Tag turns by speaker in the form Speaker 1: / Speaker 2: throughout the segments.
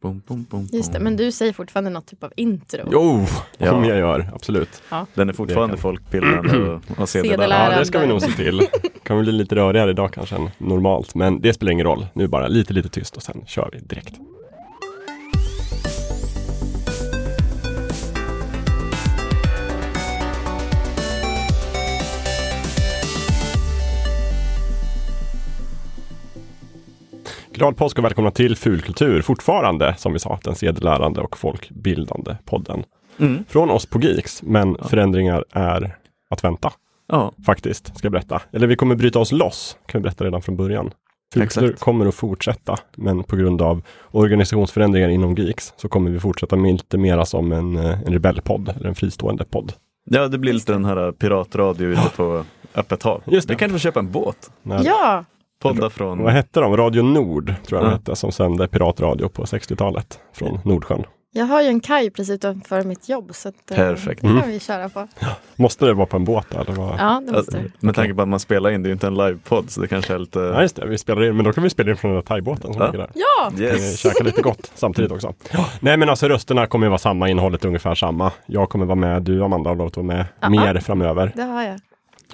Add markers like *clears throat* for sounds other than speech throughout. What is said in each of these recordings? Speaker 1: Bom, bom, bom,
Speaker 2: Just det,
Speaker 3: Mm.
Speaker 1: bom.
Speaker 2: men du säger fortfarande något typ av intro.
Speaker 1: Jo,
Speaker 3: Ja. Som jag gör, absolut.
Speaker 1: den är fortfarande
Speaker 3: Det kan-
Speaker 1: folkbildande och,
Speaker 2: *clears throat*
Speaker 1: och
Speaker 2: Sedelära.
Speaker 1: sedelära.
Speaker 3: Ja, det ska vi nog se till. Kommer bli lite rörigare idag kanske än normalt, men det spelar ingen roll. Nu bara lite, lite tyst och sen kör vi direkt. Glad påsk och välkomna till Fulkultur, fortfarande som vi sa, den sedelärande och folkbildande podden.
Speaker 1: Mm.
Speaker 3: Från oss på Geeks, men förändringar är att vänta
Speaker 1: Ja,
Speaker 3: faktiskt, ska jag berätta. Eller vi kommer bryta oss loss, kan vi berätta redan från början. Fulkultur
Speaker 1: Exakt.
Speaker 3: kommer att fortsätta, men på grund av organisationsförändringar inom Geeks så kommer vi fortsätta med lite mera som en, eh, en rebellpodd, eller en fristående podd.
Speaker 1: ja, det blir lite den här piratradio ute på öppet hav.
Speaker 3: Just det.
Speaker 1: Vi kanske får köpa en båt.
Speaker 3: När,
Speaker 2: Ja,
Speaker 1: Podda från...
Speaker 3: Vad hette de? Radio Nord, tror jag
Speaker 1: Ja.
Speaker 3: de hette, som sände piratradio på 60-talet från Nordsjön.
Speaker 2: jag har ju en kaj precis utanför mitt jobb så att, eh,
Speaker 1: Perfekt.
Speaker 2: det
Speaker 3: Mm.
Speaker 2: kan vi köra på.
Speaker 3: Måste det vara på en båt då, eller? Vad?
Speaker 2: Ja, det måste
Speaker 1: Alltså,
Speaker 2: du.
Speaker 1: med tanke på att man spelar in, det är ju inte en livepodd så det kanske är lite...
Speaker 3: Ja, just det. Vi spelar in, men då kan vi spela in från den där thaibåten som
Speaker 1: Ja.
Speaker 3: ligger där.
Speaker 2: Ja,
Speaker 1: Yes.
Speaker 3: Yes. eh, Käka lite gott samtidigt också. Nej men alltså rösterna kommer ju vara samma, innehållet är ungefär samma. Jag kommer vara med, du Amanda har lovat att vara med
Speaker 2: Ja.
Speaker 3: mer framöver.
Speaker 2: det har jag.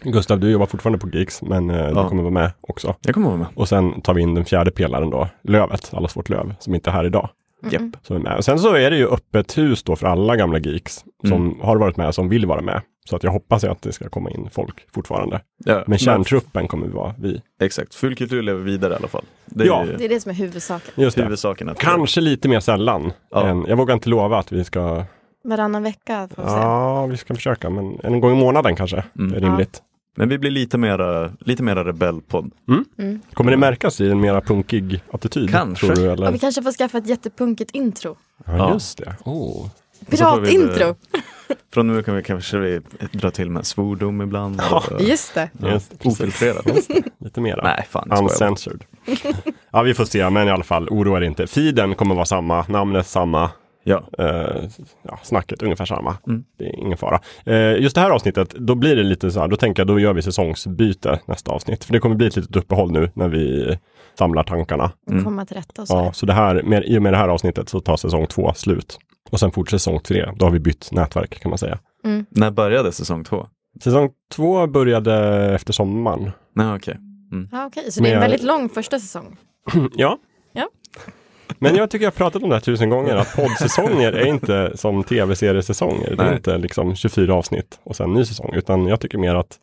Speaker 3: Gustav, du jobbar fortfarande på Geeks, men eh,
Speaker 1: Ja.
Speaker 3: du kommer vara med också.
Speaker 1: Jag kommer vara med.
Speaker 3: Och sen tar vi in den fjärde pelaren då, Lövet, Allas vårt löv, som inte är här idag.
Speaker 1: Japp.
Speaker 3: Som är med. Och sen så är det ju öppet hus då för alla gamla geeks som
Speaker 1: Mm.
Speaker 3: har varit med, som vill vara med. Så att jag hoppas ju att det ska komma in folk fortfarande.
Speaker 1: Ja.
Speaker 3: Men kärntruppen kommer vara vi.
Speaker 1: Exakt, full kultur lever vidare i alla fall. Det är
Speaker 3: Ja.
Speaker 1: ju
Speaker 2: Det är det som är huvudsaken.
Speaker 3: Just det.
Speaker 1: huvudsaken. Att
Speaker 3: Kanske lite mer sällan.
Speaker 1: Ja.
Speaker 3: Än, jag vågar inte lova att vi ska
Speaker 2: Varannan vecka får vi se.
Speaker 3: Ja, vi ska försöka, men en gång i månaden kanske.
Speaker 1: Mm.
Speaker 3: Det är rimligt.
Speaker 1: Men vi blir lite mera, lite mera rebellpodd.
Speaker 3: Kommer det märkas i en mera punkig attityd?
Speaker 1: Kanske.
Speaker 3: Tror du, eller?
Speaker 2: Och vi kanske får skaffa ett jättepunkigt intro.
Speaker 3: Ja,
Speaker 1: Ja.
Speaker 3: just det. Oh.
Speaker 1: så får vi det-
Speaker 2: Piratintro!
Speaker 1: Från nu kan vi kanske vi dra till med svordom ibland. Ja.
Speaker 2: Just det.
Speaker 1: Ja.
Speaker 3: Just det, precis.
Speaker 1: Ofiltrerat.
Speaker 3: Lite mera.
Speaker 1: Nej, fan. det skojar jag. *laughs*
Speaker 3: Uncensored. ja, vi får se, men i alla fall, oroa er inte. Feeden kommer vara samma, namnet samma,
Speaker 1: Ja.
Speaker 3: eh, ja, snacket ungefär samma.
Speaker 1: Mm.
Speaker 3: Det är ingen fara. Eh, just det här avsnittet, då blir det lite så här, då tänker jag då gör vi säsongsbyte nästa avsnitt. För det kommer bli ett litet uppehåll nu när vi samlar tankarna.
Speaker 1: Mm.
Speaker 2: Komma till rätta och så.
Speaker 3: Ja, så det här, med, i och med det här avsnittet så tar säsong två slut. Och sen fortsätter säsong tre. Då har vi bytt nätverk kan man säga.
Speaker 1: När började säsong två?
Speaker 3: Säsong två började efter sommaren.
Speaker 1: Nej, okej.
Speaker 2: Ja, okej, så det är en
Speaker 3: Men jag-
Speaker 2: väldigt lång första säsong.
Speaker 3: Ja.
Speaker 2: Ja.
Speaker 3: Men jag tycker jag har pratat om det här tusen gånger, att poddsäsonger är *laughs* inte som tv-seriesäsonger. Det är
Speaker 1: Nej.
Speaker 3: inte liksom 24 avsnitt och sen ny säsong, utan jag tycker mer att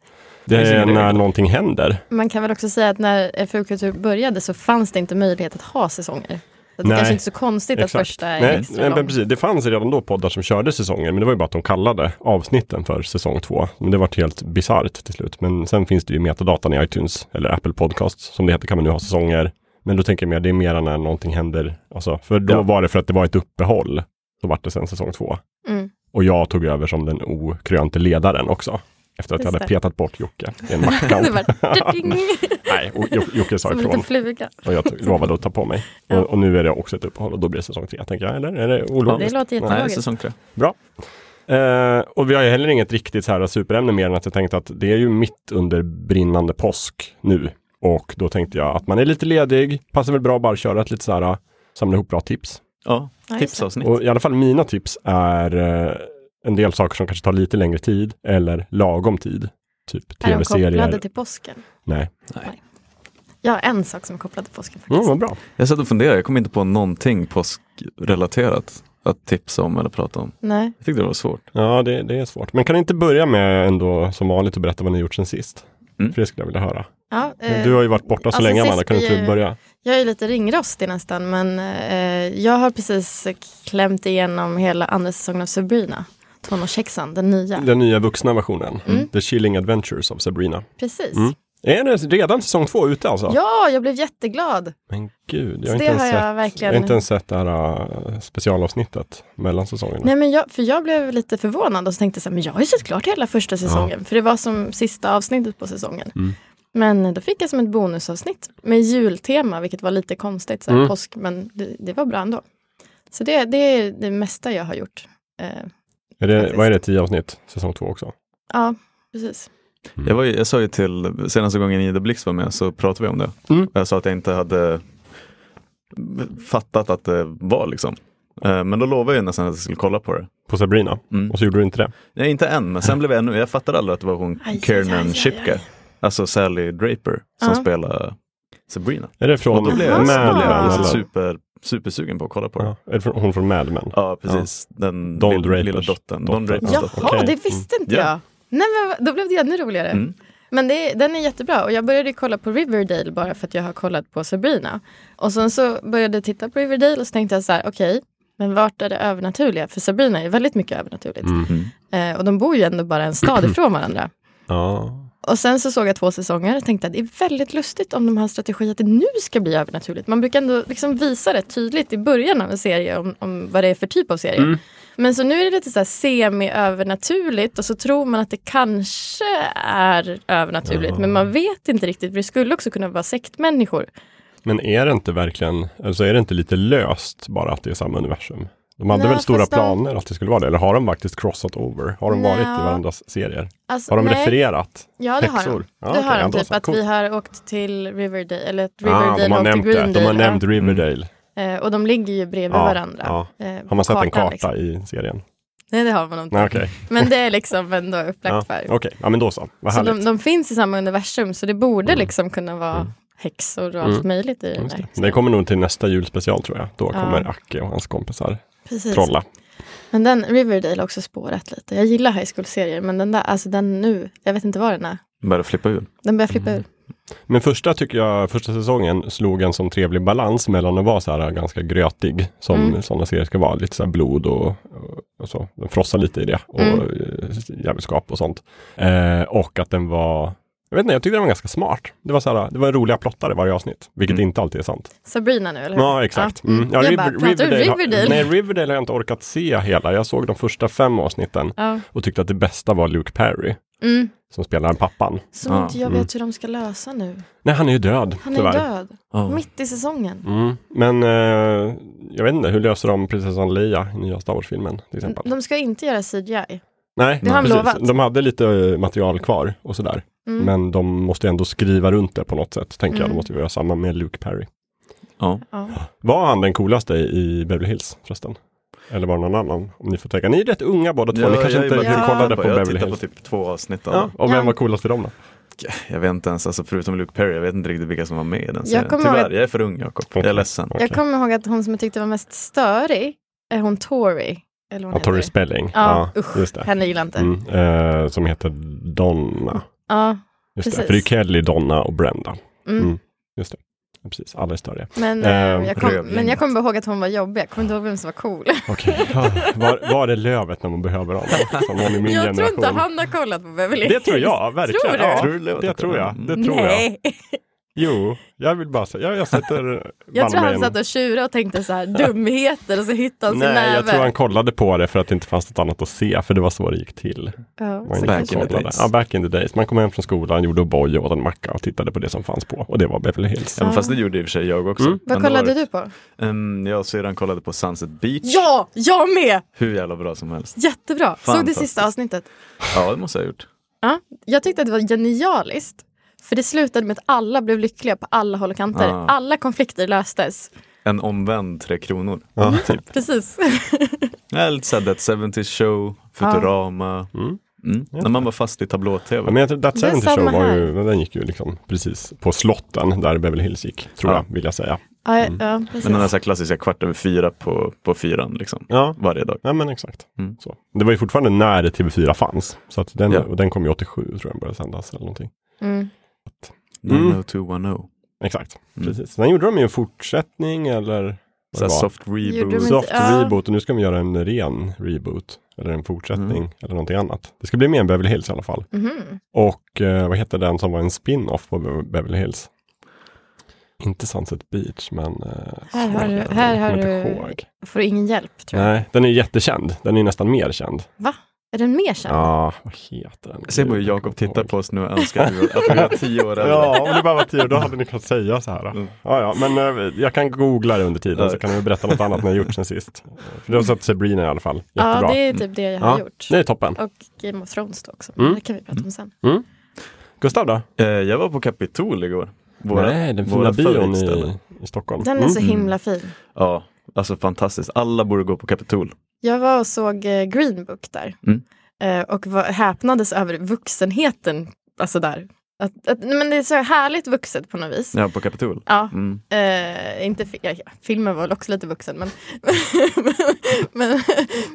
Speaker 3: det
Speaker 1: finns
Speaker 3: är
Speaker 1: ingen
Speaker 3: när
Speaker 1: regel.
Speaker 3: någonting händer.
Speaker 2: Man kan väl också säga att när FU-kultur började så fanns det inte möjlighet att ha säsonger. Så det
Speaker 3: Nej,
Speaker 2: kanske inte är så konstigt att
Speaker 3: Exakt.
Speaker 2: första är
Speaker 3: Nej,
Speaker 2: extra
Speaker 3: nej, men
Speaker 2: lång.
Speaker 3: precis. Det fanns redan då poddar som körde säsonger, men det var ju bara att de kallade avsnitten för säsong två. Men det var helt bisarrt till slut. Men sen finns det ju metadatan i iTunes, eller Apple Podcasts, som det heter, kan man nu ha säsonger. Men då tänker jag mer, det är mera när någonting händer. Alltså, för då
Speaker 1: Ja.
Speaker 3: var det för att det var ett uppehåll, så vart det sen säsong två.
Speaker 2: Mm.
Speaker 3: Och jag tog över som den okrönte ledaren också. Efter att jag
Speaker 2: Just
Speaker 3: hade
Speaker 2: det.
Speaker 3: petat bort Jocke i en
Speaker 2: *laughs*
Speaker 3: maktkamp.
Speaker 2: Det
Speaker 3: *laughs*
Speaker 2: var ding,
Speaker 3: Nej, och Jo- Jocke sa
Speaker 2: som en liten
Speaker 3: ifrån.
Speaker 2: fluga.
Speaker 3: Och jag tog- lovade att ta på mig.
Speaker 2: Ja.
Speaker 3: Och, och nu är det också ett uppehåll och då blir det säsong tre, tänker jag. Eller är det ologiskt?
Speaker 2: Det låter
Speaker 1: Nej,
Speaker 2: jättelogiskt.
Speaker 1: säsong tre.
Speaker 3: Eh, och vi har ju heller inget riktigt så här superämne mer än att jag tänkte att det är ju mitt under brinnande påsk nu. Och då tänkte jag att man är lite ledig, passar väl bra att bara köra ett lite så här, samla ihop bra tips.
Speaker 1: Ja,
Speaker 2: Ja, just det.
Speaker 1: tipsavsnitt.
Speaker 3: Och i alla fall mina tips är eh, en del saker som kanske tar lite längre tid eller lagom tid. Typ
Speaker 2: Är de kopplade
Speaker 3: tv-serier.
Speaker 2: till påsken?
Speaker 3: Nej,
Speaker 2: Jag har en sak som är kopplad till påsken faktiskt.
Speaker 3: mm, vad bra.
Speaker 1: Jag satt och funderade, jag kom inte på någonting påskrelaterat att tipsa om eller prata om.
Speaker 2: Nej.
Speaker 1: Jag tyckte det var svårt.
Speaker 3: Ja, det, det är svårt. Men kan ni inte börja med ändå som vanligt att berätta vad ni gjort sen sist?
Speaker 1: Mm.
Speaker 3: För det skulle jag vilja höra.
Speaker 2: Ja, eh,
Speaker 3: Du har ju varit borta så
Speaker 2: alltså
Speaker 3: länge,
Speaker 2: sist
Speaker 3: Amanda. Kan du
Speaker 2: blir
Speaker 3: inte
Speaker 2: ju-
Speaker 3: börja?
Speaker 2: Jag är lite ringrostig nästan, men eh, jag har precis klämt igenom hela andra säsongen av Sabrina. Tonårshäxan, den nya.
Speaker 3: Den nya vuxna versionen.
Speaker 2: Mm.
Speaker 3: The Chilling Adventures of Sabrina.
Speaker 2: Precis.
Speaker 3: Mm. Är det redan säsong två ute alltså?
Speaker 2: Ja, jag blev jätteglad.
Speaker 3: Men gud, jag
Speaker 2: Så
Speaker 3: har, inte
Speaker 2: det
Speaker 3: ens,
Speaker 2: har jag
Speaker 3: sett,
Speaker 2: verkligen-
Speaker 3: jag har inte ens sett det här äh, specialavsnittet mellan säsongerna.
Speaker 2: Nej, men jag, för jag blev lite förvånad och så tänkte jag så här, men jag har ju sett klart hela första säsongen. För det var som sista avsnittet på säsongen. Men då fick jag som ett bonusavsnitt med jultema, vilket var lite konstigt. Så här,
Speaker 3: Mm.
Speaker 2: påsk, men det, det var bra ändå. Så det, det är det mesta jag har gjort. Eh,
Speaker 3: är det,
Speaker 2: faktiskt.
Speaker 3: vad är det, tio avsnitt? Säsong två också?
Speaker 2: ja, precis.
Speaker 1: Jag, var ju, jag sa ju till, senaste gången Ida Blix var med så pratade vi om det.
Speaker 3: Mm.
Speaker 1: Jag sa att jag inte hade fattat att det var liksom. Eh, Men då lovade jag ju nästan att jag skulle kolla på det.
Speaker 3: På Sabrina.
Speaker 1: Mm.
Speaker 3: Och så gjorde du inte det.
Speaker 1: Nej, inte än, men sen blev jag ännu, jag fattade aldrig att det var hon
Speaker 2: Aj, aj, aj, aj,
Speaker 1: Kiernan
Speaker 2: aj.
Speaker 1: Shipka, alltså Sally Draper, som
Speaker 2: Ja.
Speaker 1: spelar Sabrina.
Speaker 3: Är det från
Speaker 1: Och då blev
Speaker 2: Aha.
Speaker 1: jag,
Speaker 3: Mad
Speaker 1: då
Speaker 3: Men?
Speaker 1: blev jag alltså
Speaker 3: eller?
Speaker 1: super, supersugen på att kolla på det.
Speaker 3: Ja. Är det från, hon från Mad Men?
Speaker 1: Ja, precis. Den
Speaker 3: Don
Speaker 1: lill-
Speaker 3: Drapers
Speaker 1: lilla dottern. Don
Speaker 3: dotter.
Speaker 1: Drapers
Speaker 2: Jaha,
Speaker 1: dotter.
Speaker 3: Okej.
Speaker 2: det visste inte
Speaker 1: Mm. Ja.
Speaker 2: jag. Nej, men vad- då blev det ännu roligare.
Speaker 1: Mm.
Speaker 2: Men det, är- den är jättebra och jag började kolla på Riverdale bara för att jag har kollat på Sabrina. Och sen så började jag titta på Riverdale och så tänkte jag så här, okej, men vart är det övernaturliga? För Sabrina är väldigt mycket övernaturligt.
Speaker 1: Mm.
Speaker 2: Eh, och de bor ju ändå bara
Speaker 1: *clears throat*
Speaker 2: en stad ifrån varandra.
Speaker 3: Ja.
Speaker 2: Och sen så såg jag två säsonger och tänkte att det är väldigt lustigt om de har en strategi att det nu ska bli övernaturligt. Man brukar ändå liksom visa det tydligt i början av en serie om, om vad det är för typ av serie.
Speaker 3: Mm.
Speaker 2: Men så nu är det lite så här semi-övernaturligt och så tror man att det kanske är övernaturligt. Men man vet inte riktigt för det skulle också kunna vara sektmänniskor.
Speaker 3: Men är det inte verkligen, alltså är det inte lite löst bara att det är samma universum? De hade
Speaker 2: Nej,
Speaker 3: väl stora
Speaker 2: fast de-
Speaker 3: planer att det skulle vara det, eller har de faktiskt crossat over? Har de varit
Speaker 2: Nja.
Speaker 3: i varandras serier?
Speaker 2: Alltså,
Speaker 3: Har de
Speaker 2: nej.
Speaker 3: refererat?
Speaker 2: Ja det har
Speaker 3: Häxor?
Speaker 2: de.
Speaker 3: Ja,
Speaker 2: det
Speaker 3: okej,
Speaker 2: har
Speaker 3: ja,
Speaker 2: de.
Speaker 3: då
Speaker 2: Typ
Speaker 3: så.
Speaker 2: att
Speaker 3: Coolt.
Speaker 2: vi har åkt till Riverdale, eller att
Speaker 3: Ah,
Speaker 2: Riverdale
Speaker 3: de
Speaker 2: och
Speaker 3: har
Speaker 2: åkt
Speaker 3: nämnt
Speaker 2: till
Speaker 3: det.
Speaker 2: Greendale.
Speaker 3: De har
Speaker 2: ja.
Speaker 3: nämnt Riverdale.
Speaker 2: Eh, och de ligger ju bredvid
Speaker 3: Ja,
Speaker 2: varandra.
Speaker 3: ja.
Speaker 2: eh,
Speaker 3: Har man sett en
Speaker 2: kartan,
Speaker 3: karta
Speaker 2: liksom. Mm.
Speaker 3: i serien?
Speaker 2: Nej det har man inte.
Speaker 3: Nej, okej.
Speaker 2: Men det är liksom ändå
Speaker 3: Ja,
Speaker 2: upplagt för.
Speaker 3: Okej, ja men då så. Vad
Speaker 2: Så
Speaker 3: härligt. Mm.
Speaker 2: de, de finns i samma universum så det borde liksom kunna vara häxor och allt möjligt i den
Speaker 3: Just
Speaker 2: där.
Speaker 3: det. det kommer nog till nästa julspecial tror jag. Då
Speaker 2: Ja.
Speaker 3: kommer Acke och hans kompisar
Speaker 2: Precis.
Speaker 3: trolla.
Speaker 2: Men den Riverdale har också spårat lite. Jag gillar high school-serier men den där, alltså den nu, jag vet inte vad den är.
Speaker 1: Började flippa ur.
Speaker 2: Den börjar
Speaker 3: Mm.
Speaker 2: flippa ur.
Speaker 3: Men första tycker jag, första säsongen slog en sån trevlig balans mellan att vara så här ganska grötig, som
Speaker 2: Mm.
Speaker 3: sådana serier ska vara, lite så här blod och, och så. Den frossade lite i det och
Speaker 2: Mm.
Speaker 3: eh, jävelskap och sånt. Eh, och att den var, jag vet inte, jag tyckte den var ganska smart. Det var så här, det var roliga plottar i varje avsnitt, vilket
Speaker 1: Mm.
Speaker 3: inte alltid är sant.
Speaker 2: Sabrina nu, eller hur?
Speaker 3: Ja, exakt.
Speaker 2: Ja.
Speaker 3: Mm. Ja,
Speaker 2: jag
Speaker 3: River-
Speaker 2: bara, pratar du
Speaker 3: Riverdale har-
Speaker 2: Riverdale?
Speaker 3: Nej, Riverdale har jag inte orkat se hela. Jag såg de första fem avsnitten
Speaker 2: Ja.
Speaker 3: och tyckte att det bästa var Luke Perry,
Speaker 2: Mm.
Speaker 3: som spelar pappan.
Speaker 2: Som
Speaker 1: Ja,
Speaker 2: inte jag
Speaker 3: mm.
Speaker 2: vet hur de ska lösa nu.
Speaker 3: Nej, han är ju död,
Speaker 2: Han är
Speaker 3: tyvärr.
Speaker 2: död.
Speaker 1: Ja.
Speaker 2: Mitt i säsongen.
Speaker 3: Mm. Men eh, jag vet inte, hur löser de prinsessan Leia i nya Star Wars-filmen till exempel?
Speaker 2: De ska inte göra CGI.
Speaker 3: Nej,
Speaker 2: Mm. det har de lovat.
Speaker 3: De hade lite eh, material kvar och sådär.
Speaker 2: Mm.
Speaker 3: Men de måste ändå skriva runt det på något sätt, tänker jag. De
Speaker 2: Mm.
Speaker 3: måste göra samma med Luke Perry.
Speaker 1: Ja.
Speaker 2: Ja.
Speaker 3: Var han den coolaste i Beverly Hills förresten? Eller var det någon annan? Om ni får tänka. Ni är rätt unga båda två. ni kanske
Speaker 1: jag är
Speaker 3: inte
Speaker 1: bara-
Speaker 2: Ja.
Speaker 3: kollade på
Speaker 1: jag
Speaker 3: Beverly
Speaker 1: tittade
Speaker 3: Hills.
Speaker 1: på typ två avsnitt av
Speaker 3: Ja,
Speaker 1: den.
Speaker 3: och vem
Speaker 2: Ja.
Speaker 3: var coolast för dem då?
Speaker 1: Jag vet inte ens, alltså, förutom Luke Perry, jag vet inte riktigt vilka som var med i den serien.
Speaker 2: kommer
Speaker 1: Tyvärr,
Speaker 2: ihåg-
Speaker 1: jag är för ung Jakob. Jag är
Speaker 3: Okej.
Speaker 1: ledsen.
Speaker 3: Okej.
Speaker 2: Jag kommer ihåg att hon som jag tyckte var mest störig är hon Tori. Eller vad hon
Speaker 3: Ja, Tori
Speaker 2: heter.
Speaker 3: Spelling.
Speaker 2: Ja, usch.
Speaker 3: just det.
Speaker 2: Henne gillar jag inte.
Speaker 3: Mm, eh, som heter Donna.
Speaker 2: Ja,
Speaker 3: Just det.
Speaker 2: Precis.
Speaker 3: För det är Kelly, Donna och Brenda.
Speaker 2: mm.
Speaker 3: Mm. Ja, Precis, alla är större.
Speaker 2: Men,
Speaker 3: Ehm,
Speaker 2: eh, jag kom,
Speaker 1: rövgänget.
Speaker 2: men jag kommer bara ihåg att hon var jobbig. Jag kommer inte ihåg vem som var cool.
Speaker 3: Okej, *laughs* var, var är lövet när man behöver honom? Som någon i
Speaker 2: *laughs*
Speaker 3: min
Speaker 2: jag tror
Speaker 3: generation.
Speaker 2: inte han har kollat på Beverly Hills.
Speaker 3: Det tror jag, verkligen.
Speaker 2: Tror du?
Speaker 3: Ja,
Speaker 1: Tror du det var
Speaker 3: det
Speaker 1: det?
Speaker 3: tror jag. Det
Speaker 1: Mm.
Speaker 3: tror jag.
Speaker 2: Nej, jag,
Speaker 3: Jo, jag vill bara säga, jag, jag sätter
Speaker 2: tror han
Speaker 3: Wallmain-
Speaker 2: satt och tjurade och tänkte
Speaker 3: *laughs*
Speaker 2: så här dumheter och så hittade han sin
Speaker 3: Nej,
Speaker 2: näve.
Speaker 3: jag tror han kollade på det för att det inte fanns något annat att se, för det var så det gick till.
Speaker 2: ja,
Speaker 3: Man
Speaker 2: så
Speaker 1: Back in
Speaker 2: kanske-
Speaker 1: the
Speaker 3: kollade.
Speaker 1: days.
Speaker 3: Ja, back in the days. Man kom hem från skolan, gjorde O'boy och åt en macka och tittade på det som fanns på. Och det var Beverly Hills.
Speaker 1: Ja, men fast det gjorde i och för sig jag också.
Speaker 3: Mm.
Speaker 2: Vad
Speaker 1: Men då
Speaker 2: kollade
Speaker 1: var det-
Speaker 2: du på?
Speaker 1: Ehm, jag och syrran kollade på Sunset Beach.
Speaker 2: Ja, jag med!
Speaker 1: Hur jävla bra som helst.
Speaker 2: Jättebra. Såg du
Speaker 1: Fantastiskt.
Speaker 2: sista avsnittet?
Speaker 1: Ja, det måste jag ha gjort.
Speaker 2: Ja, jag tyckte att det var genialiskt. För det slutade med att alla blev lyckliga på alla håll och kanter.
Speaker 1: Ah.
Speaker 2: Alla konflikter löstes.
Speaker 1: En omvänd Tre Kronor.
Speaker 3: Ja. *laughs*
Speaker 2: Precis. *laughs*
Speaker 1: Ja, lite såhär That 70 Show, Futurama.
Speaker 3: Mm.
Speaker 1: Mm. När man var fast i
Speaker 3: Ja,
Speaker 1: tablå-tv.
Speaker 3: Men jag tror That
Speaker 2: Det är
Speaker 3: 70
Speaker 2: samma
Speaker 3: Show var
Speaker 2: här.
Speaker 3: ju, den gick ju liksom precis på slotten där Beverly Hills gick, tror
Speaker 1: Ja.
Speaker 3: jag, vill jag säga.
Speaker 2: Ja,
Speaker 3: Mm.
Speaker 1: Men
Speaker 2: ja, precis.
Speaker 3: alltså-
Speaker 1: den här, så här klassiska kvart över fyra på, på fyran liksom.
Speaker 3: Ja,
Speaker 1: Varje dag.
Speaker 3: Ja men exakt.
Speaker 1: Mm.
Speaker 3: Så. Det var ju fortfarande när TV4 fanns. Så att den,
Speaker 1: Ja.
Speaker 3: och den kom ju 87 tror jag den började sändas eller någonting.
Speaker 2: Mm.
Speaker 3: Mm.
Speaker 1: 90210.
Speaker 3: Exakt,
Speaker 1: Mm.
Speaker 3: precis. Sen gjorde de ju en fortsättning eller
Speaker 1: Så här
Speaker 3: vad det var.
Speaker 1: soft reboot.
Speaker 2: Gjorde de
Speaker 3: Soft
Speaker 2: Ja.
Speaker 3: reboot och nu ska de göra en ren reboot. Eller en fortsättning
Speaker 1: Mm.
Speaker 3: eller någonting annat. Det ska bli mer än Beverly Hills i alla fall.
Speaker 2: Mhm.
Speaker 3: Och eh, vad heter den som var en spin-off på Be- Beverly Hills? Inte Sunset Beach men... Eh,
Speaker 2: Här har du-
Speaker 3: jag
Speaker 2: här har
Speaker 3: kommer
Speaker 2: du-
Speaker 3: inte ihåg.
Speaker 2: Får ingen hjälp tror jag.
Speaker 3: Nej, den är ju jättekänd. Den är ju nästan mer känd.
Speaker 2: Va? Är den mer känd?
Speaker 3: Ja, vad heter den?
Speaker 1: Se på hur
Speaker 3: Gud, jag kommer
Speaker 1: Jakob
Speaker 3: inte
Speaker 1: tittar
Speaker 3: ihåg.
Speaker 1: på oss nu och önskar att vi var- att vi var tio år äldre.
Speaker 3: Ja, om det bara var tio år, då hade ni kunnat säga så här. då.
Speaker 1: Mm.
Speaker 3: Ja, ja, men eh, jag kan googla det under tiden
Speaker 1: Ja.
Speaker 3: så kan jag berätta något annat ni har gjort sen sist. För du har sett Sabrina i alla fall. Jättebra.
Speaker 2: Ja, det är typ det jag har
Speaker 3: Ja.
Speaker 2: gjort.
Speaker 3: Det är toppen.
Speaker 2: Och Game of Thrones då också.
Speaker 3: Mm.
Speaker 2: Det kan vi prata om sen.
Speaker 3: Gustav då?
Speaker 1: Eh, Jag var på Capitol igår. Våra,
Speaker 3: Nej, den fina
Speaker 1: våra
Speaker 3: bion
Speaker 1: favoritställen.
Speaker 3: i, i Stockholm. Mm.
Speaker 2: Den är så himla fin.
Speaker 1: Ja, alltså fantastiskt. Alla borde gå på Kapitol.
Speaker 2: Jag var och såg eh, Green Book där
Speaker 1: Mm.
Speaker 2: Eh, och var, häpnades över vuxenheten. Alltså där. Att, att, men det är så härligt vuxet på något vis.
Speaker 1: Ja, på Kapitol.
Speaker 2: Ja,
Speaker 1: Mm.
Speaker 2: eh, inte fi- ja, ja, filmen var väl också lite vuxen men, *laughs* men,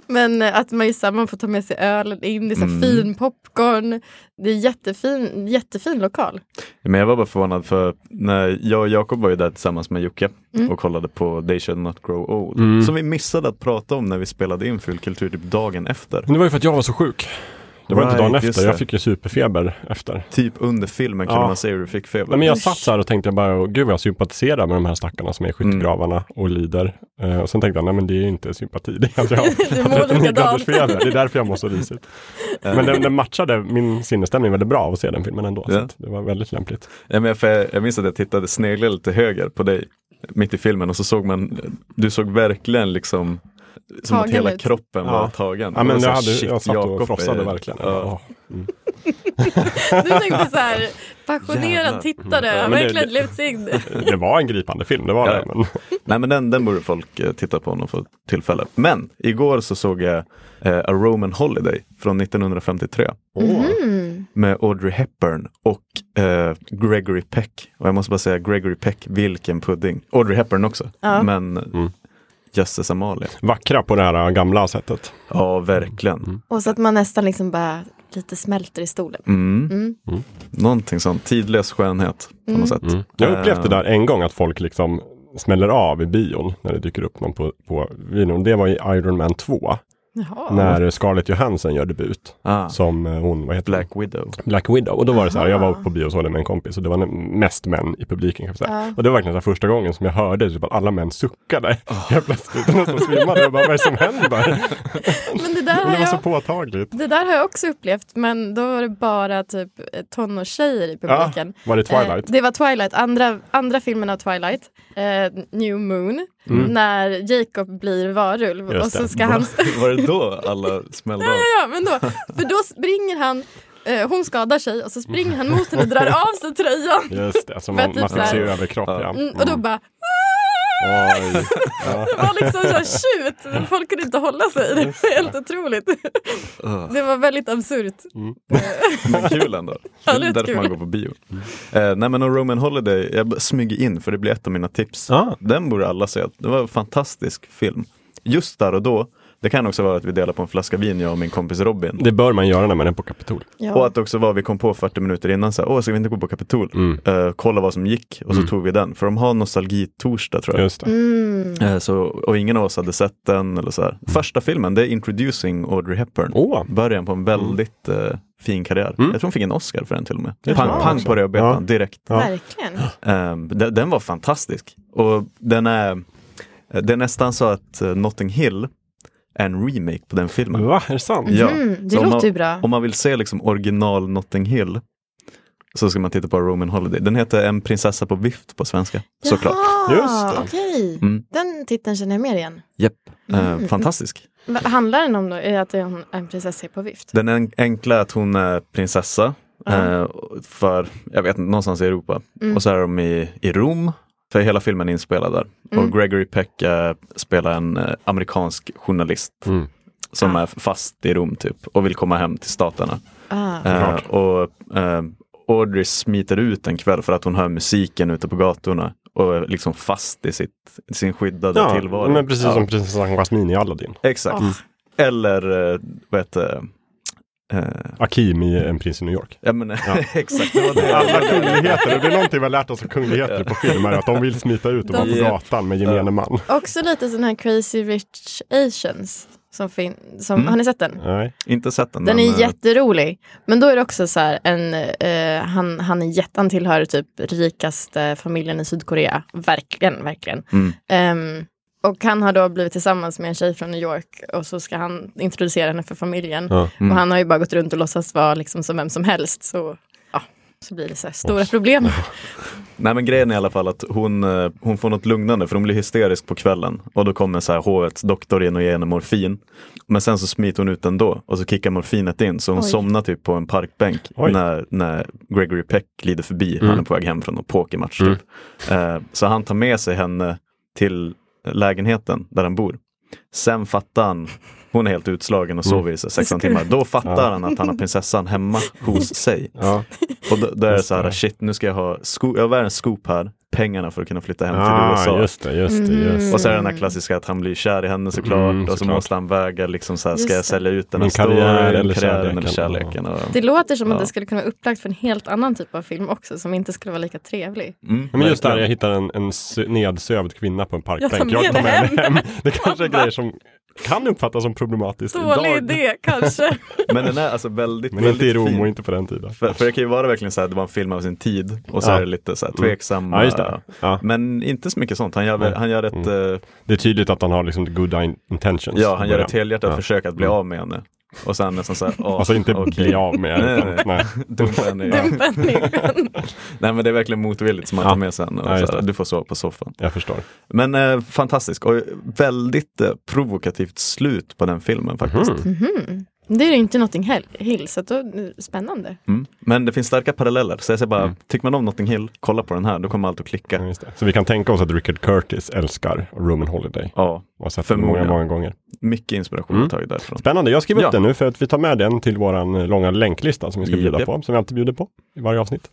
Speaker 2: men att man, just, så här, man får ta med sig ölen in, det är så här
Speaker 1: Mm.
Speaker 2: fin popcorn. Det är jättefin, jättefin lokal.
Speaker 1: Men jag var bara förvånad för när jag och Jakob var ju där tillsammans med Jocke
Speaker 2: Mm.
Speaker 1: och kollade på They Shall Not Grow Old.
Speaker 3: Mm.
Speaker 1: Som vi missade att prata om när vi spelade in Fulkultur typ dagen efter.
Speaker 3: Men det var ju för att jag var så sjuk. Det var inte
Speaker 1: Right,
Speaker 3: dagen
Speaker 1: just
Speaker 3: efter,
Speaker 1: det.
Speaker 3: jag fick ju superfeber efter.
Speaker 1: Typ under filmen kunde
Speaker 3: Ja.
Speaker 1: man se hur du fick feber.
Speaker 3: Nej, men jag satt så här och tänkte jag bara, gud vad jag sympatiserar med de här stackarna som är i skyttegravarna och lider. Eh, och sen tänkte jag, nej men det är ju inte sympati,
Speaker 2: *laughs*
Speaker 3: det är att jag har
Speaker 2: Du mår
Speaker 3: 39
Speaker 2: likadant.
Speaker 3: graders feber, det är därför jag mår så risigt.
Speaker 1: Eh,
Speaker 3: Men den, den matchade min sinnesstämning väldigt bra av att se den filmen ändå. Så
Speaker 1: Ja.
Speaker 3: att det var väldigt lämpligt.
Speaker 1: Ja, men jag, för jag, jag minns att jag tittade, sneglade lite höger på dig mitt i filmen och så såg man, du såg verkligen liksom som att
Speaker 2: Tagen
Speaker 1: hela
Speaker 2: ut.
Speaker 1: kroppen
Speaker 3: Ja.
Speaker 1: var tagen.
Speaker 3: Ja, men
Speaker 1: Och så
Speaker 3: jag,
Speaker 1: här,
Speaker 3: hade,
Speaker 1: shit,
Speaker 3: jag satt och
Speaker 1: Jakob
Speaker 3: frossade
Speaker 1: är-
Speaker 3: verkligen.
Speaker 1: Ja.
Speaker 3: Ja. Mm.
Speaker 2: Du tänkte så här
Speaker 1: Jävlar.
Speaker 2: passionerad tittare,
Speaker 3: Mm. Ja,
Speaker 2: har
Speaker 3: men det-
Speaker 2: verkligen lyfts in.
Speaker 3: Det var en gripande film, det var
Speaker 1: Ja.
Speaker 3: det. Men,
Speaker 1: Nej men den, den borde folk eh, titta på om de får tillfälle. Men igår så såg jag eh, A Roman Holiday från 1953
Speaker 2: Mhm.
Speaker 1: med Audrey Hepburn och eh, Gregory Peck. Och jag måste bara säga Gregory Peck, vilken pudding. Audrey Hepburn också,
Speaker 2: Ja.
Speaker 1: men
Speaker 3: Mm.
Speaker 1: Jösses Amalia.
Speaker 3: Vackra på det här äh, gamla sättet.
Speaker 1: Ja, verkligen.
Speaker 2: Och så att man nästan liksom bara lite smälter i stolen.
Speaker 1: Mm.
Speaker 2: Mm.
Speaker 1: Någonting sånt, tidlös skönhet på något sätt.
Speaker 3: Jag har upplevt det
Speaker 1: Eh,
Speaker 3: där en gång, att folk liksom smäller av i bion när det dyker upp någon på, på videon. Det var i Iron Man 2,
Speaker 2: Jaha.
Speaker 3: när Scarlett Johansson gör debut.
Speaker 1: Ah,
Speaker 3: Som eh, hon, vad heter hon?
Speaker 1: Black Widow.
Speaker 3: Black Widow. Och då var det så här, jag var
Speaker 2: Aha.
Speaker 3: på bio och såg den med en kompis och det var n- mest män i publiken. Kan jag säga.
Speaker 2: Ja.
Speaker 3: Och det var verkligen så här första gången som jag hörde typ att alla män suckade. Helt plötsligt, och nästan svimmade. Jag bara, vad är det
Speaker 2: *laughs*
Speaker 3: som händer?
Speaker 2: Men det där
Speaker 3: Och
Speaker 2: har
Speaker 3: det var så
Speaker 2: jag
Speaker 3: påtagligt.
Speaker 2: Det där har jag också upplevt, men då var det bara typ tonårstjejer i
Speaker 3: Ja,
Speaker 2: publiken.
Speaker 3: var det
Speaker 2: Eh,
Speaker 3: Twilight?
Speaker 2: det var Twilight, andra, andra filmen av Twilight, eh, New Moon, när Jacob blir varulv.
Speaker 3: Mm. Just
Speaker 2: Och så
Speaker 3: det.
Speaker 2: ska han...
Speaker 1: Var det då alla smällde
Speaker 2: *laughs*
Speaker 1: av?
Speaker 2: Ja, men då, för då springer han, eh, hon skadar sig och så springer han mot henne och drar av sig tröjan.
Speaker 3: Just det, alltså
Speaker 2: För
Speaker 3: man,
Speaker 2: att typ
Speaker 3: man
Speaker 2: så
Speaker 3: fick
Speaker 2: här-
Speaker 3: se överkropp. Ja.
Speaker 2: Mm, och då bara,
Speaker 3: Oj.
Speaker 2: det var liksom så här tjut, folk kunde inte hålla sig. Det var helt otroligt.
Speaker 1: Ah,
Speaker 2: Det var väldigt absurt.
Speaker 1: Men kul ändå.
Speaker 2: *laughs* Ja, det är
Speaker 1: det är därför
Speaker 2: kul.
Speaker 1: man går på bio. Eh, nej men och Roman Holiday, jag b- smyger in för det blir ett av mina tips.
Speaker 3: Ah.
Speaker 1: Den borde alla se. Det var en fantastisk film. Just där och då, det kan också vara att vi delar på en flaska vin jag och min kompis Robin.
Speaker 3: Det bör man göra när man är på Kapitol.
Speaker 1: Och
Speaker 2: Ja.
Speaker 1: att också var vi kom på 40 minuter innan, så här, åh ska vi inte gå på Kapitol?
Speaker 3: Mm.
Speaker 1: Eh, kolla vad som gick och så tog vi den. För de har nostalgitorsdag tror jag.
Speaker 3: Just Mm. det.
Speaker 2: Mm.
Speaker 1: Eh, Så, och ingen av oss hade sett den. Eller så här. Första filmen, det är Introducing Audrey Hepburn.
Speaker 3: Åh,
Speaker 1: Början på en väldigt eh, fin karriär.
Speaker 3: Mm.
Speaker 1: Jag tror hon fick en Oscar för den till och med.
Speaker 3: Det tror
Speaker 1: Pang,
Speaker 3: jag
Speaker 1: pang
Speaker 3: också.
Speaker 1: på rödbetan
Speaker 3: Ja.
Speaker 1: direkt.
Speaker 3: Ja.
Speaker 2: Verkligen.
Speaker 1: Ehm, den, den var fantastisk. Och den är, eh, det är nästan så att eh, Notting Hill är en remake på den filmen.
Speaker 3: va? Är det sant?
Speaker 1: Ja.
Speaker 2: Mm, det
Speaker 1: Så om man-
Speaker 2: låter ju bra.
Speaker 1: Om man vill se liksom original Notting Hill så ska man titta på Roman Holiday. Den heter En prinsessa på vift på svenska. Såklart.
Speaker 2: Jaha,
Speaker 3: Just det.
Speaker 2: okej.
Speaker 1: Mm.
Speaker 2: Den titeln känner jag mer igen.
Speaker 1: Japp.
Speaker 2: Mm.
Speaker 1: Eh, fantastisk.
Speaker 2: Vad handlar den om då? Är det att hon är en prinsessa på vift?
Speaker 1: Den en- enkla är att hon är prinsessa eh, för, jag vet inte, någonstans i Europa.
Speaker 2: Mm.
Speaker 1: Och så är de i, i Rom, för hela filmen är inspelad där.
Speaker 2: Mm.
Speaker 1: Och Gregory Peck eh, spelar en eh, amerikansk journalist
Speaker 3: Mm.
Speaker 1: som
Speaker 2: Ah.
Speaker 1: är fast i Rom typ och vill komma hem till staterna.
Speaker 2: Ah.
Speaker 1: Eh,
Speaker 3: Klart.
Speaker 1: och eh, Audrey smiter ut en kväll för att hon hör musiken ute på gatorna och är liksom fast i sitt, sin skyddade
Speaker 3: Ja,
Speaker 1: tillvaro.
Speaker 3: men precis
Speaker 1: Ja,
Speaker 3: som prinsessan Jasmine i Aladdin.
Speaker 1: Exakt.
Speaker 2: Ah.
Speaker 1: Eller, eh, vad heter det? Eh,
Speaker 3: Akim i En prins i
Speaker 1: *laughs*
Speaker 3: New York.
Speaker 1: ja, men, exakt, det var det.
Speaker 3: Alla
Speaker 1: *laughs*
Speaker 3: kungligheter, och det är någonting vi har lärt oss av kungligheter på filmer, att de vill smita ut och vara på
Speaker 1: De-
Speaker 3: gatan med gemene man.
Speaker 2: Också lite sån här Crazy Rich Asians. Som fin- som,
Speaker 1: Mm.
Speaker 2: Har ni sett den?
Speaker 3: Nej.
Speaker 1: Inte sett den.
Speaker 2: Den
Speaker 1: men,
Speaker 2: är
Speaker 1: eh,
Speaker 2: jätterolig. Men då är det också så här, en, eh, han, han, är jätte, han tillhör typ rikaste familjen i Sydkorea. Verkligen, verkligen.
Speaker 1: Mm.
Speaker 2: Ehm, och han har då blivit tillsammans med en tjej från New York och så ska han
Speaker 1: Mm.
Speaker 2: introducera henne för familjen.
Speaker 3: Ja.
Speaker 2: Och han har ju bara gått runt och låtsas vara liksom som vem som helst. Så ja, Så blir det så här stora
Speaker 1: *laughs*
Speaker 2: problem.
Speaker 1: Nej men grejen är i alla fall att hon, eh, hon får något lugnande för hon blir hysterisk på kvällen och då kommer så här hovets doktor in och ger henne morfin. Men sen så smiter hon ut ändå och så kickar morfinet in så hon
Speaker 2: Oj.
Speaker 1: somnar typ på en parkbänk
Speaker 3: Oj.
Speaker 1: när, när Gregory Peck glider förbi. Han är på väg hem från någon pokermatch. Typ. Eh, så han tar med sig henne till lägenheten där han bor. Sen fattar han, hon är helt utslagen och sover i så här 16 timmar. Då fattar han att han har prinsessan hemma hos sig.
Speaker 3: Ja.
Speaker 1: Och då, då är det
Speaker 3: Just
Speaker 1: så här,
Speaker 3: det.
Speaker 1: shit nu ska jag ha sko- jag har världens scoop här, pengarna för att kunna flytta hem till
Speaker 3: Ah,
Speaker 1: USA.
Speaker 3: just det, just det.
Speaker 2: Mm.
Speaker 3: Just.
Speaker 1: Och så är det den här klassiska att han blir kär i henne såklart
Speaker 3: Mm,
Speaker 1: och så
Speaker 3: såklart.
Speaker 1: måste han väga liksom så här,
Speaker 2: Just
Speaker 1: ska jag
Speaker 2: det.
Speaker 1: sälja ut den här
Speaker 3: Min karriär
Speaker 1: storyn,
Speaker 3: eller
Speaker 1: karriären eller
Speaker 3: kärleken,
Speaker 1: kärleken. Och,
Speaker 2: Det låter som
Speaker 1: Ja.
Speaker 2: att det skulle kunna vara upplagt för en helt annan typ av film också som inte skulle vara lika trevlig.
Speaker 1: mm,
Speaker 3: Ja, Men just där,
Speaker 1: verkligen.
Speaker 3: jag hittar en, en s- nedsövd kvinna på en parkbänk.
Speaker 2: Jag tar med det hem.
Speaker 3: Det kanske är grejer som kan uppfattas som problematiskt
Speaker 2: Dålig
Speaker 3: idag.
Speaker 2: idé kanske.
Speaker 1: Men den är alltså väldigt,
Speaker 3: *laughs* Men inte i
Speaker 1: väldigt
Speaker 3: Rom och
Speaker 1: fin.
Speaker 3: inte på den tiden.
Speaker 1: För, för det kan ju vara verkligen så här, det var en film av sin tid och så
Speaker 3: Ja. Mm.
Speaker 1: är det lite så här tveksamma.
Speaker 3: Ja, just det. Ja. Mm.
Speaker 1: Men inte så mycket sånt. Han gör, väl- han gör ett, eh,
Speaker 3: Det är tydligt att han har liksom the good in- intentions.
Speaker 1: ja, han gör
Speaker 3: Ja.
Speaker 1: ett helhjärtat
Speaker 3: Ja. Mm.
Speaker 1: försök att bli av med henne. Och sen nästan så här, åh,
Speaker 3: Alltså inte
Speaker 1: okej. *laughs*
Speaker 3: bli av med.
Speaker 1: Nej, nej,
Speaker 3: utan- nej.
Speaker 1: Dumpa henne. ja.
Speaker 2: Dumpen i
Speaker 1: Nej men det är verkligen motvilligt som man
Speaker 3: Ja.
Speaker 1: tar med sen. Och
Speaker 3: Ja, just
Speaker 1: så här,
Speaker 3: det.
Speaker 1: du får sova på soffan.
Speaker 3: Jag förstår.
Speaker 1: Men eh, fantastisk och väldigt eh, provokativt slut på den filmen faktiskt.
Speaker 3: Mhm.
Speaker 2: Det är ju inte Notting Hill- Hill, så att då, spännande.
Speaker 1: Mm. Men det finns starka paralleller. Så jag säger
Speaker 3: Mm.
Speaker 1: bara, tycker man om Notting Hill, kolla på den här, då kommer allt att klicka.
Speaker 3: Ja, just det. Så vi kan tänka oss att Richard Curtis älskar Roman Holiday.
Speaker 1: Ja,
Speaker 3: Och har sett den många,
Speaker 1: Förmodligen.
Speaker 3: många gånger.
Speaker 1: mycket inspiration
Speaker 3: Mm.
Speaker 1: har tagit därifrån.
Speaker 3: Spännande, jag skriver upp
Speaker 1: Ja.
Speaker 3: den nu för att vi tar med den till våran eh, långa länklista som vi ska
Speaker 1: Japp,
Speaker 3: bjuda
Speaker 1: japp.
Speaker 3: på. Som vi alltid bjuder på i varje avsnitt.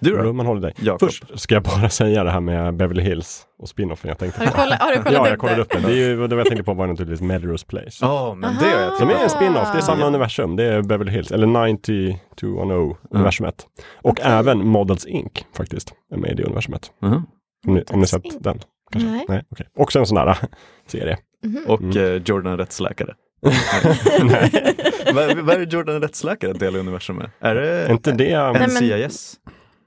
Speaker 1: Du då?
Speaker 3: Roman Holiday.
Speaker 1: Jakob.
Speaker 3: Mm. Först ska jag bara *laughs* säga det här med Beverly Hills och spinoffen jag tänkte
Speaker 2: Har du
Speaker 3: på.
Speaker 2: kollat, har du kollat
Speaker 3: Ja, jag
Speaker 2: upp
Speaker 3: kollade
Speaker 2: det?
Speaker 3: upp den. Det, är ju, det var jag tänkte på var naturligtvis Melrose Place.
Speaker 1: Ja, men det har jag
Speaker 2: Aha.
Speaker 3: Som är
Speaker 1: tittat
Speaker 3: en
Speaker 1: på.
Speaker 3: spin-off, det är samma universum. Det är Beverly Hills, eller 9210 universumet. oh Och även Models Inc. faktiskt, är med i det universumet.
Speaker 1: Mhm.
Speaker 3: Om ni, om ni
Speaker 2: Models
Speaker 3: sett
Speaker 2: Inc.
Speaker 3: den? Kanske?
Speaker 2: Nej.
Speaker 3: Nej okej. Också en sån där äh, serie.
Speaker 2: Mhm.
Speaker 1: Och
Speaker 3: Mm.
Speaker 1: eh, Jordan är rättsläkare. Nej. *laughs* Vad vad är det Jordan är rättsläkare del i universum med? Är
Speaker 3: Är
Speaker 1: det
Speaker 3: inte det...
Speaker 2: men-
Speaker 1: NCIS?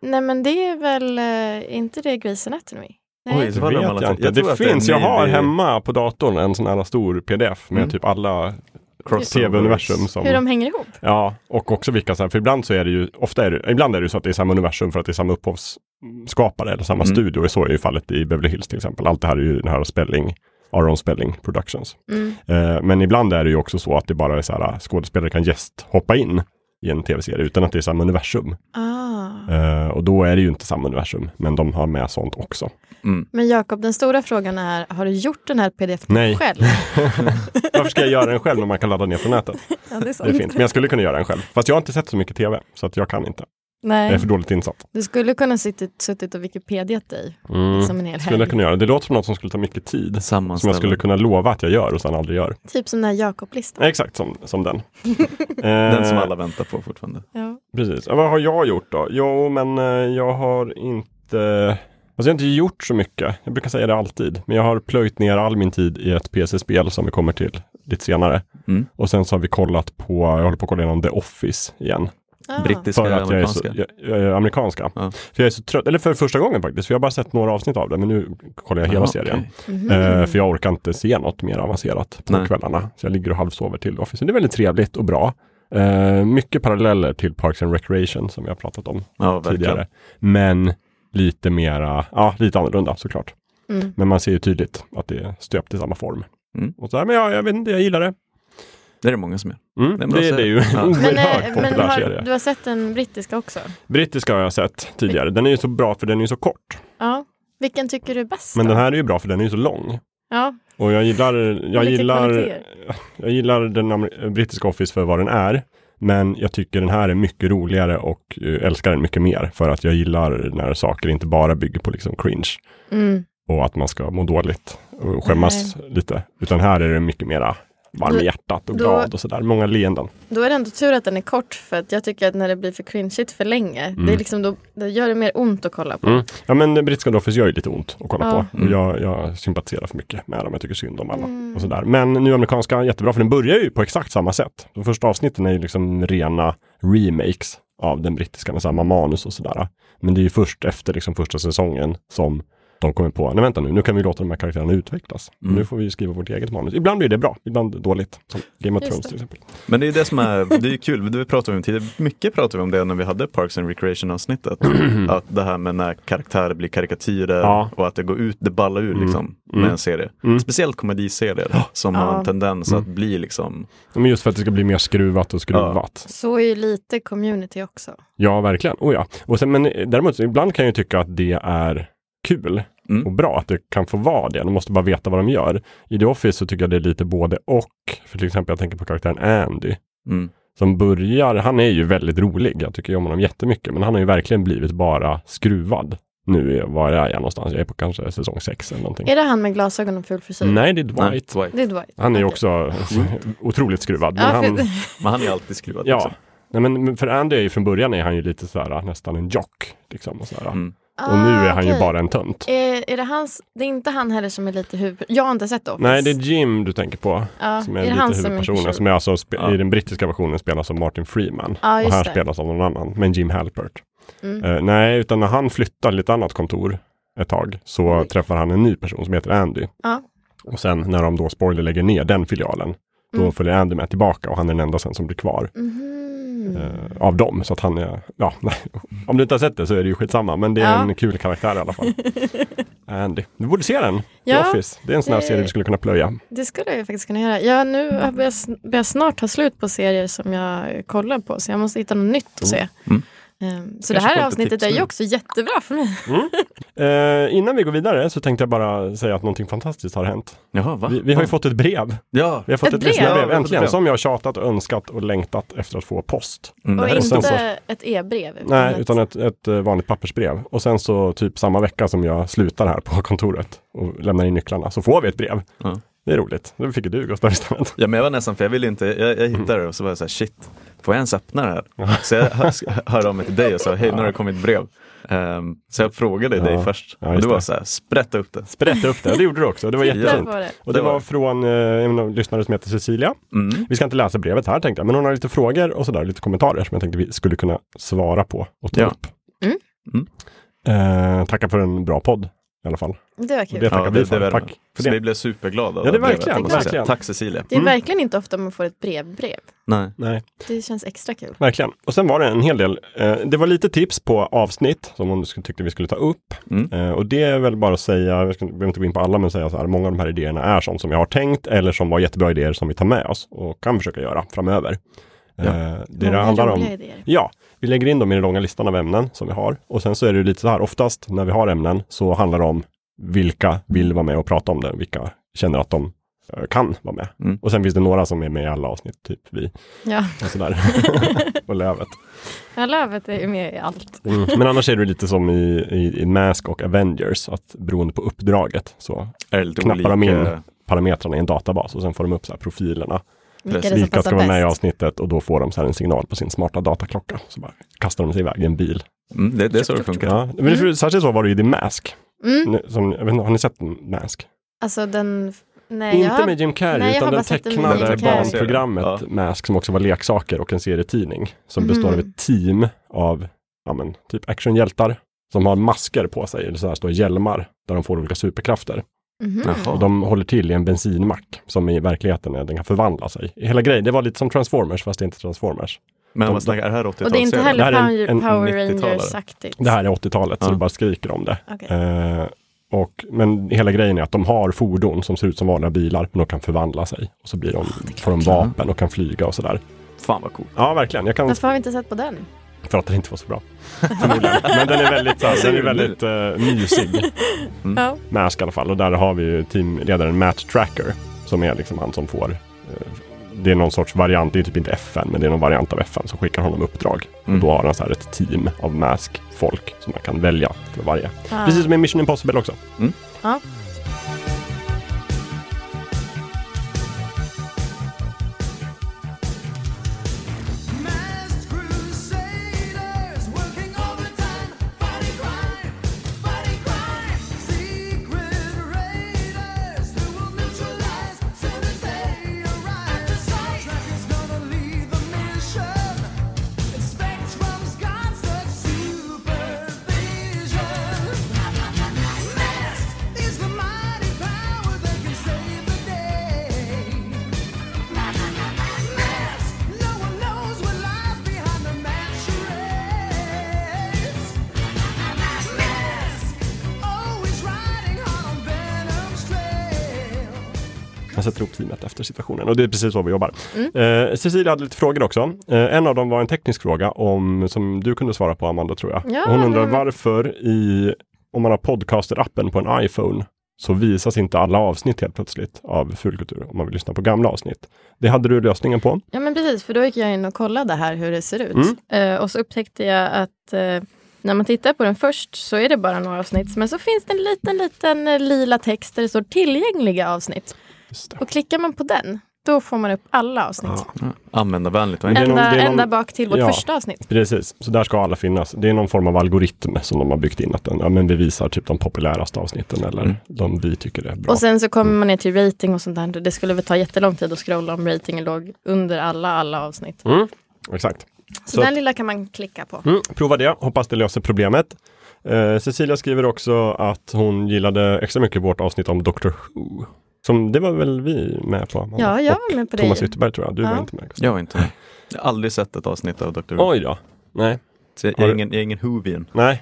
Speaker 2: Nej men det är väl eh, inte det Grey's Anatomy? Nej.
Speaker 1: Oj,
Speaker 3: Det
Speaker 1: så var de
Speaker 3: vet
Speaker 1: alla-
Speaker 3: jag inte.
Speaker 1: jag tror
Speaker 3: det
Speaker 1: att det är
Speaker 3: finns, jag
Speaker 1: en ny-
Speaker 3: har hemma på datorn en sån här stor pdf med
Speaker 1: Mm.
Speaker 3: typ alla
Speaker 1: Crossovers.
Speaker 3: tv-universum som...
Speaker 2: Hur de hänger ihop?
Speaker 3: Ja, och också vilka så här, för ibland så är det ju, ofta är det, ibland är det ju så att det är samma universum för att det är samma upphovsskapare eller samma
Speaker 1: Mm.
Speaker 3: studio. Så är ju fallet i Beverly Hills till exempel. Allt det här är ju den här Spelling, Aron Spelling Productions.
Speaker 2: Mm.
Speaker 3: Eh, men ibland är det ju också så att det bara är så här, skådespelare kan gästhoppa in i en tv-serie utan att det är samma universum.
Speaker 2: Ah.
Speaker 3: Eh, och då är det ju inte samma universum, men de har med sånt också.
Speaker 1: Mm.
Speaker 2: Men Jakob, den stora frågan är, har du gjort den här pdf
Speaker 3: Nej. *laughs*
Speaker 2: själv?
Speaker 3: Varför ska jag göra den själv när man kan ladda ner från nätet?
Speaker 2: Ja, det är
Speaker 3: Det är
Speaker 2: sant.
Speaker 3: fint, men jag skulle kunna göra den själv. Fast jag har inte sett så mycket tv, så att jag kan inte. Jag är
Speaker 2: Nej,
Speaker 3: för dåligt insatt.
Speaker 2: du skulle kunna suttit, suttit och Wikipediat dig
Speaker 3: Mm.
Speaker 2: som en hel
Speaker 3: Skulle
Speaker 2: helg.
Speaker 3: jag kunna göra. Det låter som något som skulle ta mycket tid. Som jag skulle
Speaker 1: Sammanställning.
Speaker 3: kunna lova att jag gör och sen aldrig gör.
Speaker 2: Typ som den här Jakob-listan.
Speaker 3: Exakt som, som den.
Speaker 1: *laughs*
Speaker 3: Eh,
Speaker 1: Den som alla väntar på fortfarande.
Speaker 2: Ja.
Speaker 3: Precis. Ja, Vad har jag gjort då? Jo, men eh, jag har inte... Alltså jag har inte gjort så mycket. Jag brukar säga det alltid. Men jag har plöjt ner all min tid i ett PC-spel som vi kommer till lite senare.
Speaker 1: Mm.
Speaker 3: Och sen så har vi kollat på, jag håller på att kolla igenom The Office igen.
Speaker 2: Ah.
Speaker 1: Brittiska
Speaker 3: För
Speaker 1: eller
Speaker 3: att jag är
Speaker 1: amerikanska?
Speaker 3: så, jag, jag är amerikanska.
Speaker 1: Ja.
Speaker 3: För jag är så trött, eller för första gången faktiskt, för jag har bara sett några avsnitt av det, men nu kollar jag hela
Speaker 1: Aha,
Speaker 3: serien.
Speaker 1: Ah, okej.
Speaker 2: Mhm. Mm.
Speaker 3: Eh, för jag orkar inte se något mer avancerat på
Speaker 1: Nej.
Speaker 3: kvällarna. Så jag ligger och halvsover till Office. Men Det är väldigt trevligt och bra. Eh, mycket paralleller till Parks and Recreation som vi har pratat om
Speaker 1: Ja, verkligen.
Speaker 3: tidigare. Men lite mera, ja lite annorlunda såklart.
Speaker 2: Mm.
Speaker 3: Men man ser ju tydligt att det är stöpt i samma form.
Speaker 1: Mm.
Speaker 3: Och så här, men jag, jag vet inte, jag gillar det.
Speaker 1: Det är det många som gör.
Speaker 3: Mm,
Speaker 1: Det är
Speaker 3: det,
Speaker 1: en bra
Speaker 3: det, är
Speaker 1: serie.
Speaker 3: ju *laughs* en
Speaker 1: Ja.
Speaker 2: Men,
Speaker 3: oerhört
Speaker 2: eh, men
Speaker 3: populär
Speaker 2: har,
Speaker 3: serie.
Speaker 2: du har sett den brittiska också?
Speaker 3: Brittiska har jag sett tidigare. Den är ju så bra för den är ju så kort.
Speaker 2: Ja. Vilken tycker du är bäst?
Speaker 3: Men
Speaker 2: då?
Speaker 3: den här är ju bra för den är ju så lång.
Speaker 2: Ja.
Speaker 3: Och jag gillar, jag
Speaker 2: Olika
Speaker 3: gillar,
Speaker 2: kvaliteter.
Speaker 3: jag gillar den amer- brittiska Office för vad den är. Men jag tycker den här är mycket roligare och eh, älskar den mycket mer. För att jag gillar när saker inte bara bygger på liksom cringe.
Speaker 2: Mm.
Speaker 3: Och att man ska må dåligt och skämmas lite. Utan här är det mycket mera varm
Speaker 2: Då-
Speaker 3: i hjärtat och
Speaker 2: då-
Speaker 3: glad och sådär. Många leenden.
Speaker 2: Då är det ändå tur att den är kort för att jag tycker att när det blir för cringeigt för länge, det, är liksom då, det gör det mer ont att kolla på.
Speaker 3: Mm. Ja men det brittiska Office gör ju lite ont att kolla
Speaker 2: Ja. Mm.
Speaker 3: på. Och jag, jag sympatiserar för mycket med dem. Jag tycker synd om alla. Och sådär. Men nu amerikanska, jättebra för den börjar ju på exakt samma sätt. De första avsnitten är ju liksom rena remakes av den brittiska med samma manus och sådär. Men det är ju först efter liksom första säsongen som de kommer på, nej vänta nu, nu kan vi låta de här karaktärerna utvecklas.
Speaker 1: Mm.
Speaker 3: Nu får vi ju skriva vårt eget manus. Ibland blir det bra, ibland dåligt. Som Game of
Speaker 2: Just
Speaker 3: Thrones
Speaker 2: det.
Speaker 3: till exempel.
Speaker 1: Men det är det som är, det är kul, det pratade vi om tidigare, mycket pratade vi om det när vi hade Parks and Recreation avsnittet.
Speaker 3: *clears throat*
Speaker 1: Att det här med när karaktärer blir karikatyrer
Speaker 3: Ja. Mm.
Speaker 1: och att det går ut, det ballar ur liksom med en serie. Speciellt komediserier som har en tendens
Speaker 3: Mm.
Speaker 1: att bli liksom,
Speaker 3: Men just för att det ska bli mer skruvat och skruvat.
Speaker 2: Så är ju lite community också.
Speaker 3: Ja, verkligen. Oh, ja. Och sen, men eh, däremot, så ibland kan jag ju tycka att det är kul
Speaker 1: Mm.
Speaker 3: och bra att det kan få vara det. De måste bara veta vad de gör. I The Office så tycker jag det är lite både och. För till exempel, jag tänker på karaktären Andy.
Speaker 1: mm,
Speaker 3: Som börjar, han är ju väldigt rolig. Jag tycker ju om honom jättemycket. Men han har ju verkligen blivit bara skruvad. Nu är, var är jag någonstans? Jag är på kanske säsong sex eller någonting.
Speaker 2: Är det han med glasögon och full frisyr?
Speaker 3: Nej, det är Dwight.
Speaker 1: Nej, Dwight.
Speaker 2: Det är Dwight.
Speaker 3: Han är ju
Speaker 2: typ. Okej.
Speaker 3: också *laughs* otroligt skruvad. Men
Speaker 2: Ja,
Speaker 3: han,
Speaker 2: för,
Speaker 1: Men han är alltid skruvad.
Speaker 3: ja.
Speaker 1: liksom.
Speaker 3: Nej, men men för Andy är ju från början är han ju lite sådär, nästan en jock. Liksom, och, sådär.
Speaker 1: Mm.
Speaker 3: *laughs* och nu är han
Speaker 2: Ah,
Speaker 3: ju
Speaker 2: okej.
Speaker 3: bara en tönt.
Speaker 2: Är, är det hans, det är inte han heller som är lite huvud... Jag har inte sett Office.
Speaker 3: Nej, det är Jim du tänker på.
Speaker 2: ja,
Speaker 3: Som är,
Speaker 2: Ah, är det han
Speaker 3: lite
Speaker 2: som är
Speaker 3: huvudpersonen.
Speaker 2: tjuv?
Speaker 3: Som är alltså spe-
Speaker 1: Ja.
Speaker 3: i den brittiska versionen spelas av Martin Freeman.
Speaker 2: Ja,
Speaker 3: och
Speaker 2: Ah, just
Speaker 3: här
Speaker 2: det.
Speaker 3: spelas av någon annan. Men Jim Halpert.
Speaker 2: Mm.
Speaker 3: Eh, nej, utan när han flyttar till ett annat kontor ett tag så träffar han en ny person som heter Andy.
Speaker 2: Ja.
Speaker 3: Och sen när de då spoiler lägger ner den filialen. Då
Speaker 2: Mm.
Speaker 3: följer Andy med tillbaka och han är den enda sen som blir kvar.
Speaker 2: Mhm.
Speaker 3: eh, av dem. Så att han är, ja, *laughs* nej. om du inte har sett det så är det ju skitsamma. Men det är
Speaker 2: Ja.
Speaker 3: en kul karaktär i alla fall. Andy. Du borde se den.
Speaker 2: Ja,
Speaker 3: The Office. Det är en sån här
Speaker 2: det-
Speaker 3: serie vi skulle kunna plöja.
Speaker 2: Det skulle jag ju faktiskt kunna göra. Ja, nu har jag börjat sn- börjar snart ta slut på serier som jag kollar på. Så jag måste hitta något nytt att se.
Speaker 1: Mm.
Speaker 2: Ehm,
Speaker 1: Kanske
Speaker 2: Så det
Speaker 1: får
Speaker 2: här
Speaker 1: lite
Speaker 2: avsnittet
Speaker 1: tips
Speaker 2: är ju
Speaker 1: nu.
Speaker 2: också jättebra för mig.
Speaker 3: Eh, innan vi går vidare så tänkte jag bara säga att någonting fantastiskt har hänt.
Speaker 1: Jaha, va?
Speaker 3: Vi, vi har ju fått ett brev.
Speaker 1: Ja,
Speaker 3: Vi har fått ett,
Speaker 2: Ett brev?
Speaker 1: Ja,
Speaker 3: lyssnarbrev,
Speaker 1: vi har fått ett
Speaker 3: äntligen,
Speaker 1: brev.
Speaker 3: som jag har tjatat, önskat och längtat efter att få post.
Speaker 1: mm, det
Speaker 2: Och
Speaker 1: här är stort.
Speaker 2: inte ett e-brev.
Speaker 3: Nej, utan ett, ett eh, vanligt pappersbrev. Och sen så typ samma vecka som jag slutar här på kontoret och lämnar in nycklarna så får vi ett brev.
Speaker 1: Ja.
Speaker 3: Det är roligt. Det fick ju du Gustav istället.
Speaker 1: Ja men jag var nästan, för jag ville inte, jag, jag hittade det och så var jag så här, shit, får jag ens öppna det här? Så jag hör, hörde av mig till dig och sa, hej nu har det kommit brev. Ehm, så jag frågade
Speaker 3: Ja.
Speaker 1: dig först
Speaker 3: Ja,
Speaker 1: och
Speaker 3: just
Speaker 1: du var
Speaker 3: det.
Speaker 1: så här, sprätta upp det.
Speaker 3: Sprätta upp det, det gjorde du också. Det var
Speaker 1: Titta
Speaker 3: jättefint.
Speaker 2: på det.
Speaker 3: Och det
Speaker 1: Det var
Speaker 3: var
Speaker 1: det.
Speaker 3: från eh, en av lyssnare som heter Cecilia.
Speaker 1: Mm.
Speaker 3: Vi ska inte läsa brevet här tänkte jag, men hon har lite frågor och sådär, lite kommentarer som jag tänkte vi skulle kunna svara på och ta
Speaker 1: Ja.
Speaker 3: upp.
Speaker 2: Mm.
Speaker 1: Mm.
Speaker 3: Eh, tackar för en bra podd i alla fall.
Speaker 2: Det var kul.
Speaker 3: Det
Speaker 2: Det,
Speaker 3: tackar
Speaker 1: Ja,
Speaker 3: vi
Speaker 1: det-
Speaker 3: för.
Speaker 1: det är
Speaker 3: Tack
Speaker 1: det.
Speaker 3: för
Speaker 1: Så vi
Speaker 3: det.
Speaker 1: blev superglada. av
Speaker 3: Ja, det
Speaker 1: brevet,
Speaker 3: verkligen,
Speaker 1: måste jag säga.
Speaker 3: verkligen.
Speaker 1: Tack Cecilia.
Speaker 2: är
Speaker 3: Mm.
Speaker 2: verkligen inte ofta man får ett brevbrev.
Speaker 1: Nej.
Speaker 3: Nej,
Speaker 2: Det känns extra kul.
Speaker 3: verkligen. Och sen var det en hel del. Eh, det var lite tips på avsnitt som hon sk- tyckte vi skulle ta upp.
Speaker 1: Mm.
Speaker 3: Eh, och det är väl bara att säga, jag ska- behöver inte gå in på alla, men säga så här, många av de här idéerna är sånt som jag har tänkt eller som var jättebra idéer som vi tar med oss och kan försöka göra framöver. Eh, det det
Speaker 2: Många
Speaker 3: handlar om
Speaker 2: roliga idéer.
Speaker 3: Ja, vi lägger in dem i den långa listan av ämnen som vi har. Och sen så är det ju lite så här, oftast när vi har ämnen så handlar det om vilka vill vara med och prata om det, vilka känner att de eh, kan vara med.
Speaker 1: Mm.
Speaker 3: Och sen finns det några som är med i alla avsnitt, typ vi
Speaker 2: Ja,
Speaker 3: och sådär. *laughs* och Lövet.
Speaker 2: jag lovar att det är med i allt.
Speaker 1: Mm.
Speaker 3: Men annars är det lite som i, i, i Mask och Avengers, att beroende på uppdraget så
Speaker 1: Är det lite
Speaker 3: Knappar
Speaker 1: olika? Mm,
Speaker 3: de in? parametrarna i en databas och sen får de upp så här profilerna.
Speaker 2: Vilka
Speaker 1: Precis.
Speaker 2: är det som
Speaker 3: Vilka ska
Speaker 2: passar
Speaker 3: vara med i
Speaker 2: bäst?
Speaker 3: avsnittet och då får de så här en signal på sin smarta dataklocka. Så bara kastar de sig iväg i en bil.
Speaker 1: Mm, det, det är så det funkar.
Speaker 3: Ja, men det, för, särskilt så var det ju i The Mask.
Speaker 2: Mm,
Speaker 3: Nu- Som, jag vet inte, har ni sett Mask?
Speaker 2: alltså den... Nej, jag
Speaker 3: inte
Speaker 2: har-
Speaker 3: med Jim Carrey,
Speaker 2: nej, jag
Speaker 3: utan
Speaker 2: har
Speaker 3: det
Speaker 2: bara sett den med
Speaker 3: tecknade
Speaker 1: Jim Carrey.
Speaker 3: barnprogrammet
Speaker 1: Ja.
Speaker 3: Mask som också var leksaker och en serietidning som
Speaker 2: Mhm.
Speaker 3: består av ett team av ja, men, typ actionhjältar som har masker på sig, eller så här stora hjälmar där de får olika superkrafter.
Speaker 2: Mhm.
Speaker 1: Jaha.
Speaker 3: Och de håller till i en bensinmack som i verkligheten är, den kan förvandla sig. Hela grejen, det var lite som Transformers fast det är inte Transformers.
Speaker 1: Men vad snackar, är det här 80-talsserien?
Speaker 2: Och det är inte
Speaker 3: Det
Speaker 2: heller
Speaker 3: här är en-
Speaker 2: Power,
Speaker 3: en
Speaker 2: Power
Speaker 1: 90-talare.
Speaker 2: Rangers-aktigt.
Speaker 3: Det här är 80-talet så
Speaker 1: Ja.
Speaker 3: det bara skriker om det.
Speaker 2: Okej.
Speaker 3: Eh, och, men hela grejen är att de har fordon som ser ut som vanliga bilar, men de kan förvandla sig. Och så blir
Speaker 1: Ah,
Speaker 3: de, får de vapen och kan flyga och sådär.
Speaker 1: Fan vad coolt.
Speaker 3: Ja, verkligen. Jag kan,
Speaker 2: Varför har vi inte sett på den?
Speaker 3: för att den inte var så bra. *laughs* Förmodligen. men den är väldigt, så här, den är väldigt uh, mysig.
Speaker 2: Ja.
Speaker 3: Mask i alla fall. Och där har vi ju teamledaren Matt Tracker, som är liksom han som får eh, det är någon sorts variant, det är typ inte FN, men det är någon variant av FN som skickar honom uppdrag.
Speaker 1: Mm.
Speaker 3: Och då har han så här ett team av Mask-folk som man kan välja för varje.
Speaker 2: Ah.
Speaker 3: Precis som i Mission Impossible också.
Speaker 2: Ja.
Speaker 4: Masked crusaders working overtime, fighting crime, fighting crime. Secret raiders who will neutralize soon as they arrive. Tracker's gonna lead the mission. Spectrum's got such supervision. Masked
Speaker 3: Man sätter ihop teamet efter situationen och det är precis så vi jobbar.
Speaker 2: Mm.
Speaker 3: Eh, Cecilia hade lite frågor också. Eh, en av dem var en teknisk fråga om, som du kunde svara på Amanda tror jag.
Speaker 2: Ja,
Speaker 3: Hon undrar
Speaker 2: det-
Speaker 3: varför i, om man har podcaster-appen på en iPhone så visas inte alla avsnitt helt plötsligt av Fulkultur om man vill lyssna på gamla avsnitt. Det hade du lösningen på.
Speaker 2: Ja men precis, för då gick jag in och kollade här hur det ser ut.
Speaker 3: Mm.
Speaker 2: Eh, och så upptäckte jag att eh, när man tittar på den först så är det bara några avsnitt. Men så finns det en liten, liten eh, lila text där det står tillgängliga avsnitt.
Speaker 3: Just det.
Speaker 2: Och klickar man på den, då får man upp alla avsnitt.
Speaker 1: Mm. Användarvänligt. va?
Speaker 3: det är någon-
Speaker 2: Ända,
Speaker 3: det är någon-
Speaker 2: ända bak till vårt
Speaker 3: ja.
Speaker 2: första avsnitt.
Speaker 3: Precis, så där ska alla finnas. Det är någon form av algoritm som de har byggt in. Att den, ja, men vi visar typ de populäraste avsnitten eller de vi tycker är bra.
Speaker 2: Mm. Och sen så kommer man ner till rating och sånt där. Det skulle väl ta jättelång tid att scrolla om ratingen låg under alla, alla avsnitt.
Speaker 3: Mm. Exakt.
Speaker 2: Så,
Speaker 3: Så-
Speaker 2: den lilla kan man klicka på.
Speaker 3: Mm, prova det, hoppas det löser problemet. Eh, Cecilia skriver också att hon gillade extra mycket vårt avsnitt om Dr. Who. Som det var väl vi med på? Amanda?
Speaker 2: Ja, jag
Speaker 3: Och
Speaker 2: var med på det.
Speaker 3: Thomas Ytterberg tror jag, du var
Speaker 2: Ja.
Speaker 3: inte med. Gustav.
Speaker 1: Jag har inte med. Jag har aldrig sett ett avsnitt av Dr. Who.
Speaker 3: Oj då. Nej.
Speaker 1: Så Jag jag
Speaker 3: Har du-
Speaker 1: är ingen, jag är ingen Whovian.
Speaker 2: *laughs*
Speaker 3: Nej.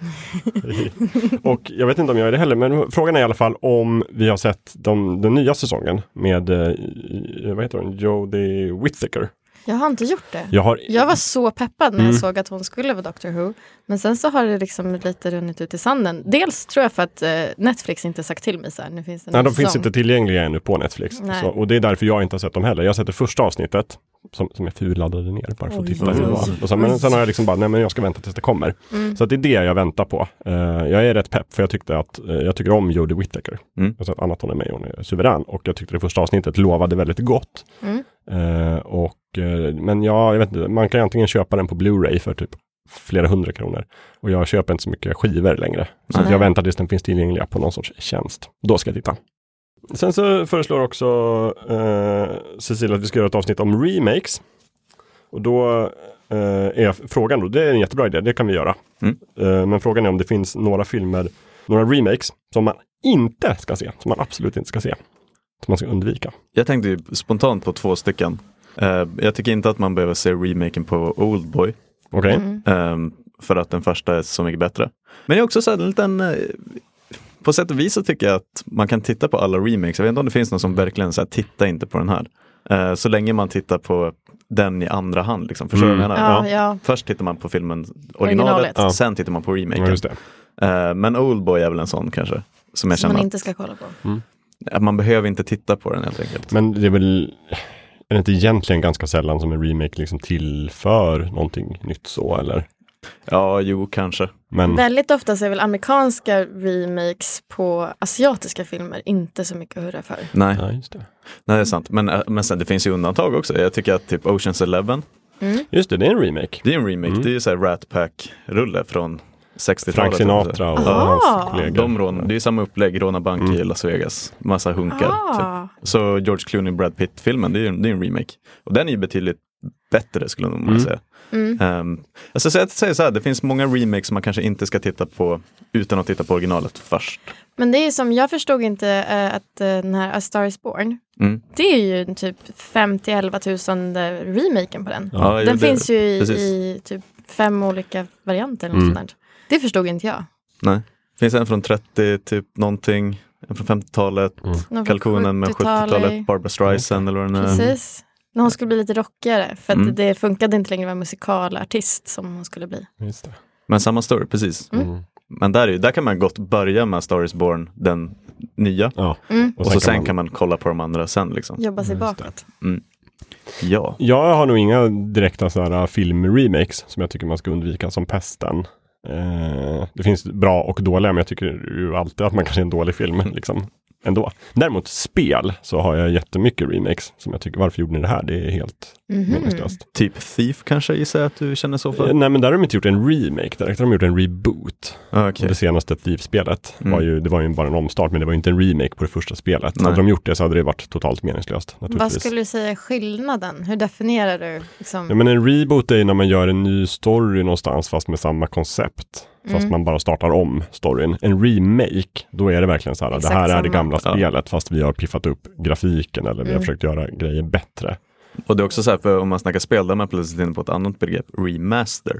Speaker 3: och jag vet inte om jag är det heller, men frågan är i alla fall om vi har sett de, den nya säsongen med, eh, i- vad heter hon, Jodie Whittaker.
Speaker 2: Jag har inte gjort det.
Speaker 3: Jag har
Speaker 2: Jag var så peppad när jag
Speaker 3: Mm.
Speaker 2: såg att hon skulle vara Doctor Who. Men sen så har det liksom lite runnit ut i sanden. Dels tror jag för att eh, Netflix inte sagt till mig så här. Nu finns det en ny
Speaker 3: Nej, de finns
Speaker 2: säsong.
Speaker 3: inte tillgängliga ännu på Netflix.
Speaker 2: Nej.
Speaker 3: Så, och det är därför jag inte har sett dem heller. Jag har sett det första avsnittet, som, som jag furladdade ner bara för att
Speaker 2: Oj,
Speaker 3: titta hur det
Speaker 1: oj,
Speaker 3: var. Och sen, men sen har jag liksom bara, nej men jag ska vänta tills det kommer.
Speaker 2: Mm.
Speaker 3: Så att det är det jag väntar på. Eh, jag är rätt pepp, för jag tyckte att, eh, jag tycker om Jodie Whittaker.
Speaker 1: Mm.
Speaker 3: Jag har sett annat hon är med i, hon är suverän. Och jag tyckte det första avsnittet lovade väldigt gott.
Speaker 2: Mm.
Speaker 3: Eh, och, eh, men ja, jag vet inte, man kan ju antingen köpa den på Blu-ray för typ flera hundra kronor. Och jag köper inte så mycket skivor längre. Så att
Speaker 2: Nej.
Speaker 3: jag väntar tills den finns tillgänglig på någon sorts tjänst. Då ska jag titta. Sen så föreslår också eh, Cecilia att vi ska göra ett avsnitt om remakes. Och då eh, är frågan då, det är en jättebra idé, det kan vi göra.
Speaker 1: Mm.
Speaker 3: Eh, men frågan är om det finns några filmer, några remakes som man inte ska se, som man absolut inte ska se. Som man ska undvika.
Speaker 1: Jag tänkte ju spontant på två stycken. Eh, jag tycker inte att man behöver se remaken på Oldboy.
Speaker 3: Okej?
Speaker 2: Mm.
Speaker 1: Ehm, för att den första är så mycket bättre. Men jag är också så här, en liten... eh, På sätt och vis så tycker jag att man kan titta på alla remakes. Jag vet inte om det finns någon som verkligen säger titta inte på den här. Eh, Så länge man tittar på den i andra hand. Liksom. Förstår du
Speaker 3: Mm.
Speaker 1: vad jag menar?
Speaker 2: Ja, ja.
Speaker 1: Först tittar man på filmen originalet,
Speaker 2: Originalet.
Speaker 3: Ja.
Speaker 1: sen tittar man på remaken.
Speaker 3: Ja, just det.
Speaker 1: Eh, Men Oldboy är väl en sån kanske. Som jag
Speaker 2: Som man
Speaker 1: känner
Speaker 2: inte ska kolla på.
Speaker 1: att- att man behöver inte titta på den helt enkelt.
Speaker 3: Men det är väl, är det inte egentligen ganska sällan som en remake liksom tillför någonting nytt så eller?
Speaker 1: Ja, jo, kanske.
Speaker 3: Men
Speaker 2: Väldigt ofta så är väl amerikanska remakes på asiatiska filmer inte så mycket att hurra för.
Speaker 1: Nej,
Speaker 3: Ja, just det.
Speaker 1: nej det är sant. Men, eh, men sen, det finns ju undantag också. Jag tycker att typ Oceans Eleven
Speaker 3: Just det, det är en remake.
Speaker 1: Det är en remake,
Speaker 3: Mm.
Speaker 1: det är ju så här Rat Pack-rulle från 60-talet.
Speaker 3: Frank Sinatra och Mm.
Speaker 2: Aha.
Speaker 3: hans kollegor.
Speaker 1: De rån, det är ju samma upplägg, råna bank i Las Vegas, massa hunkar.
Speaker 2: Ah.
Speaker 1: Typ. Så George Clooney Brad Pitt-filmen, det är ju det är en remake. Och den är ju betydligt bättre skulle jag nog
Speaker 3: Mm.
Speaker 1: vilja säga.
Speaker 2: Mm.
Speaker 1: Ehm, alltså, så jag säger så här, det finns många remakes som man kanske inte ska titta på utan att titta på originalet först.
Speaker 2: Men det är ju som, jag förstod inte eh, att eh, den här A Star Is Born,
Speaker 1: Mm.
Speaker 2: det är ju en typ 50-11 000 eh, remaken på den.
Speaker 1: Ja,
Speaker 2: Den
Speaker 1: jo, det-
Speaker 2: finns ju i,
Speaker 1: precis. Mm.
Speaker 2: i typ fem olika varianter. Eller något sånt där. Det förstod inte jag.
Speaker 1: Nej. Det finns en från 30, typ någonting, en från 50-talet,
Speaker 2: från
Speaker 1: Kalkonen med
Speaker 2: 70-talet.
Speaker 1: 70-talet, Barbra Streisand eller vad den är.
Speaker 2: Precis. När hon skulle bli lite rockigare. För att
Speaker 1: Mm.
Speaker 2: det funkade inte längre att vara musikalartist som hon skulle bli.
Speaker 3: Just det.
Speaker 1: Men samma story, precis.
Speaker 3: Mm.
Speaker 1: Men där, är, ju- där kan man gott börja med Star is Born, den nya.
Speaker 3: Ja.
Speaker 1: Och, så sen kan man kolla på de andra sen. Liksom.
Speaker 2: Jobba sig bakåt.
Speaker 1: Ja.
Speaker 3: Jag har nog inga direkta sådana här filmremakes som jag tycker man ska undvika som pesten. Eh, det finns bra och dåliga, men jag tycker ju alltid att man kanske är en dålig film. *laughs* Liksom, ändå. Däremot spel så har jag jättemycket remakes som jag tycker, varför gjorde ni det här? Det är helt
Speaker 2: Mhm.
Speaker 3: meningslöst.
Speaker 1: Typ Thief kanske gissar jag att du känner så
Speaker 3: Eh,
Speaker 1: för.
Speaker 3: Nej, men där har de inte gjort en remake direkt, där har de gjort en reboot.
Speaker 1: Ja, Ah, okej.
Speaker 3: Det senaste Thief-spelet
Speaker 1: Mm.
Speaker 3: var ju, det var ju bara en omstart, men det var ju inte en remake på det första spelet.
Speaker 1: Nej.
Speaker 3: Hade de gjort det så hade det varit totalt meningslöst.
Speaker 2: Vad
Speaker 3: Naturligtvis.
Speaker 2: skulle du säga är skillnaden? Hur definierar du? Liksom?
Speaker 3: Ja, men en reboot är ju när man gör en ny story någonstans fast med samma koncept.
Speaker 2: Mm.
Speaker 3: Fast man bara startar om storyn. En remake, då är det verkligen så här,
Speaker 2: Exakt
Speaker 3: det här är det
Speaker 2: samma. Mm.
Speaker 3: gamla
Speaker 1: Ja.
Speaker 3: spelet fast vi har piffat upp grafiken eller vi har försökt göra grejer bättre.
Speaker 1: Och det är också så här, för om man snackar spel, där är man plötsligt inne på ett annat begrepp, remaster.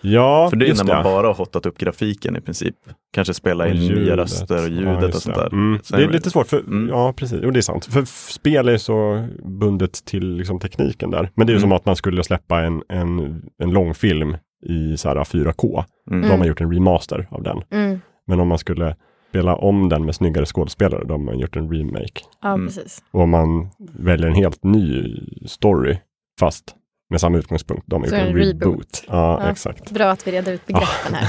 Speaker 3: Ja,
Speaker 1: För det är
Speaker 3: just
Speaker 1: när man
Speaker 3: det.
Speaker 1: bara har hotat upp grafiken i princip. Kanske spela
Speaker 3: Och
Speaker 1: in nya
Speaker 3: ljudet.
Speaker 1: röster och
Speaker 3: Ja,
Speaker 1: ljudet och
Speaker 3: just
Speaker 1: sånt
Speaker 3: det.
Speaker 1: där.
Speaker 3: Mm.
Speaker 1: Sen
Speaker 3: Det är lite svårt, för,
Speaker 1: Mm.
Speaker 3: ja precis, jo det är sant. För f- spel är ju så bundet till liksom, tekniken där. Men det är ju
Speaker 1: Mm.
Speaker 3: som att man skulle släppa en, en, en långfilm i så här, 4K. Då har
Speaker 2: Mm.
Speaker 3: man gjort en remaster av den.
Speaker 2: Mm.
Speaker 3: Men om man skulle spela om den med snyggare skådespelare, då har man gjort en remake.
Speaker 2: Ja,
Speaker 1: Mm.
Speaker 2: precis.
Speaker 3: Och om man väljer en helt ny story, fast med samma utgångspunkt, då har man
Speaker 2: Så
Speaker 3: gjort en
Speaker 2: en
Speaker 3: reboot.
Speaker 2: reboot.
Speaker 3: Ja,
Speaker 2: Ja.
Speaker 3: exakt.
Speaker 2: Bra att vi reder ut begreppen
Speaker 1: Ah, *laughs*
Speaker 2: här.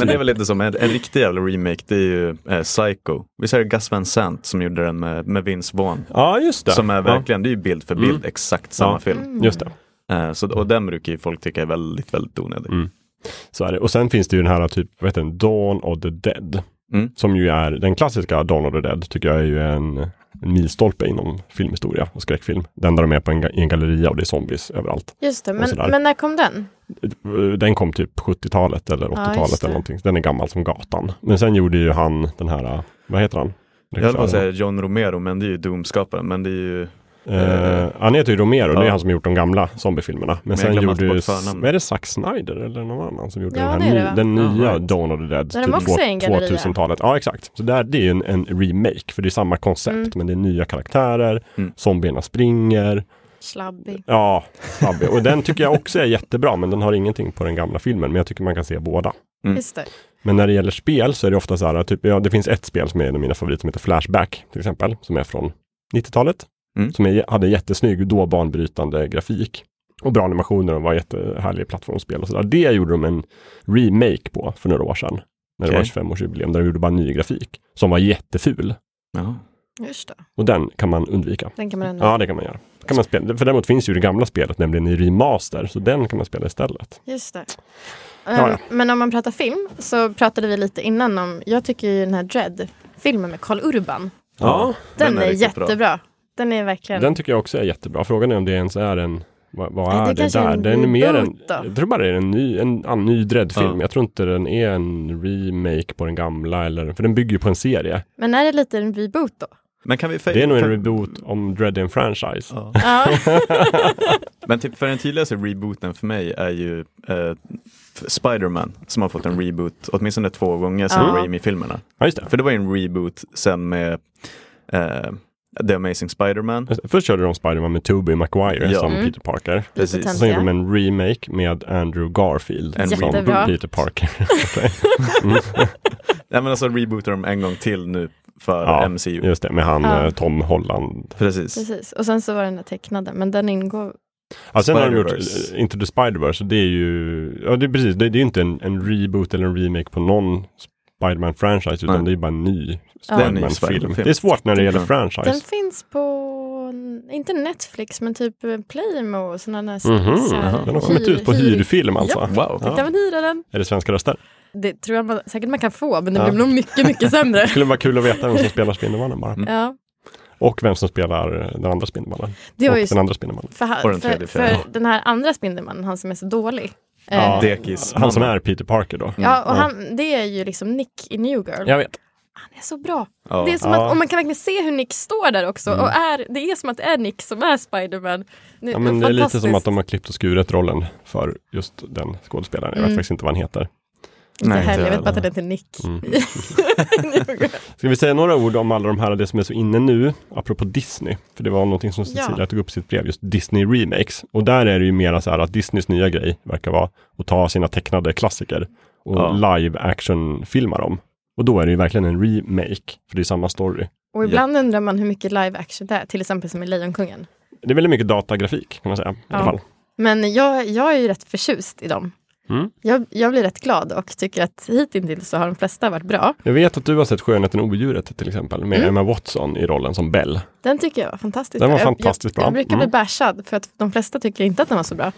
Speaker 1: Men det är väl lite som en, en riktig jävla remake, det är ju eh, Psycho. Visst är det Gus Van Sant som gjorde den med, med Vince Vaughn?
Speaker 3: Ja, just det.
Speaker 1: Som är
Speaker 3: Ja.
Speaker 1: verkligen, det är ju bild för bild,
Speaker 3: Mm.
Speaker 1: exakt samma
Speaker 3: Ja.
Speaker 1: film.
Speaker 2: Mm.
Speaker 3: Just det.
Speaker 1: Eh, så, och den brukar ju folk tycka är väldigt, väldigt onödig.
Speaker 3: Mm. Så är det. Och sen finns det ju den här typ, vad heter den, Dawn of the Dead.
Speaker 1: Mm.
Speaker 3: Som ju är, den klassiska Dawn of the Dead tycker jag är ju en, en milstolpe inom filmhistoria och skräckfilm. Den där de är på en, ga- i en galleria och det är zombies överallt.
Speaker 2: Just det, men,
Speaker 3: sådär.
Speaker 2: men när kom den?
Speaker 3: Den kom typ 70-talet eller 80-talet
Speaker 2: just det.
Speaker 3: eller någonting. Den är gammal som gatan. Men sen gjorde ju han den här, vad heter han?
Speaker 1: Jag höll på att säga John Romero, men det är ju Doom-skaparen. Men det är ju,
Speaker 3: Eh, han heter ju Romero, det är
Speaker 1: Ja.
Speaker 3: han som har gjort de gamla zombiefilmerna. Men,
Speaker 1: jag
Speaker 3: sen
Speaker 1: glömmer
Speaker 3: gjorde
Speaker 1: alltid
Speaker 3: ju,
Speaker 1: bort
Speaker 3: s-
Speaker 1: förnamnet.
Speaker 3: är det Zack Snyder eller någon annan som gjorde
Speaker 2: Ja,
Speaker 3: den,
Speaker 2: det
Speaker 3: här
Speaker 2: är
Speaker 3: ny,
Speaker 2: det, va?
Speaker 3: den nya
Speaker 1: Ja, right.
Speaker 3: Dawn of the Dead,
Speaker 2: Där de också är en galleria.
Speaker 3: 2000-talet. Ja, exakt. Så där, det är ju en, en remake, för det är samma koncept,
Speaker 2: Mm.
Speaker 3: men det är nya karaktärer,
Speaker 1: Mm.
Speaker 3: zombierna springer,
Speaker 2: Slabbig.
Speaker 3: ja, snabbig. Och den tycker jag också är jättebra, men den har ingenting på den gamla filmen, men jag tycker man kan se båda.
Speaker 1: Mm.
Speaker 2: Just det.
Speaker 3: Men när det gäller spel så är det ofta så här, typ, ja, det finns ett spel som är en av mina favoriter som heter Flashback till exempel, som är från 90-talet.
Speaker 1: Mm.
Speaker 3: Som är, hade jättesnygg, då banbrytande grafik. Och bra animationer och var jättehärlig plattformsspel och sådär. Det gjorde de en remake på för några år sedan. När det var
Speaker 1: Okej.
Speaker 3: 25-årsjubileum, där de gjorde bara ny grafik. Som var jätteful.
Speaker 1: ja.
Speaker 2: Just det.
Speaker 3: Och den kan man undvika.
Speaker 2: Den kan man ändå.
Speaker 3: Ja, det kan man göra. Kan man spela. För däremot finns ju det gamla spelet, nämligen i remaster. Så den kan man spela istället.
Speaker 2: Just det.
Speaker 3: Ja, ja.
Speaker 2: Um, Men om man pratar film så pratade vi lite innan om, jag tycker ju den här Dread-filmen med Carl Urban,
Speaker 1: Ja.
Speaker 2: den, är,
Speaker 1: riktigt bra.
Speaker 2: jättebra. Den är verkligen,
Speaker 3: Den tycker jag också är jättebra. Frågan är om det ens är en vad, vad
Speaker 2: Nej, det
Speaker 3: är det,
Speaker 2: kanske är
Speaker 3: där?
Speaker 2: en
Speaker 3: Den är mer en,
Speaker 2: reboot då.
Speaker 3: jag tror bara det är en ny, en, en ny Dread-film.
Speaker 1: Ja.
Speaker 3: Jag tror inte den är en remake på den gamla, eller, för den bygger ju på en serie.
Speaker 2: men är det lite en reboot
Speaker 3: *laughs*
Speaker 2: då?
Speaker 1: Men kan vi...
Speaker 3: Det är nog en
Speaker 1: kan-
Speaker 3: reboot om Dread är en franchise.
Speaker 1: Ja.
Speaker 2: Ja,
Speaker 1: Men typ för den tydligaste rebooten för mig är ju eh, Spider-Man som har fått en reboot åtminstone två gånger sedan
Speaker 2: Ja.
Speaker 1: Raimi-filmerna.
Speaker 3: Ja, just det.
Speaker 1: För det var ju en reboot sen med eh, The Amazing Spider-Man.
Speaker 3: Just det. Först körde de Spider-Man med Tobey Maguire
Speaker 1: Ja.
Speaker 3: som
Speaker 2: Mm.
Speaker 3: Peter Parker.
Speaker 1: Precis.
Speaker 2: Lite
Speaker 3: Sen gjorde de
Speaker 2: töntiga.
Speaker 3: en remake med Andrew Garfield
Speaker 1: En
Speaker 3: som
Speaker 2: Jättebra.
Speaker 3: Peter Parker.
Speaker 1: Nej men alltså rebootar de en gång till nu för
Speaker 3: Ja,
Speaker 1: MCU.
Speaker 3: Just det, med han
Speaker 2: Ja.
Speaker 3: eh, Tom Holland.
Speaker 1: Precis.
Speaker 2: *laughs* Precis, och sen så var den där tecknade, men den ingår,
Speaker 3: Ja, sen har de gjort
Speaker 1: Spider-Verse.
Speaker 3: eh, Into the Spider-Verse. Det är ju, ja det är precis, det, det är ju inte en, en reboot eller en remake på någon Spider-Man-franchise, utan
Speaker 1: Nej.
Speaker 3: det är bara en ny
Speaker 1: Det är en ny
Speaker 3: Spider-Man-film.
Speaker 1: Spider-Man-film.
Speaker 3: Det är svårt när det gäller
Speaker 1: Ja.
Speaker 2: den
Speaker 3: franchise.
Speaker 2: finns på, inte Netflix, men typ Playmo och sådana där
Speaker 3: Mhm,
Speaker 2: så här-
Speaker 1: jaha.
Speaker 3: Den har kommit ut på
Speaker 2: hyr-
Speaker 3: hyrfilm alltså.
Speaker 1: Wow.
Speaker 3: Ja.
Speaker 2: Kan man hyra den?
Speaker 3: Är det svenska röster?
Speaker 2: Det tror jag man, säkert man kan få, men det
Speaker 3: Ja.
Speaker 2: blir nog mycket, mycket sämre.
Speaker 3: *laughs* Det skulle vara kul att veta vem som spelar Spindelmannen
Speaker 1: Mm.
Speaker 3: bara.
Speaker 2: Ja,
Speaker 3: Och vem som spelar eh, den andra Spindelmannen.
Speaker 2: det var
Speaker 3: Och
Speaker 2: ju
Speaker 3: den andra Spindelmannen.
Speaker 2: För,
Speaker 1: Och
Speaker 2: ha,
Speaker 1: den tredje
Speaker 2: för,
Speaker 1: fjärran.
Speaker 2: för den här andra Spindelmannen, han som är så dålig.
Speaker 3: Ja. Mm.
Speaker 2: Eh,
Speaker 1: Dekis.
Speaker 3: Han som är Peter Parker då.
Speaker 2: ja, och han, det är ju liksom Nick i New Girl.
Speaker 3: Jag vet.
Speaker 2: Han är så bra.
Speaker 1: Ja.
Speaker 2: Det är som
Speaker 3: Ja. Mm.
Speaker 2: att, och man kan verkligen se hur Nick står där också. Och är, det är som att det är Nick som är Spiderman.
Speaker 3: Ja, men det är lite som att de har klippt och skurit rollen för just den skådespelaren. Jag vet
Speaker 2: Mm.
Speaker 3: faktiskt inte vad han heter.
Speaker 1: Nej,
Speaker 2: Nej,
Speaker 1: inte
Speaker 2: jag
Speaker 1: jag
Speaker 2: vet bara att den heter Nick.
Speaker 3: Mm.
Speaker 2: New Girl.
Speaker 3: Ska vi säga några ord om alla de här, det som är så inne nu, apropå Disney? För det var någonting som Cecilia
Speaker 2: Ja.
Speaker 3: tog upp i sitt brev, just Disney Remakes. Och där är det ju mera så här att Disneys nya grej verkar vara att ta sina tecknade klassiker och
Speaker 1: Ja.
Speaker 3: live action-filma dem. Och då är det ju verkligen en remake, för det är samma story.
Speaker 2: och ibland undrar man hur mycket live action det är, till exempel som i Lejonkungen.
Speaker 3: Det är väldigt mycket datagrafik, kan man säga. I alla
Speaker 2: Ja.
Speaker 3: fall.
Speaker 2: Men jag, jag är ju rätt förtjust i dem.
Speaker 3: Mm.
Speaker 2: Jag, jag blir rätt glad och tycker att hittills så har de flesta varit bra.
Speaker 3: Jag vet att du har sett Skönheten och odjuret till exempel, med
Speaker 2: Mm.
Speaker 3: Emma Watson i rollen som Bell.
Speaker 2: Den tycker jag var fantastisk.
Speaker 3: Den var
Speaker 2: Jag-
Speaker 3: fantastiskt
Speaker 2: jag,
Speaker 3: bra.
Speaker 2: Jag brukar
Speaker 3: Mm.
Speaker 2: bli bashad för att de flesta tycker inte att den var så bra.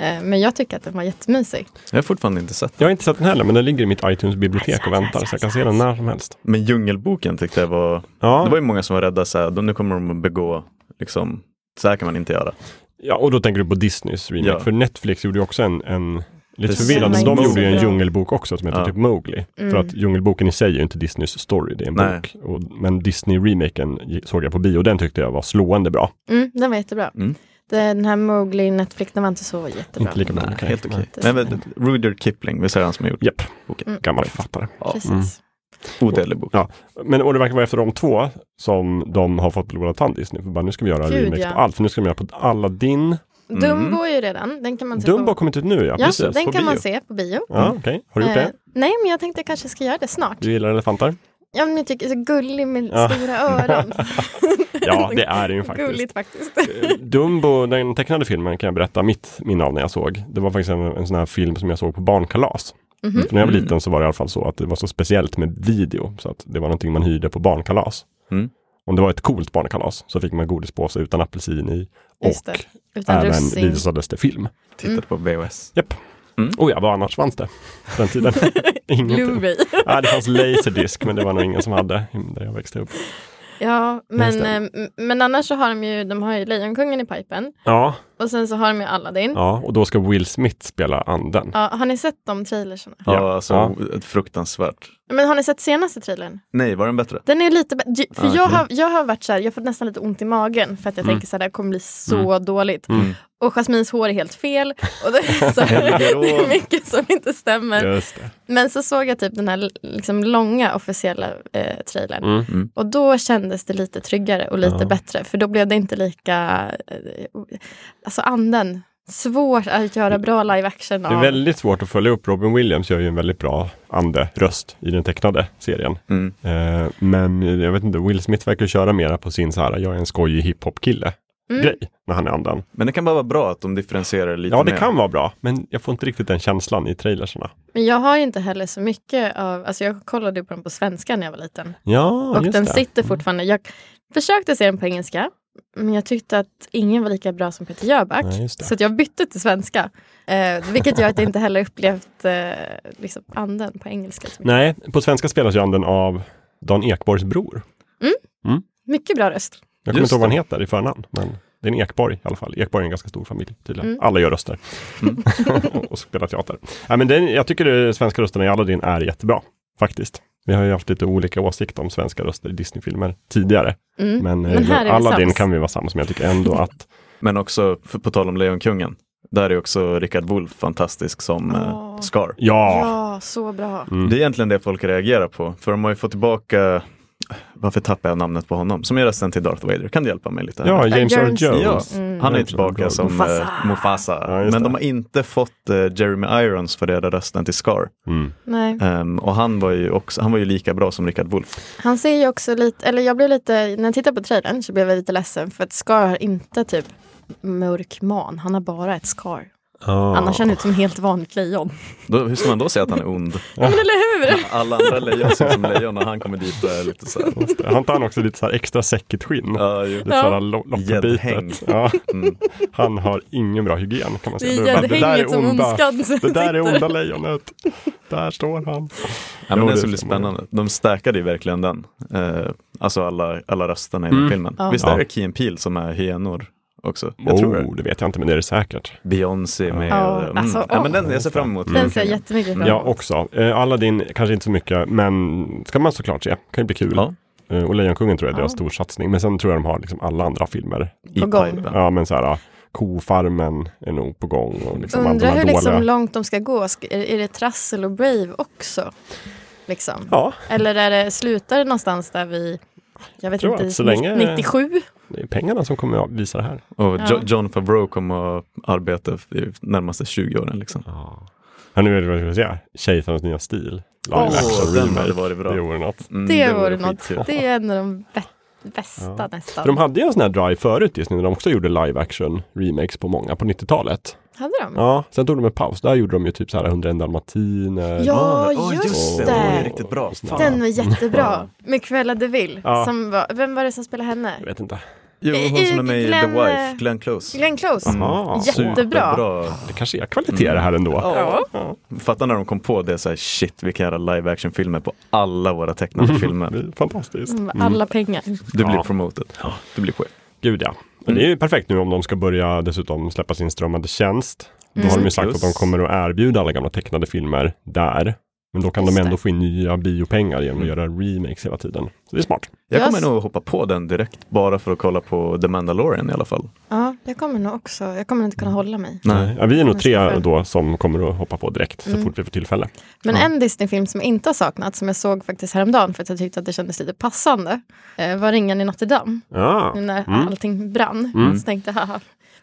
Speaker 2: Eh, Men jag tycker att den var jättemysig.
Speaker 1: Jag har fortfarande inte sett den.
Speaker 3: Jag har inte sett den heller, men den ligger i mitt iTunes-bibliotek och väntar, så jag kan se den när som helst.
Speaker 1: Men Djungelboken tyckte jag var...
Speaker 3: Ja.
Speaker 1: Det var ju många som var rädda så här, de- nu kommer de att begå, liksom, så här kan man inte göra.
Speaker 3: Ja, och då tänker du på Disneys remake.
Speaker 1: Ja.
Speaker 3: För Netflix gjorde ju också en, en lite
Speaker 1: Precis.
Speaker 3: förvirrande,
Speaker 1: Den var
Speaker 3: de
Speaker 1: inte
Speaker 3: gjorde ju en
Speaker 2: så bra.
Speaker 3: djungelbok också som heter
Speaker 1: Ja.
Speaker 3: typ Mowgli.
Speaker 2: Mm.
Speaker 3: För att djungelboken i sig är ju inte Disneys story, det är en
Speaker 1: Nej.
Speaker 3: bok. Och, men Disney-remaken ge- såg jag på bio och den tyckte jag var slående bra.
Speaker 2: Mm, den var jättebra.
Speaker 1: Mm.
Speaker 2: Den här Mowgli Netflix, den var inte så jättebra.
Speaker 3: Inte lika bra.
Speaker 1: Nej,
Speaker 3: okej.
Speaker 1: helt okej.
Speaker 2: Nej.
Speaker 1: Men, men, Rudyard Kipling, visst är det han som har gjort
Speaker 3: Japp,
Speaker 1: boken?
Speaker 2: Mm.
Speaker 3: gammal författare.
Speaker 2: Precis.
Speaker 3: Mm.
Speaker 1: Odödlig bok.
Speaker 3: Men och det verkar vara efter de två som de har fått blodad tand Disney. För bara, nu ska vi göra
Speaker 2: Gud,
Speaker 3: remakes
Speaker 2: ja.
Speaker 3: på allt. För nu ska de göra på Aladdin.
Speaker 2: Dumbo är ju redan, den kan man se
Speaker 3: Mm. Dumbo har
Speaker 2: på
Speaker 3: kommit ut nu ja.
Speaker 2: Ja,
Speaker 3: precis,
Speaker 2: den
Speaker 3: på
Speaker 2: kan man
Speaker 3: bio.
Speaker 2: se på bio.
Speaker 3: Ja, okej. Har du gjort
Speaker 2: Eh,
Speaker 3: det?
Speaker 2: nej, men jag tänkte jag kanske ska göra det snart.
Speaker 3: Du
Speaker 2: *laughs*
Speaker 3: gillar elefanter?
Speaker 2: Ja, men jag tycker det är så gullig med
Speaker 3: Ja. *laughs*
Speaker 2: stora öron.
Speaker 3: Ja, det är det ju faktiskt.
Speaker 2: Gulligt faktiskt.
Speaker 3: Eh, Dumbo, den tecknade filmen kan jag berätta mitt minne av när jag såg. Det var faktiskt en, en sån här film som jag såg på barnkalas.
Speaker 2: Mhm.
Speaker 3: För när jag var
Speaker 1: Mm.
Speaker 3: liten så var det i alla fall så att det var så speciellt med video. Så att det var någonting man hyrde på barnkalas.
Speaker 1: Mm.
Speaker 3: Om det var ett coolt barnkalas så fick man godispåse utan apelsin i.
Speaker 2: *laughs* Just
Speaker 3: Och
Speaker 2: det. Utan
Speaker 3: även
Speaker 2: russin.
Speaker 3: visades det film.
Speaker 1: Tittade på VHS.
Speaker 3: Japp.
Speaker 1: Mm.
Speaker 3: Och ja, vad annars fanns det på
Speaker 2: *laughs*
Speaker 3: den tiden? Ingenting.
Speaker 2: Blu-ray.
Speaker 3: *laughs* Ja, det fanns laserdisk men det var nog ingen som hade där jag växte upp.
Speaker 2: Ja,
Speaker 3: Just
Speaker 2: men,
Speaker 3: det.
Speaker 2: eh, m- men annars så har de ju, de har ju Lejonkungen i pipen
Speaker 3: Ja,
Speaker 2: och sen så har de ju Aladdin. Ja.
Speaker 3: ja och då ska Will Smith spela anden.
Speaker 2: har ni sett de trailersarna?
Speaker 1: Ja,
Speaker 3: Ja.
Speaker 1: alltså
Speaker 3: Ja.
Speaker 1: fruktansvärt.
Speaker 2: Men har ni sett senaste trailern?
Speaker 1: Nej, var den bättre?
Speaker 2: Den är lite bä- ju- för
Speaker 1: Ah,
Speaker 2: jag,
Speaker 1: okej.
Speaker 2: har, jag har varit så här, jag har fått nästan lite ont i magen för att jag tänker så här, det här kommer bli så dåligt.
Speaker 3: Mm.
Speaker 2: Och Jasmins hår är helt fel och det
Speaker 3: *laughs*
Speaker 2: är, så här,
Speaker 1: Helgerå.
Speaker 2: *laughs* det är mycket som inte stämmer.
Speaker 3: Just det.
Speaker 2: Men så såg jag typ den här liksom långa officiella eh, trailern.
Speaker 3: Mm.
Speaker 1: Mm.
Speaker 2: Och då kändes det lite tryggare och lite
Speaker 3: Ja.
Speaker 2: bättre. För då blev det inte lika... Eh, alltså anden. Svårt att göra bra live action
Speaker 3: Det är
Speaker 2: av.
Speaker 3: väldigt svårt att följa upp. Robin Williams gör ju en väldigt bra ande-röst i den tecknade serien.
Speaker 1: Mm.
Speaker 3: Eh, men jag vet inte, Will Smith verkar ju köra mera på sin så här, jag är en skojig hiphop-kille
Speaker 2: Mm.
Speaker 3: grej när han är anden.
Speaker 1: Men det kan bara vara bra att de differentierar lite
Speaker 3: Ja, det
Speaker 1: mer.
Speaker 3: kan vara bra, men jag får inte riktigt den känslan i trailersarna.
Speaker 2: Men jag har ju inte heller så mycket av... Alltså jag kollade ju på den på svenska när jag var liten.
Speaker 3: Ja,
Speaker 2: och
Speaker 3: just
Speaker 2: den
Speaker 3: det. Mm.
Speaker 2: sitter fortfarande. Jag försökte se den på engelska. Men jag tyckte att ingen var lika bra som Peter Jöback.
Speaker 3: Nej, just det.
Speaker 2: så att jag bytte till svenska. Eh, vilket gör att jag inte heller upplevt eh, liksom anden på engelska. Så mycket.
Speaker 3: Nej, på svenska spelas ju anden av Dan Ekborgs bror.
Speaker 2: mycket bra röst.
Speaker 3: Jag kommer
Speaker 1: Just
Speaker 3: inte ihåg vad
Speaker 1: det.
Speaker 3: han heter i förnamn, men det är en Ekborg i alla fall. Ekborg är en ganska stor familj tydligen.
Speaker 2: Mm.
Speaker 3: Alla gör röster *laughs* och spelar teater. Ja, men den, jag tycker de svenska rösterna i Aladdin är jättebra, faktiskt. Vi har ju haft lite olika åsikter om svenska röster i Disneyfilmer tidigare.
Speaker 2: Mm.
Speaker 3: Men,
Speaker 2: Men här är
Speaker 3: eh,
Speaker 2: vi
Speaker 3: Aladdin
Speaker 2: sams.
Speaker 3: kan vi vara sams med. Jag tycker ändå att
Speaker 1: Men också, för, på tal om Lejonkungen, där är också Rickard Wolff fantastisk som
Speaker 2: Åh.
Speaker 1: eh, Scar.
Speaker 3: ja, Mm.
Speaker 2: Ja, så bra.
Speaker 1: Det är egentligen det folk reagerar på, för de har ju fått tillbaka, varför tappar jag namnet på honom, som gör rösten till Darth Vader. Kan du hjälpa mig lite? här?
Speaker 3: ja, James Earl
Speaker 2: Jones.
Speaker 1: Ja,
Speaker 3: Jones.
Speaker 1: han är
Speaker 3: James Earl
Speaker 1: tillbaka som
Speaker 2: Mufasa.
Speaker 1: Mufasa, Mufasa.
Speaker 3: Ja, just
Speaker 1: men de
Speaker 3: det.
Speaker 1: har inte fått eh, Jeremy Irons för det där rösten till Scar.
Speaker 3: Mm.
Speaker 2: Nej.
Speaker 1: Ehm, och han var, ju också, han var ju lika bra som Rickard Wolff.
Speaker 2: Han ser ju också lite, eller jag blev lite, när jag tittar på trailern så blev jag lite ledsen för att Scar har inte typ mörk man, han har bara ett Scar.
Speaker 3: Ah.
Speaker 2: Annars ser han ut som helt vanligt lejon.
Speaker 1: Då, hur ska man då säga att han är ond?
Speaker 2: Ja. Men eller hur?
Speaker 1: *laughs* Alla andra lejon ser ut som lejon och han kommer dit och är lite så här.
Speaker 3: Har inte han också lite så här extra säckigt skinn?
Speaker 1: Ja, ju.
Speaker 3: Lite
Speaker 2: Ja.
Speaker 3: sådär lo-
Speaker 1: Gäddhäng.
Speaker 3: loppbitet. Ja.
Speaker 1: Mm.
Speaker 3: Han har ingen bra hygien kan man
Speaker 2: Det liksom
Speaker 3: säga.
Speaker 2: är
Speaker 3: bara, Alltså, där
Speaker 2: gäddhänget som
Speaker 3: onda-
Speaker 2: ondskan
Speaker 3: *laughs* Det där är onda lejonet. Där står han.
Speaker 1: Ja, men
Speaker 3: Jo,
Speaker 1: den
Speaker 3: det
Speaker 1: skulle bli
Speaker 3: ska man göra.
Speaker 1: spännande. De stärkade ju verkligen den. Eh, alltså alla, alla rösterna i den
Speaker 3: Mm.
Speaker 1: filmen.
Speaker 2: Ja.
Speaker 1: Visst är
Speaker 3: Ja.
Speaker 1: det Key and Peele som är hyenor också? Jag tror det.
Speaker 3: Oh, det vet jag inte, men det är det säkert.
Speaker 1: Beyoncé med...
Speaker 2: Ja,
Speaker 1: mm.
Speaker 2: alltså,
Speaker 1: ja, men
Speaker 2: åh.
Speaker 1: den, jag ser fram emot
Speaker 2: *laughs*
Speaker 1: Mm.
Speaker 2: Den ser jag jättemycket fram
Speaker 3: Jag
Speaker 2: emot.
Speaker 3: också. Eh, Aladdin, kanske inte så mycket, men ska man såklart se. Kan ju bli kul.
Speaker 1: Ja.
Speaker 3: Eh, och Lejonkungen tror jag är deras
Speaker 2: Ja.
Speaker 3: storsatsning. Men sen tror jag de har liksom alla andra filmer.
Speaker 1: i
Speaker 2: På gång.
Speaker 1: pipen.
Speaker 3: Ja, men så här, ah, Kofarmen är nog på gång. Och liksom alla de
Speaker 2: Undrar
Speaker 3: här
Speaker 2: hur
Speaker 3: dåliga...
Speaker 2: liksom långt de ska gå. Sk- Är, är det Trassel och Brave också? Liksom.
Speaker 3: Ja,
Speaker 2: Eller är det, slutar det någonstans där vi, jag vet
Speaker 3: Tror
Speaker 2: inte,
Speaker 3: att så länge- Mm,
Speaker 2: 97?
Speaker 3: det är pengarna som kommer att visa det här.
Speaker 1: Och
Speaker 2: Ja.
Speaker 1: jo- John Favreau kommer att arbeta f- i närmaste 20 åren. Liksom.
Speaker 3: Ja, nu är det vad jag ska säga. Tjejfarens nya stil. Live
Speaker 2: Åh,
Speaker 3: action
Speaker 1: den
Speaker 3: remake.
Speaker 1: hade varit bra.
Speaker 3: Det vore något.
Speaker 1: Mm,
Speaker 2: Det vore något.
Speaker 1: skitkul.
Speaker 2: Det är en av de bä- bästa nästan.
Speaker 3: För de hade ju en sån här drive förut Disney när de också gjorde live action remakes på många på 90-talet.
Speaker 2: Hade de?
Speaker 3: Ja, sen tog de en paus. Där gjorde de ju typ så här 101 dalmatiner.
Speaker 2: Ja,
Speaker 1: Åh,
Speaker 2: just
Speaker 1: Ah, just det.
Speaker 2: det.
Speaker 1: Den är riktigt bra.
Speaker 3: Fan.
Speaker 2: Den var jättebra. Med Cruella de Vil.
Speaker 3: Ja.
Speaker 2: Som var, vem var det som spelade henne?
Speaker 3: Jag vet inte.
Speaker 1: Jo, hon som är med i
Speaker 2: Glenn,
Speaker 1: The Wife,
Speaker 2: eh,
Speaker 1: Glenn Close.
Speaker 2: Glenn Close.
Speaker 1: Mm.
Speaker 3: Aha,
Speaker 2: Jättebra.
Speaker 1: Bra.
Speaker 3: Det kanske är kvalitet det här ändå.
Speaker 2: Ja.
Speaker 1: Fatta när de kom på det, så här, shit vi kan göra live action filmer på alla våra tecknade
Speaker 3: Mm. Det
Speaker 1: filmer.
Speaker 3: är fantastiskt.
Speaker 2: Som var Mm, Alla pengar.
Speaker 1: Du blir
Speaker 3: Ja.
Speaker 1: promoted, du blir chef.
Speaker 3: Gud ja. Men Det är ju perfekt nu om de ska börja dessutom släppa
Speaker 2: Mm.
Speaker 3: sin strömmande tjänst. Då har de ju sagt att de kommer att erbjuda alla gamla tecknade filmer där. Men då kan
Speaker 2: Just
Speaker 3: de ändå
Speaker 2: det.
Speaker 3: få in nya biopengar genom att
Speaker 1: Mm.
Speaker 3: göra remakes hela tiden. Så det är smart.
Speaker 1: Jag kommer
Speaker 2: Yes.
Speaker 1: nog hoppa på den direkt bara för att kolla på The Mandalorian i alla fall.
Speaker 2: Ja, jag kommer nog också, jag kommer inte kunna hålla mig.
Speaker 3: Ja, vi är nog
Speaker 2: Jag
Speaker 3: tre
Speaker 2: ska-
Speaker 3: då som kommer att hoppa på direkt så
Speaker 2: Mm.
Speaker 3: fort vi får tillfälle.
Speaker 2: Men en Disney-film som inte har saknat, som jag såg faktiskt häromdagen för att jag tyckte att det kändes lite passande, eh, var Ringen i Notre-Dame.
Speaker 3: Ja.
Speaker 2: Nu när
Speaker 3: Mm.
Speaker 2: allting brann.
Speaker 3: Mm.
Speaker 2: Så tänkte jag, haha.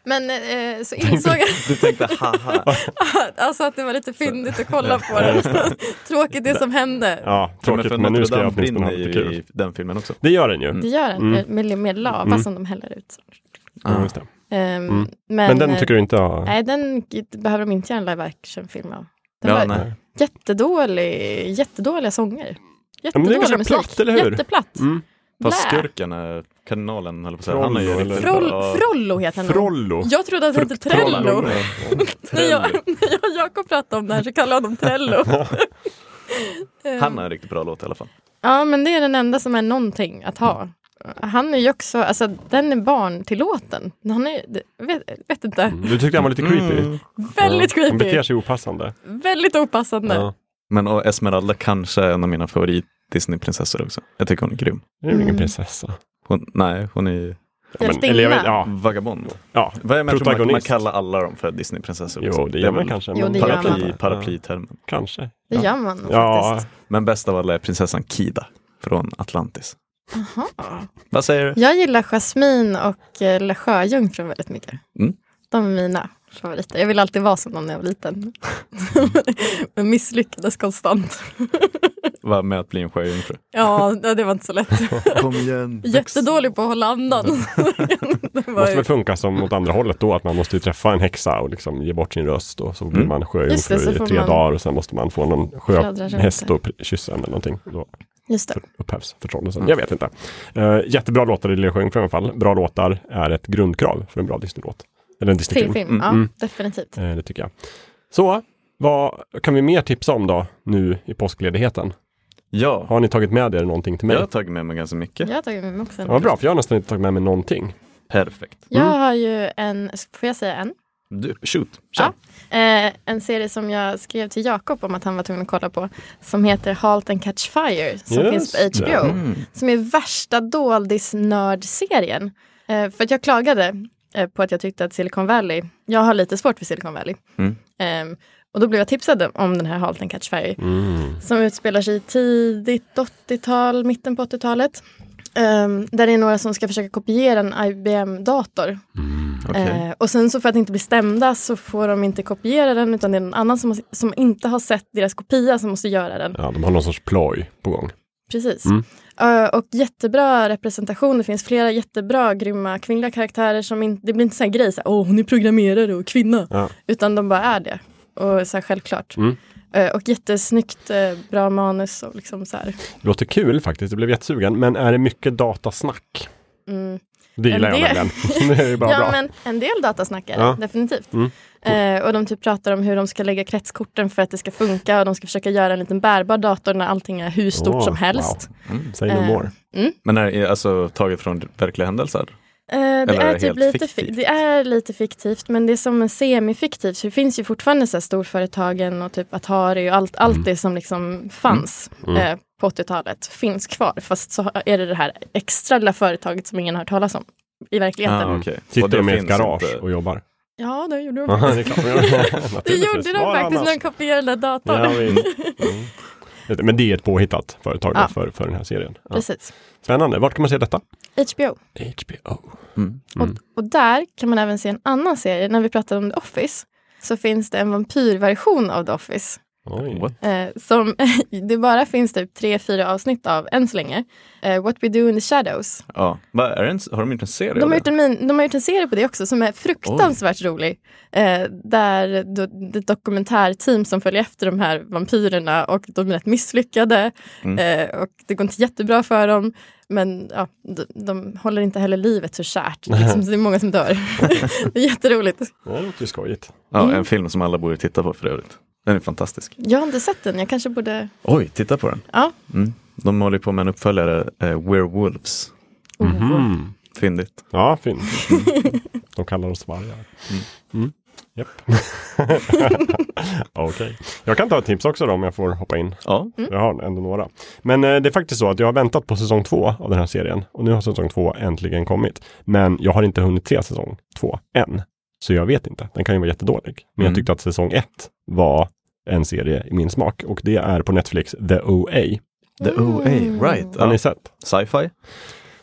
Speaker 2: Men eh, så insåg jag
Speaker 1: Du tänkte
Speaker 3: *laughs*
Speaker 1: haha,
Speaker 2: alltså, att det var lite fyndigt att kolla på den. *laughs* Tråkigt det som hände.
Speaker 3: ja, tråkigt men, nu ska jag åtminstone ha lite
Speaker 1: ju
Speaker 3: kul.
Speaker 1: i den filmen också.
Speaker 3: Det gör den ju.
Speaker 2: Det gör en
Speaker 3: Mm.
Speaker 2: med, med lava
Speaker 3: Mm.
Speaker 2: som de häller ut.
Speaker 3: Ja, just det.
Speaker 2: Ehm,
Speaker 3: Mm.
Speaker 2: men,
Speaker 3: Men den tycker du inte har...
Speaker 2: eh, Nej, den g- behöver de inte göra en live action-film av. Den
Speaker 1: Ja,
Speaker 2: var
Speaker 1: nej.
Speaker 2: jättedålig, jättedåliga sånger.
Speaker 3: men det är
Speaker 2: Jättedålig
Speaker 3: ganska
Speaker 2: musik.
Speaker 3: platt, eller hur?
Speaker 2: Jätteplatt.
Speaker 3: Mm.
Speaker 1: Fast
Speaker 2: Blä.
Speaker 1: skurken, eh, kardinalen höll jag på att säga, han är ju
Speaker 3: Frollo,
Speaker 1: riktigt
Speaker 3: eller?
Speaker 2: Froll,
Speaker 1: bra.
Speaker 2: Frollo heter han.
Speaker 3: Frollo.
Speaker 2: Jag trodde att han hette Trello.
Speaker 1: Frollo.
Speaker 2: När jag, *laughs*
Speaker 1: Trello.
Speaker 2: när jag och Jakob pratade om det här så kallade jag honom Trello.
Speaker 3: *laughs*
Speaker 2: Eh,
Speaker 1: Han har en riktigt bra låt i alla fall.
Speaker 2: Ja, men det är den enda som är någonting att ha. Han är ju också, alltså den är barntillåten. Han är, vet, vet inte,
Speaker 3: Du tyckte han var lite creepy?
Speaker 1: Mm.
Speaker 2: väldigt
Speaker 3: Mm. Ja. Han beter
Speaker 2: creepy.
Speaker 3: sig opassande.
Speaker 2: Väldigt opassande.
Speaker 3: Ja.
Speaker 1: Men och Esmeralda kanske är en av mina favorit Disney-prinsessor också. Jag tycker hon är grym.
Speaker 3: Det är väl ingen
Speaker 2: Mm.
Speaker 3: prinsessa?
Speaker 1: Hon, nej, hon är ju
Speaker 3: Ja, men-
Speaker 2: Hjältinna.
Speaker 3: eller jag vet- ja,
Speaker 1: vagabond.
Speaker 3: ja.
Speaker 1: Vad är man, tror man, man
Speaker 3: Protagonist.
Speaker 1: kallar alla dem för Disney-prinsessor.
Speaker 3: Jo,
Speaker 1: också.
Speaker 3: det
Speaker 1: är
Speaker 3: gör man
Speaker 1: väl
Speaker 3: kanske.
Speaker 2: Jo,
Speaker 3: men-
Speaker 2: det gör man.
Speaker 1: paraply,
Speaker 3: Ja,
Speaker 1: Paraplytermen.
Speaker 3: Kanske.
Speaker 2: Det gör man
Speaker 3: Ja,
Speaker 2: faktiskt.
Speaker 1: Men bäst av alla är prinsessan Kida från Atlantis.
Speaker 2: Jaha.
Speaker 1: Vad säger du?
Speaker 2: Jag gillar Jasmine och eh, La Sjöjungfrun väldigt mycket.
Speaker 1: Mm.
Speaker 2: De är mina favoriter. Jag ville alltid vara som dem när jag var
Speaker 3: *laughs*
Speaker 2: liten. *laughs* Men misslyckades konstant.
Speaker 1: Vad med att bli en sjöjungfru?
Speaker 2: Ja, det var inte så lätt.
Speaker 1: *laughs* Kom igen!
Speaker 2: Jättedålig på att hålla andan. *laughs* Det
Speaker 3: Det
Speaker 2: var
Speaker 3: måste
Speaker 2: ju-
Speaker 3: väl funka som åt andra hållet då, att man måste ju träffa en häxa och liksom ge bort sin röst och så blir
Speaker 1: Mm.
Speaker 3: man
Speaker 2: Just
Speaker 3: sjöjungfru
Speaker 2: det, så
Speaker 3: i
Speaker 2: får
Speaker 3: tre
Speaker 2: man-
Speaker 3: dagar och sen måste man få någon
Speaker 2: Fladdra runt
Speaker 3: sjöhäst
Speaker 2: det.
Speaker 3: och pr- kyssa en eller någonting. Då
Speaker 2: Just det.
Speaker 3: upphävs förtrollelsen.
Speaker 1: Mm.
Speaker 3: Jag vet inte. Eh, jättebra låtar i Lilla Sjöjungfrun i alla fall. Bra låtar är ett grundkrav för en bra Disney-låt. Eller en Disney-film.
Speaker 2: Filmfilm,
Speaker 1: Mm,
Speaker 2: ja
Speaker 3: mm.
Speaker 2: definitivt.
Speaker 3: Eh, det tycker jag. Så, vad kan vi mer tipsa om då nu i påskledigheten?
Speaker 1: Ja,
Speaker 3: Har ni tagit med er någonting till mig?
Speaker 1: jag har tagit med mig ganska mycket.
Speaker 2: Jag har tagit med mig också en.
Speaker 3: Ja, Mm. vad bra, för jag har nästan inte tagit med mig någonting.
Speaker 1: Perfekt.
Speaker 2: Jag har ju en, får jag säga en?
Speaker 1: Du, shoot, kör!
Speaker 2: Eh, en serie som jag skrev till Jakob om att han var tvungen att kolla på. Som heter Halt and Catch Fire. Som
Speaker 3: Just
Speaker 2: finns på
Speaker 3: det.
Speaker 2: HBO.
Speaker 1: Mm.
Speaker 2: Som är värsta doldisnörd-serien. Eh, för att jag klagade eh, på att jag tyckte att Silicon Valley, jag har lite svårt för Silicon Valley.
Speaker 1: Mm.
Speaker 2: Ehm, och då blev jag tipsad om den här Halt and Catch Fire. Som utspelar sig i tidigt 80-tal, mitten på 80-talet. Ehm, där det är några som ska försöka kopiera en IBM-dator.
Speaker 1: Okej.
Speaker 2: Eh, och sen så för att inte bli stämda så får de inte kopiera den utan det är någon annan som, måste- som inte har sett deras kopia som måste göra den.
Speaker 3: Ja, de har någon sorts ploj på gång.
Speaker 2: Precis.
Speaker 3: Mm.
Speaker 2: Eh, och jättebra representation. Det finns flera jättebra grymma kvinnliga karaktärer som inte, det blir inte sån här grej, så här, åh hon är programmerare och kvinna.
Speaker 3: Ja.
Speaker 2: Utan de bara är det. Och så här, självklart.
Speaker 3: Mm.
Speaker 2: Eh, och jättesnyggt, eh, bra manus och liksom så här.
Speaker 3: Det låter kul faktiskt, jag blev jättesugen. Men är det mycket datasnack?
Speaker 2: Mm.
Speaker 3: Det gillar
Speaker 2: Men
Speaker 3: jag
Speaker 2: det-
Speaker 3: nämligen. *laughs* det är ju bara
Speaker 2: Ja
Speaker 3: bra.
Speaker 2: men en del datasnackare,
Speaker 3: Ja.
Speaker 2: definitivt.
Speaker 3: Mm,
Speaker 2: Eh, och de typ pratar om hur de ska lägga kretskorten för att det ska funka och de ska försöka göra en liten bärbar dator när allting är hur stort
Speaker 3: Åh,
Speaker 2: som helst.
Speaker 3: Wow. Say no
Speaker 2: Eh,
Speaker 3: more.
Speaker 1: Men är det alltså taget från verkliga händelser?
Speaker 2: Eh, det,
Speaker 1: Eller
Speaker 2: är
Speaker 1: är det
Speaker 2: typ
Speaker 1: helt
Speaker 2: lite, fi-
Speaker 1: fiktivt?
Speaker 2: det är lite fiktivt men det är som en semifiktiv så det finns ju fortfarande så här storföretagen och typ Atari och allt,
Speaker 3: Mm.
Speaker 2: allt det som liksom fanns eh, på 80-talet finns kvar fast så är det det här extra lilla företaget som ingen har hört talas om i verkligheten.
Speaker 1: Ah, okej.
Speaker 3: Sitter
Speaker 1: Och det
Speaker 3: de i ett
Speaker 1: finns
Speaker 3: garage
Speaker 1: inte-
Speaker 3: och jobbar?
Speaker 2: Ja, det gjorde de.
Speaker 3: Ja, det är klart de gör. *laughs*
Speaker 2: Det
Speaker 3: Naturligtvis.
Speaker 2: gjorde de
Speaker 3: Vad
Speaker 2: faktiskt när
Speaker 3: annars?
Speaker 2: de kopierade den där datorn.
Speaker 3: Ja, vi- mm. Just det, Men det är ett påhittat företag då
Speaker 2: Ja.
Speaker 3: för, för den här serien.
Speaker 2: *laughs*
Speaker 3: Ja.
Speaker 2: Precis.
Speaker 3: Spännande. Vart kan man se detta?
Speaker 2: HBO.
Speaker 3: HBO.
Speaker 1: Mm.
Speaker 3: Mm.
Speaker 2: Och där kan man även se en annan serie. När vi pratade om The Office så finns det en vampyrversion av The Office.
Speaker 3: Oj.
Speaker 1: Mm. What?
Speaker 2: Eh, som *laughs* det bara finns typ tre, fyra avsnitt av än så länge. Eh, What We Do In The Shadows.
Speaker 1: Ja. Va, är det en, har de inte en serie?
Speaker 2: De har,
Speaker 1: eller?
Speaker 2: gjort en min, de har gjort en serie på det också som är fruktansvärt rolig. Eh, där då, det är ett dokumentärteam som följer efter de här vampyrerna och de är rätt misslyckade.
Speaker 3: Mm.
Speaker 2: Eh, och det går inte jättebra för dem. Men ja, de, de håller inte heller livet så kärt. Liksom, så det är många som
Speaker 3: *laughs*
Speaker 2: dör. det är jätteroligt.
Speaker 3: Ja, Det låter ju skojigt.
Speaker 1: Ja, en film som alla borde titta på för övrigt. Den är fantastisk.
Speaker 2: Jag har inte sett den. Jag kanske borde...
Speaker 1: Oj, titta på den.
Speaker 2: Ja.
Speaker 1: Mm. De håller ju på med en uppföljare, eh, Werewolves.
Speaker 2: Oh.
Speaker 3: Mhm. Mm.
Speaker 1: Fyndigt.
Speaker 2: *laughs*
Speaker 3: Mm. Ja, fint. De kallar oss vargar. Japp. *laughs* Okej. Jag kan ta ett tips också då om jag får hoppa in.
Speaker 1: Ja,
Speaker 3: Jag har ändå några. Men eh, det är faktiskt så att jag har väntat på säsong två av den här serien. Och nu har säsong två äntligen kommit. Men jag har inte hunnit se säsong två än. Så jag vet inte. Den kan ju vara jättedålig. Men jag
Speaker 1: Mm.
Speaker 3: tyckte att säsong ett var en serie i min smak. Och det är på Netflix The O.A.
Speaker 1: The OA,
Speaker 3: Mm.
Speaker 1: right.
Speaker 3: Har
Speaker 1: Ja.
Speaker 3: ni sett?
Speaker 1: Sci-fi?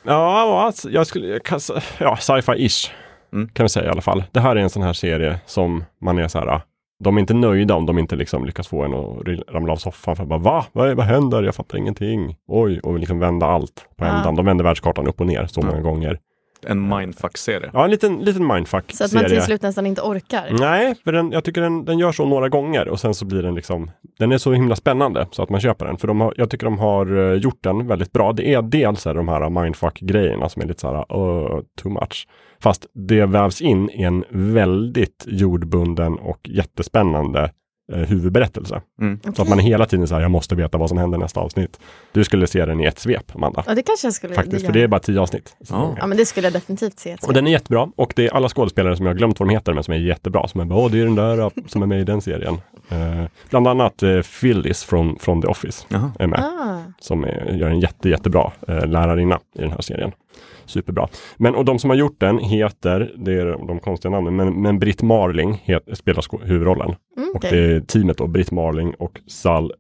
Speaker 3: Ja, alltså, jag skulle, jag kan, s- ja sci-fi-ish
Speaker 1: Mm.
Speaker 3: kan vi säga i alla fall. Det här är en sån här serie som man är så här, ah, de är inte nöjda om de inte liksom lyckas få en att rill- ramla av soffan för att bara va? Vad, är- vad händer? Jag fattar ingenting. Oj, och liksom vända allt på
Speaker 2: Ja.
Speaker 3: ändan. De vänder världskartan upp och ner så
Speaker 1: Ja.
Speaker 3: många gånger.
Speaker 1: En mindfuck-serie.
Speaker 3: Ja, en liten, liten mindfuck-serie.
Speaker 2: Så att man till slut nästan inte orkar.
Speaker 3: Nej, för den, jag tycker den, den gör så några gånger och sen så blir den liksom, den är så himla spännande så att man köper den. För de har, jag tycker de har eh, gjort den väldigt bra. Det är dels är de här mindfuck-grejerna som är lite så här, uh, too much. Fast det vävs in i en väldigt jordbunden och jättespännande eh, huvudberättelse.
Speaker 1: Mm.
Speaker 3: Så att man är hela tiden så här, jag måste veta vad som händer i nästa avsnitt. Du skulle se den i ett svep, Amanda.
Speaker 2: Ja, det kanske jag skulle
Speaker 3: Faktiskt,
Speaker 2: vilja
Speaker 3: för det är
Speaker 2: göra.
Speaker 3: bara tio avsnitt.
Speaker 1: Ja.
Speaker 2: Ja, men det skulle jag definitivt se.
Speaker 3: Och den är jättebra och det är alla skådespelare som jag har glömt vad de heter men som är jättebra. Som är bara, åh det är den där ja, som är med i den serien. Eh, bland annat eh, Phyllis från, från The Office
Speaker 1: Jaha.
Speaker 3: är med.
Speaker 2: Ah,
Speaker 3: Som är, gör en jätte, jättebra eh, lärarinna i den här serien. Superbra. Men och de som har gjort den heter, det är de konstiga namnen, men, men Britt Marling het, spelar sko- huvudrollen.
Speaker 2: mm,
Speaker 3: Och
Speaker 2: okej.
Speaker 3: det är teamet då, Britt Marling och Sal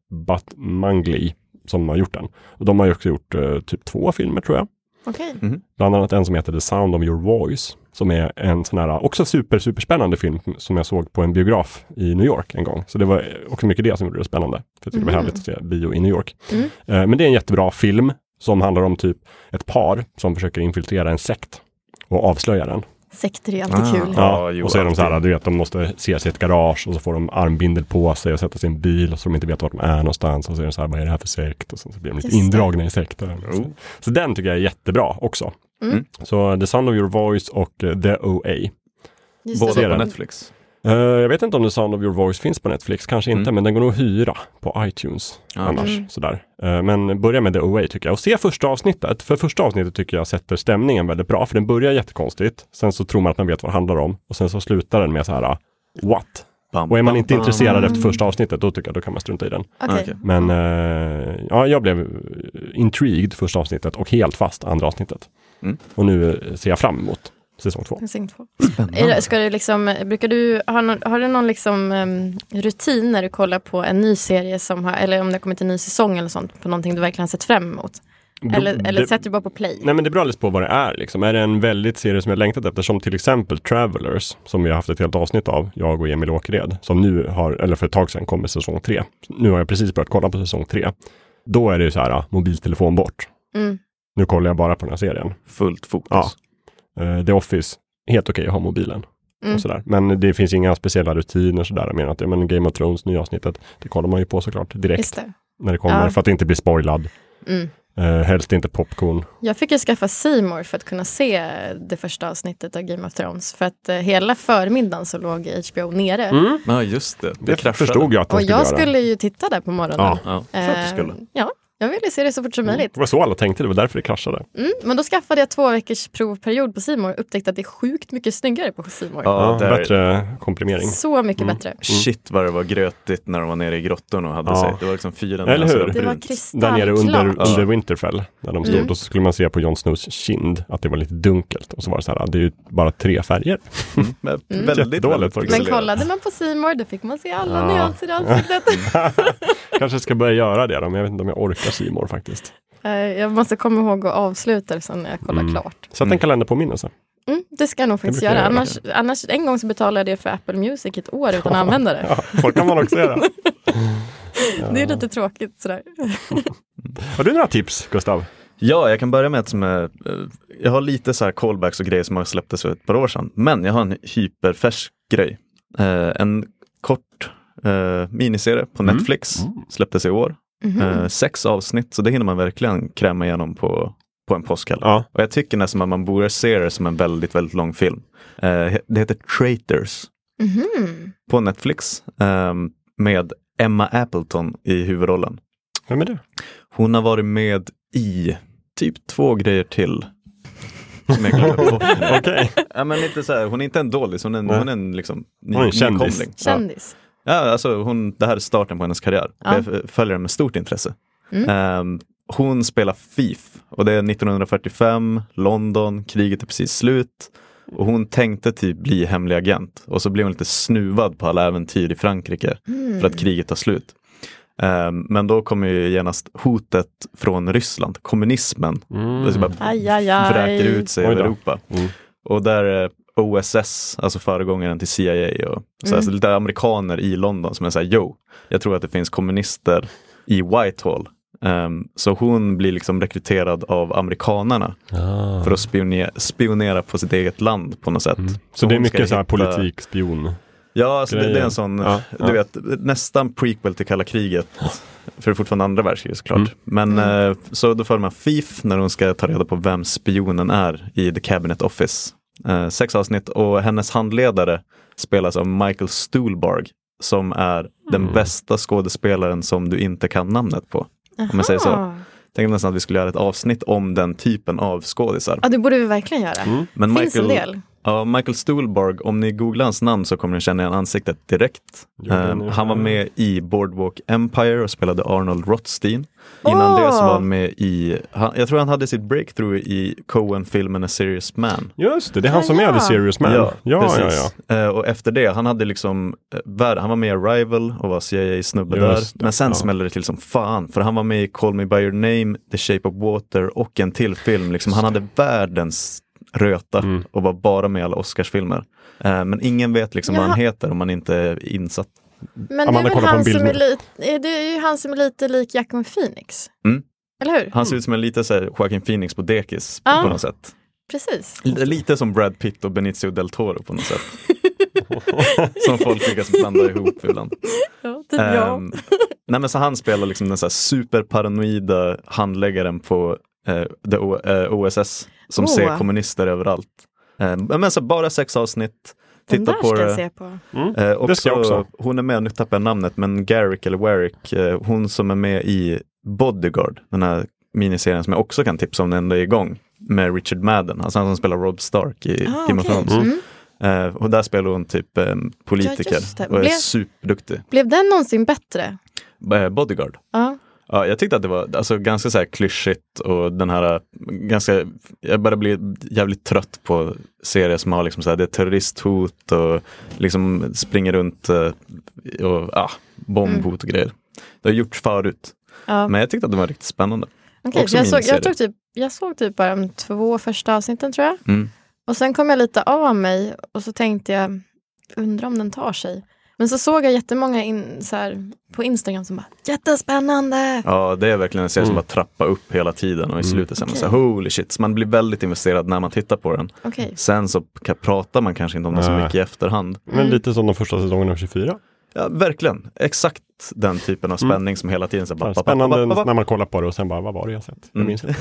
Speaker 3: Batmangli som har gjort den. Och de har ju också gjort eh, typ två filmer tror jag.
Speaker 2: Okej.
Speaker 1: Mm.
Speaker 3: Bland annat en som heter The Sound of Your Voice. Som är en sån här, också super, superspännande film som jag såg på en biograf i New York en gång. Så det var också mycket det som gjorde det spännande. För jag tyckte
Speaker 1: Mm.
Speaker 3: det var
Speaker 2: Mhm.
Speaker 3: härligt att se bio i New York.
Speaker 2: Mm.
Speaker 3: Eh, Men det är en jättebra film som handlar om typ ett par som försöker infiltrera en sekt och avslöja den.
Speaker 2: Sekter är ju
Speaker 3: Ah.
Speaker 2: alltid kul.
Speaker 1: Ja, jo,
Speaker 3: och så är de så här,
Speaker 1: alltid.
Speaker 3: du vet, de måste se sig i ett garage och så får de armbindel på sig och sätta sig i en bil och så de inte vet vart de är någonstans. Och så är de så här, vad är det här för sekt? Och sen så blir de lite
Speaker 2: Just det.
Speaker 3: indragna i sekten.
Speaker 1: Oh.
Speaker 3: Så den tycker jag är jättebra också.
Speaker 2: Mm.
Speaker 3: Så The Sound of Your Voice och eh, The O.A.
Speaker 2: Just det.
Speaker 1: Båda
Speaker 3: Serien.
Speaker 1: på Netflix.
Speaker 3: Eh, jag vet inte om The Sound of Your Voice finns på Netflix, kanske inte,
Speaker 1: Mm.
Speaker 3: men den går nog att hyra på iTunes
Speaker 1: Ja.
Speaker 3: annars.
Speaker 2: Mm.
Speaker 3: Sådär. Eh, men börja med The O.A. tycker jag. Och se första avsnittet, för första avsnittet tycker jag sätter stämningen väldigt bra, för den börjar jättekonstigt. Sen så tror man att man vet vad det handlar om och sen så slutar den med så här, ah, what?
Speaker 1: Bam,
Speaker 3: Och är man inte
Speaker 1: bam,
Speaker 3: intresserad
Speaker 1: bam.
Speaker 3: efter första avsnittet, då tycker jag då kan man strunta i den.
Speaker 2: Ah, Okej.
Speaker 1: Ah, Okej.
Speaker 3: Men eh, ja, jag blev intrigued första avsnittet och helt fast andra avsnittet.
Speaker 1: Mm.
Speaker 3: Och nu eh, ser jag fram emot säsong två.
Speaker 2: Jag ser inte på. Är
Speaker 1: Spännande.
Speaker 2: det- Ska du liksom, brukar du, har, någon, har du någon liksom, em, rutin när du kollar på en ny serie som har, eller om det har kommit en ny säsong eller sånt på någonting du verkligen har sett fram emot? Eller,
Speaker 3: Bro-
Speaker 2: eller
Speaker 3: det-
Speaker 2: sätter du bara på play?
Speaker 3: Nej men det beror alldeles på vad det är liksom. Är det en väldigt serie som jag längtat efter som till exempel Travelers som vi har haft ett helt avsnitt av, jag och Emil Åkered, som nu har, eller för ett tag sedan kom i säsong tre. Nu har jag precis börjat kolla på säsong tre. Då är det ju så här, ah, mobiltelefon bort.
Speaker 2: Mm.
Speaker 3: Nu kollar jag bara på den här serien.
Speaker 1: Fullt fokus.
Speaker 3: Ja. Eh, The Office, helt okej att ha mobilen.
Speaker 2: Mm.
Speaker 3: Och sådär. Men det finns inga speciella rutiner sådär. Men att ja, men Game of Thrones, nya avsnittet, det kollar man ju på såklart direkt
Speaker 2: Just det.
Speaker 3: när det kommer
Speaker 2: Ja.
Speaker 3: för att inte bli spoilad.
Speaker 2: Mm.
Speaker 3: Eh, helst inte popcorn.
Speaker 2: Jag fick ju skaffa Seymour för att kunna se det första avsnittet av Game of Thrones. För att eh, hela förmiddagen så låg HBO nere.
Speaker 1: Mm. Ja, just det.
Speaker 3: Det förstod jag Ehm, att den
Speaker 2: Och
Speaker 3: skulle
Speaker 2: jag
Speaker 3: göra.
Speaker 2: skulle ju titta där på morgonen.
Speaker 3: Ja. Mm.
Speaker 1: Ja, klart du
Speaker 2: Eh,
Speaker 1: skulle. Mm.
Speaker 2: ja, jag ville se det så fort som möjligt.
Speaker 3: Det var så alla tänkte, det var därför det kraschade.
Speaker 2: Mm, men då skaffade jag två veckors provperiod på Simor och upptäckte att det är sjukt mycket snyggare på Simor.
Speaker 1: Ja,
Speaker 3: Ja,
Speaker 1: där-
Speaker 3: bättre komprimering.
Speaker 2: Så mycket bättre.
Speaker 1: Shit vad det var grötigt när de var nere i grottorna och hade
Speaker 3: Ja.
Speaker 1: sig. Det var liksom fyren.
Speaker 3: Eller
Speaker 1: alltså,
Speaker 3: hur?
Speaker 2: Det var
Speaker 1: brunt.
Speaker 2: kristallklart.
Speaker 3: Där nere under, under
Speaker 1: Ja.
Speaker 3: Winterfell, där de stod,
Speaker 2: Mm.
Speaker 3: och så skulle man se på Jon Snows kind att det var lite dunkelt. Och så var det så här, det är ju bara tre färger.
Speaker 1: Men Väldigt,
Speaker 3: Mm. Jättedåligt
Speaker 1: väldigt
Speaker 3: faktiskt.
Speaker 2: Men
Speaker 1: pixelerat.
Speaker 2: kollade man på Simor då fick man se alla
Speaker 3: Ja.
Speaker 2: nyanser i ansiktet.
Speaker 3: Kanske ska börja göra det då, men jag vet inte om jag orkar Simor faktiskt.
Speaker 2: Eh, jag måste komma ihåg att avsluta det sen när jag kollar
Speaker 3: Mm.
Speaker 2: klart.
Speaker 3: Sätt en kalenderpåminnelse.
Speaker 2: Mm, det ska jag nog faktiskt
Speaker 3: brukar
Speaker 2: göra.
Speaker 3: jag göra.
Speaker 2: Annars, annars, en gång så betalade jag det för Apple Music i ett år utan att använda det.
Speaker 3: Ja, så kan man också göra.
Speaker 2: *laughs* Det är lite tråkigt sådär.
Speaker 3: Har du några tips, Gustav?
Speaker 1: Ja, jag kan börja med ett som är, eh, jag har lite så här callbacks och grejer som har släpptes för ett par år sedan. Men jag har en hyperfärsk grej. Eh, en kort eh, miniserie på
Speaker 3: Mm.
Speaker 1: Netflix släpptes i år. Eh, sex avsnitt, så det hinner man verkligen kräma igenom på, på en påskhelg.
Speaker 3: Ja,
Speaker 1: Och jag tycker nästan att man borde se det som en väldigt, väldigt lång film. Eh, det heter Traitors
Speaker 2: Mhm.
Speaker 1: på Netflix eh, med Emma Appleton i huvudrollen.
Speaker 3: vem är det?
Speaker 1: Hon har varit med i typ två grejer till. Som jag glömde på.
Speaker 3: Okej.
Speaker 1: ja, men lite så här, hon är inte en dålig, hon är en,
Speaker 3: Nej.
Speaker 1: hon är en liksom, ny,
Speaker 3: Hon är en kändis.
Speaker 1: nykomling. Ja.
Speaker 2: Kändis.
Speaker 1: Ja, alltså hon, det här är starten på hennes karriär.
Speaker 2: Ja.
Speaker 1: Jag f- följer henne med stort intresse. Ehm, hon spelar FIF och det är 1945, London, kriget är precis slut. Och hon tänkte typ bli hemlig agent och så blev hon lite snuvad på alla äventyr i Frankrike för att kriget tar slut. Ehm, men då kommer ju genast hotet från Ryssland, kommunismen.
Speaker 3: Mm.
Speaker 1: Det typ bara
Speaker 2: Aj, aj, aj.
Speaker 1: vräker ut sig
Speaker 3: Oj
Speaker 1: över
Speaker 3: då.
Speaker 1: Europa.
Speaker 3: Mm.
Speaker 1: Och där eh, OSS, alltså föregångaren till CIA och så här, så lite amerikaner i London som är såhär, jo, jag tror att det finns kommunister i Whitehall. Ehm, så hon blir liksom rekryterad av amerikanarna för
Speaker 3: Ah.
Speaker 1: att spionera, spionera på sitt eget land på något sätt.
Speaker 3: Mm. Så det är
Speaker 1: Ah. hon ska
Speaker 3: mycket så här
Speaker 1: hitta-
Speaker 3: politik, spion.
Speaker 1: Ja, alltså det, det är
Speaker 3: grejer.
Speaker 1: en sån,
Speaker 3: Ja,
Speaker 1: du
Speaker 3: ja.
Speaker 1: vet, nästan prequel till kalla kriget. För det är fortfarande andra världskriget såklart.
Speaker 3: Mm.
Speaker 1: Men eh, så då får man FIF när hon ska ta reda på vem spionen är i The Cabinet Office. Eh, sex avsnitt och hennes handledare spelas av Michael Stuhlbarg som är
Speaker 3: Mm.
Speaker 1: den bästa skådespelaren som du inte kan namnet på. Om jag säger så.
Speaker 2: Aha.
Speaker 1: Tänk nästan att vi skulle göra ett avsnitt om den typen av skådisar.
Speaker 2: Ja, det borde vi verkligen göra.
Speaker 1: Men
Speaker 2: Finns en del.
Speaker 1: Ja, Michael Stuhlbarg, om ni googlar hans namn så kommer ni känna igen ansiktet direkt.
Speaker 3: Jo, det
Speaker 1: Eh,
Speaker 3: nu.
Speaker 1: han var med i Boardwalk Empire och spelade Arnold Rothstein. Innan det så var han med i, han, jag tror han hade sitt breakthrough i Coen-filmen A Serious Man.
Speaker 3: Just det, det är han som
Speaker 2: Ja,
Speaker 3: är
Speaker 2: ja.
Speaker 3: The Serious Man. Ja, ja, ja.
Speaker 1: precis. Eh, och efter det, han hade liksom, eh, värd- han var med i Arrival och var CIA-snubbe där.
Speaker 3: Just det,
Speaker 1: Men sen
Speaker 3: ja.
Speaker 1: smällde det till som fan, för han var med i Call Me By Your Name, The Shape of Water och en till film. Liksom, han hade världens
Speaker 3: Mm.
Speaker 1: röta och var bara med i alla Oscarsfilmer. Eh, men ingen vet liksom vad han
Speaker 2: Jaha.
Speaker 1: heter om man inte är insatt.
Speaker 2: Men
Speaker 3: Amanda
Speaker 2: det, är väl
Speaker 3: kollar på
Speaker 2: han
Speaker 3: en bild
Speaker 2: som är
Speaker 3: nu.
Speaker 2: lite, det är ju han som är lite lik Jackman Phoenix.
Speaker 1: Mm.
Speaker 2: Eller hur?
Speaker 1: Han ser ut som en lite så här, Joaquin Phoenix på dekis
Speaker 2: Ja.
Speaker 1: på något sätt.
Speaker 2: Precis.
Speaker 1: L- Lite som Brad Pitt och Benicio del Toro på något
Speaker 2: *laughs*
Speaker 1: sätt. som folk lyckas blanda ihop ibland.
Speaker 2: Ja, typ jag.
Speaker 1: Ehm, nej men så han spelar liksom den så här superparanoida handläggaren på eh, the O- eh, OSS som
Speaker 2: Oh.
Speaker 1: ser kommunister överallt. Ehm, men så bara sex avsnitt.
Speaker 2: Den
Speaker 1: Titta
Speaker 2: där
Speaker 1: på
Speaker 2: ska jag
Speaker 1: det.
Speaker 2: se på.
Speaker 1: Eh, också,
Speaker 3: Det ska jag också.
Speaker 1: Hon är med, nu tappar jag namnet, men Garrick eller Warwick, eh, hon som är med i Bodyguard, den här miniserien som jag också kan tipsa om när den ändå är igång, med Richard Madden, alltså han som spelar Rob Stark i
Speaker 2: Ah,
Speaker 1: Game of
Speaker 2: okej.
Speaker 1: Thrones.
Speaker 2: Mm.
Speaker 1: Eh, och där spelar hon typ eh,
Speaker 2: Ja,
Speaker 1: politiker
Speaker 2: just det.
Speaker 1: och är
Speaker 2: Blev-
Speaker 1: superduktig.
Speaker 2: Blev den någonsin bättre?
Speaker 1: Eh, Bodyguard.
Speaker 2: Ja.
Speaker 1: Ja, jag tyckte att det var alltså, ganska så här klyschigt och den här ganska, jag börjar bli jävligt trött på serier som har liksom så här, det är terroristhot och liksom springer runt eh, och ja, bombhot och grejer. Det har gjorts förut,
Speaker 2: ja.
Speaker 1: men jag tyckte att det var riktigt spännande.
Speaker 2: Okej,
Speaker 1: också
Speaker 2: jag, såg,
Speaker 1: miniserie.
Speaker 2: jag, tog typ, jag såg typ bara de två första avsnitten tror jag.
Speaker 1: Mm.
Speaker 2: Och sen kom jag lite av mig och så tänkte jag, undrar om den tar sig. Men så såg jag jättemånga in, så här, på Instagram som bara, jättespännande!
Speaker 1: Ja, det är verkligen en serie som bara trappar upp hela tiden och i slutet så är man så här, holy shit, så man blir väldigt investerad när man tittar på den.
Speaker 2: Okej,
Speaker 1: Sen så ka- pratar man kanske inte om det så
Speaker 3: Nej.
Speaker 1: mycket i efterhand.
Speaker 2: Mm.
Speaker 3: Men lite som de första säsongerna av 24.
Speaker 1: Ja, verkligen, exakt den typen av spänning som hela tiden så här, bara,
Speaker 3: Mm. Spännande
Speaker 1: ba, ba, Mm. ba, ba,
Speaker 3: när man kollar på det och sen bara, vad var det jag sett? Jag minns inte.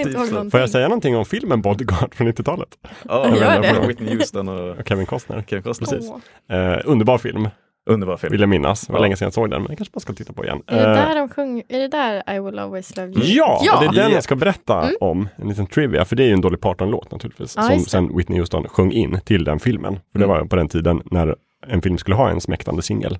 Speaker 1: *laughs*
Speaker 2: inte ihåg
Speaker 1: Typ så.
Speaker 2: någonting.
Speaker 3: Får jag säga någonting om filmen Bodyguard från 90-talet?
Speaker 1: Ja,
Speaker 2: Gör
Speaker 1: men
Speaker 2: det.
Speaker 1: från Whitney Houston och
Speaker 3: Och Kevin Costner.
Speaker 1: Kevin Costner.
Speaker 3: Precis.
Speaker 2: Åh,
Speaker 3: Eh, underbar film,
Speaker 1: Underbar
Speaker 3: vill
Speaker 1: film.
Speaker 3: jag minnas. Det var
Speaker 1: Ja.
Speaker 3: länge sedan jag såg den, men jag kanske man ska titta på igen.
Speaker 2: är, det
Speaker 3: Eh,
Speaker 2: där de sjung, är det där I will always love you?
Speaker 3: Ja,
Speaker 2: Mm. Ja! Mm.
Speaker 3: det är den
Speaker 1: Ja.
Speaker 3: jag ska berätta om. En liten trivia, för det är ju en Dolly Parton-låt naturligtvis.
Speaker 2: Ja,
Speaker 3: som
Speaker 2: just det.
Speaker 3: sen Whitney Houston sjöng in till den filmen. För det
Speaker 1: Mm.
Speaker 3: var på den tiden när en film skulle ha en smäktande singel.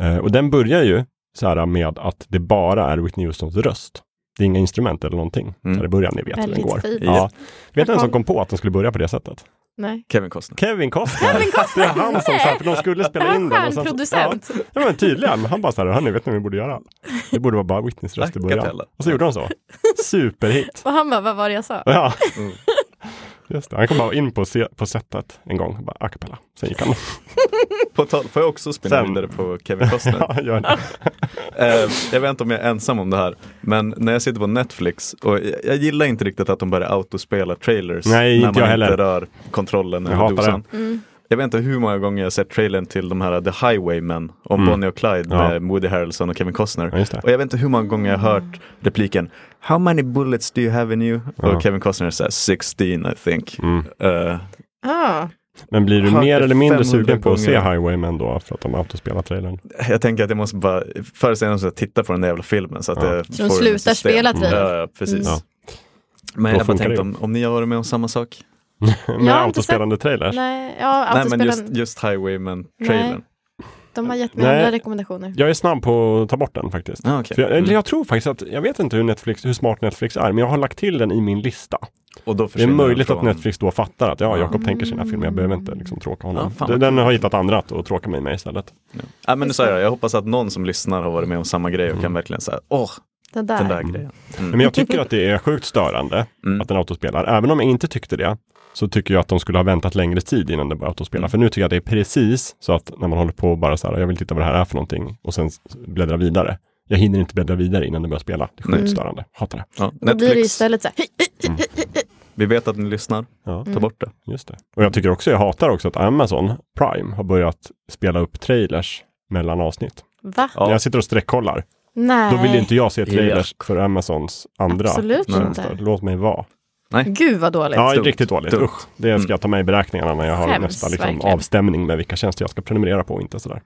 Speaker 3: Eh, och den börjar ju så här med att det bara är Whitney Houstons röst. Det är inga instrument eller någonting.
Speaker 1: Mm.
Speaker 3: Så här i början, ni vet hur den
Speaker 2: Väldigt
Speaker 3: går.
Speaker 2: fint.
Speaker 3: Ja. Vet ni vem som
Speaker 2: Jaha.
Speaker 3: kom på att de skulle börja på det sättet?
Speaker 2: Nej.
Speaker 1: Kevin Costner.
Speaker 3: Kevin Costner!
Speaker 2: Kevin Costner,
Speaker 3: Det är han som sa, för de skulle *laughs* spela in
Speaker 2: Han
Speaker 3: den. och
Speaker 2: är
Speaker 3: sen så-
Speaker 2: stjärnproducent.
Speaker 3: Ja, ja men tydligen. Men Han bara så här, hörni, vet ni vad vi borde göra? Det borde vara bara Whitneys röst i
Speaker 1: A
Speaker 3: början.
Speaker 1: cappella.
Speaker 3: Och så gjorde
Speaker 2: *laughs*
Speaker 3: de så. Superhit!
Speaker 2: Och han bara, vad var det jag sa?
Speaker 3: Ja.
Speaker 1: Mm.
Speaker 3: Just det, han kom bara in på, se- på setet en gång, bara a cappella. Sen *laughs* gick han.
Speaker 1: På tal, får jag också spinna
Speaker 3: Sen.
Speaker 1: vidare på Kevin Costner?
Speaker 3: *laughs* Ja, gör det.
Speaker 1: eh, jag vet inte om jag är ensam om det här, men när jag sitter på Netflix och jag, jag gillar inte riktigt att de börjar autospela trailers
Speaker 3: Nej, inte
Speaker 1: när man
Speaker 3: jag heller.
Speaker 1: inte rör kontrollen
Speaker 3: Jag
Speaker 1: över
Speaker 3: hatar
Speaker 1: dosan.
Speaker 2: Mm.
Speaker 1: Jag vet inte hur många gånger jag har sett trailern till de här The Highwaymen om Bonnie och Clyde
Speaker 3: Mm. Ja.
Speaker 1: med Woody Harrelson och Kevin Costner.
Speaker 3: Ja, just det.
Speaker 1: och jag vet inte hur många gånger jag har hört repliken How many bullets do you have in you? Och Kevin Costner säger 16 I think. Eh,
Speaker 2: Ah.
Speaker 3: Mm. Men blir du
Speaker 1: Hört
Speaker 3: mer
Speaker 1: det
Speaker 3: eller mindre
Speaker 1: 500
Speaker 3: sugen på att se
Speaker 1: gånger.
Speaker 3: Highwaymen då, för att de autospelar trailern?
Speaker 1: Jag tänker att jag måste bara, förr eller senare måste jag titta på den där jävla filmen så att jag
Speaker 2: de
Speaker 1: får
Speaker 2: slutar
Speaker 1: system.
Speaker 2: spela trailern.
Speaker 1: Ja, ja, precis.
Speaker 3: Ja.
Speaker 1: Men
Speaker 3: Då
Speaker 1: jag bara
Speaker 3: funkar
Speaker 1: tänkte
Speaker 3: det
Speaker 1: om, om ni har varit med om samma sak?
Speaker 3: Med
Speaker 2: inte sett-
Speaker 3: autospelande trailers.
Speaker 2: Nej, ja,
Speaker 1: Nej men
Speaker 2: autospelen,
Speaker 1: just, just Highwayman-trailern.
Speaker 2: de har gett mig
Speaker 3: Nej.
Speaker 2: andra rekommendationer.
Speaker 3: Jag är snabb på att ta bort den faktiskt.
Speaker 1: Ah, okej.
Speaker 3: För jag, eller
Speaker 1: mm.
Speaker 3: jag tror faktiskt att, jag vet inte hur, Netflix, hur smart Netflix är, men jag har lagt till den i min lista.
Speaker 1: Och då
Speaker 3: Det är
Speaker 1: försvinner den
Speaker 3: möjligt att
Speaker 1: från-
Speaker 3: Netflix då fattar att ja, Jakob
Speaker 1: Mm.
Speaker 3: tänker sina filmer, jag behöver inte liksom tråka
Speaker 1: Ja,
Speaker 3: honom.
Speaker 1: fan
Speaker 3: den,
Speaker 1: vad
Speaker 3: den har hittat andra att att tråka mig med istället.
Speaker 1: Ja, men nu sa jag, jag hoppas att någon som lyssnar har varit med om samma grej och kan verkligen säga, åh,
Speaker 2: Den där.
Speaker 1: den där grejen. Mm.
Speaker 3: Mm. Men jag tycker att det är sjukt störande
Speaker 1: Mm.
Speaker 3: att den autospelar. Även om jag inte tyckte det, så tycker jag att de skulle ha väntat längre tid innan det började autospela.
Speaker 1: Mm.
Speaker 3: För nu tycker jag att det är precis så att när man håller på och bara så här, jag vill titta vad det här är för någonting och sen s- bläddra vidare. Jag hinner inte bläddra vidare innan det börjar spela. Det är sjukt
Speaker 1: Nej.
Speaker 3: störande. Hatar det.
Speaker 1: Ja,
Speaker 2: Då blir det
Speaker 1: Netflix,
Speaker 2: istället så här, "Hej, hej,
Speaker 1: vi vet att ni lyssnar,
Speaker 3: Ja.
Speaker 2: Mm.
Speaker 1: ta bort det.
Speaker 3: Just det. Och jag tycker också, jag hatar också att Amazon Prime har börjat spela upp trailers mellan avsnitt.
Speaker 2: va?
Speaker 1: Ja.
Speaker 3: När jag sitter och sträckkollar,
Speaker 2: Nej.
Speaker 3: då vill inte jag se
Speaker 1: Ja.
Speaker 3: trailers för Amazons andra
Speaker 2: Absolut
Speaker 3: tjänster.
Speaker 2: inte.
Speaker 3: Låt mig vara.
Speaker 2: Gud vad dåligt.
Speaker 3: Ja,
Speaker 1: Dumt.
Speaker 3: riktigt dåligt.
Speaker 1: Dumt.
Speaker 3: Usch. Det ska jag ta med i beräkningarna när jag har
Speaker 2: Skäms,
Speaker 3: nästa liksom,
Speaker 2: verkligen.
Speaker 3: avstämning med vilka tjänster jag ska prenumerera på och inte sådär.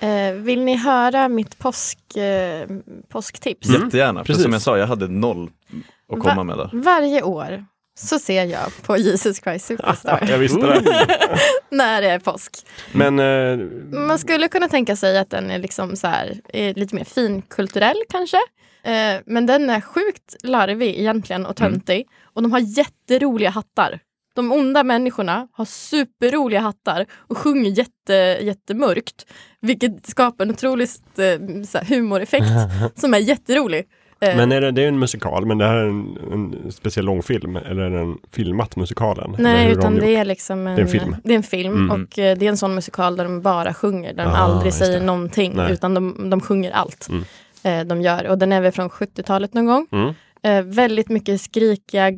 Speaker 2: Eh, vill ni höra mitt påsk, eh, påsktips?
Speaker 1: Jättegärna, för
Speaker 3: Precis.
Speaker 1: som jag sa, jag hade noll att komma
Speaker 2: Va-
Speaker 1: med där.
Speaker 2: Varje år så ser jag på Jesus Christ
Speaker 3: *laughs*
Speaker 2: Superstar
Speaker 3: Jag visste det.
Speaker 2: när det är påsk.
Speaker 3: Men eh,
Speaker 2: Man skulle kunna tänka sig att den är liksom så här, eh, lite mer finkulturell kanske. Eh, Men den är sjukt larvig egentligen och töntig. Och de har jätteroliga hattar. De onda människorna har superroliga hattar och sjunger jätte, jättemörkt. Vilket skapar en otrolig eh, så här, humoreffekt som är jätterolig. Eh,
Speaker 3: men är det, det är ju en musikal, men det här är en, en speciell långfilm. Eller är den filmat musikalen? Eller
Speaker 2: Nej,
Speaker 3: hur har
Speaker 2: utan
Speaker 3: de
Speaker 2: det
Speaker 3: gjort?
Speaker 2: är liksom en,
Speaker 3: Det är en film.
Speaker 2: det är en film
Speaker 3: Mm.
Speaker 2: och eh, det är en sån musikal där de bara sjunger. Där de
Speaker 3: Ah,
Speaker 2: aldrig
Speaker 3: just
Speaker 2: säger
Speaker 3: det.
Speaker 2: någonting
Speaker 3: Nej.
Speaker 2: utan de, de sjunger allt
Speaker 3: Mm.
Speaker 2: eh, de gör. Och den är väl från 70-talet någon gång.
Speaker 3: Mm.
Speaker 2: Eh, väldigt mycket skrikiga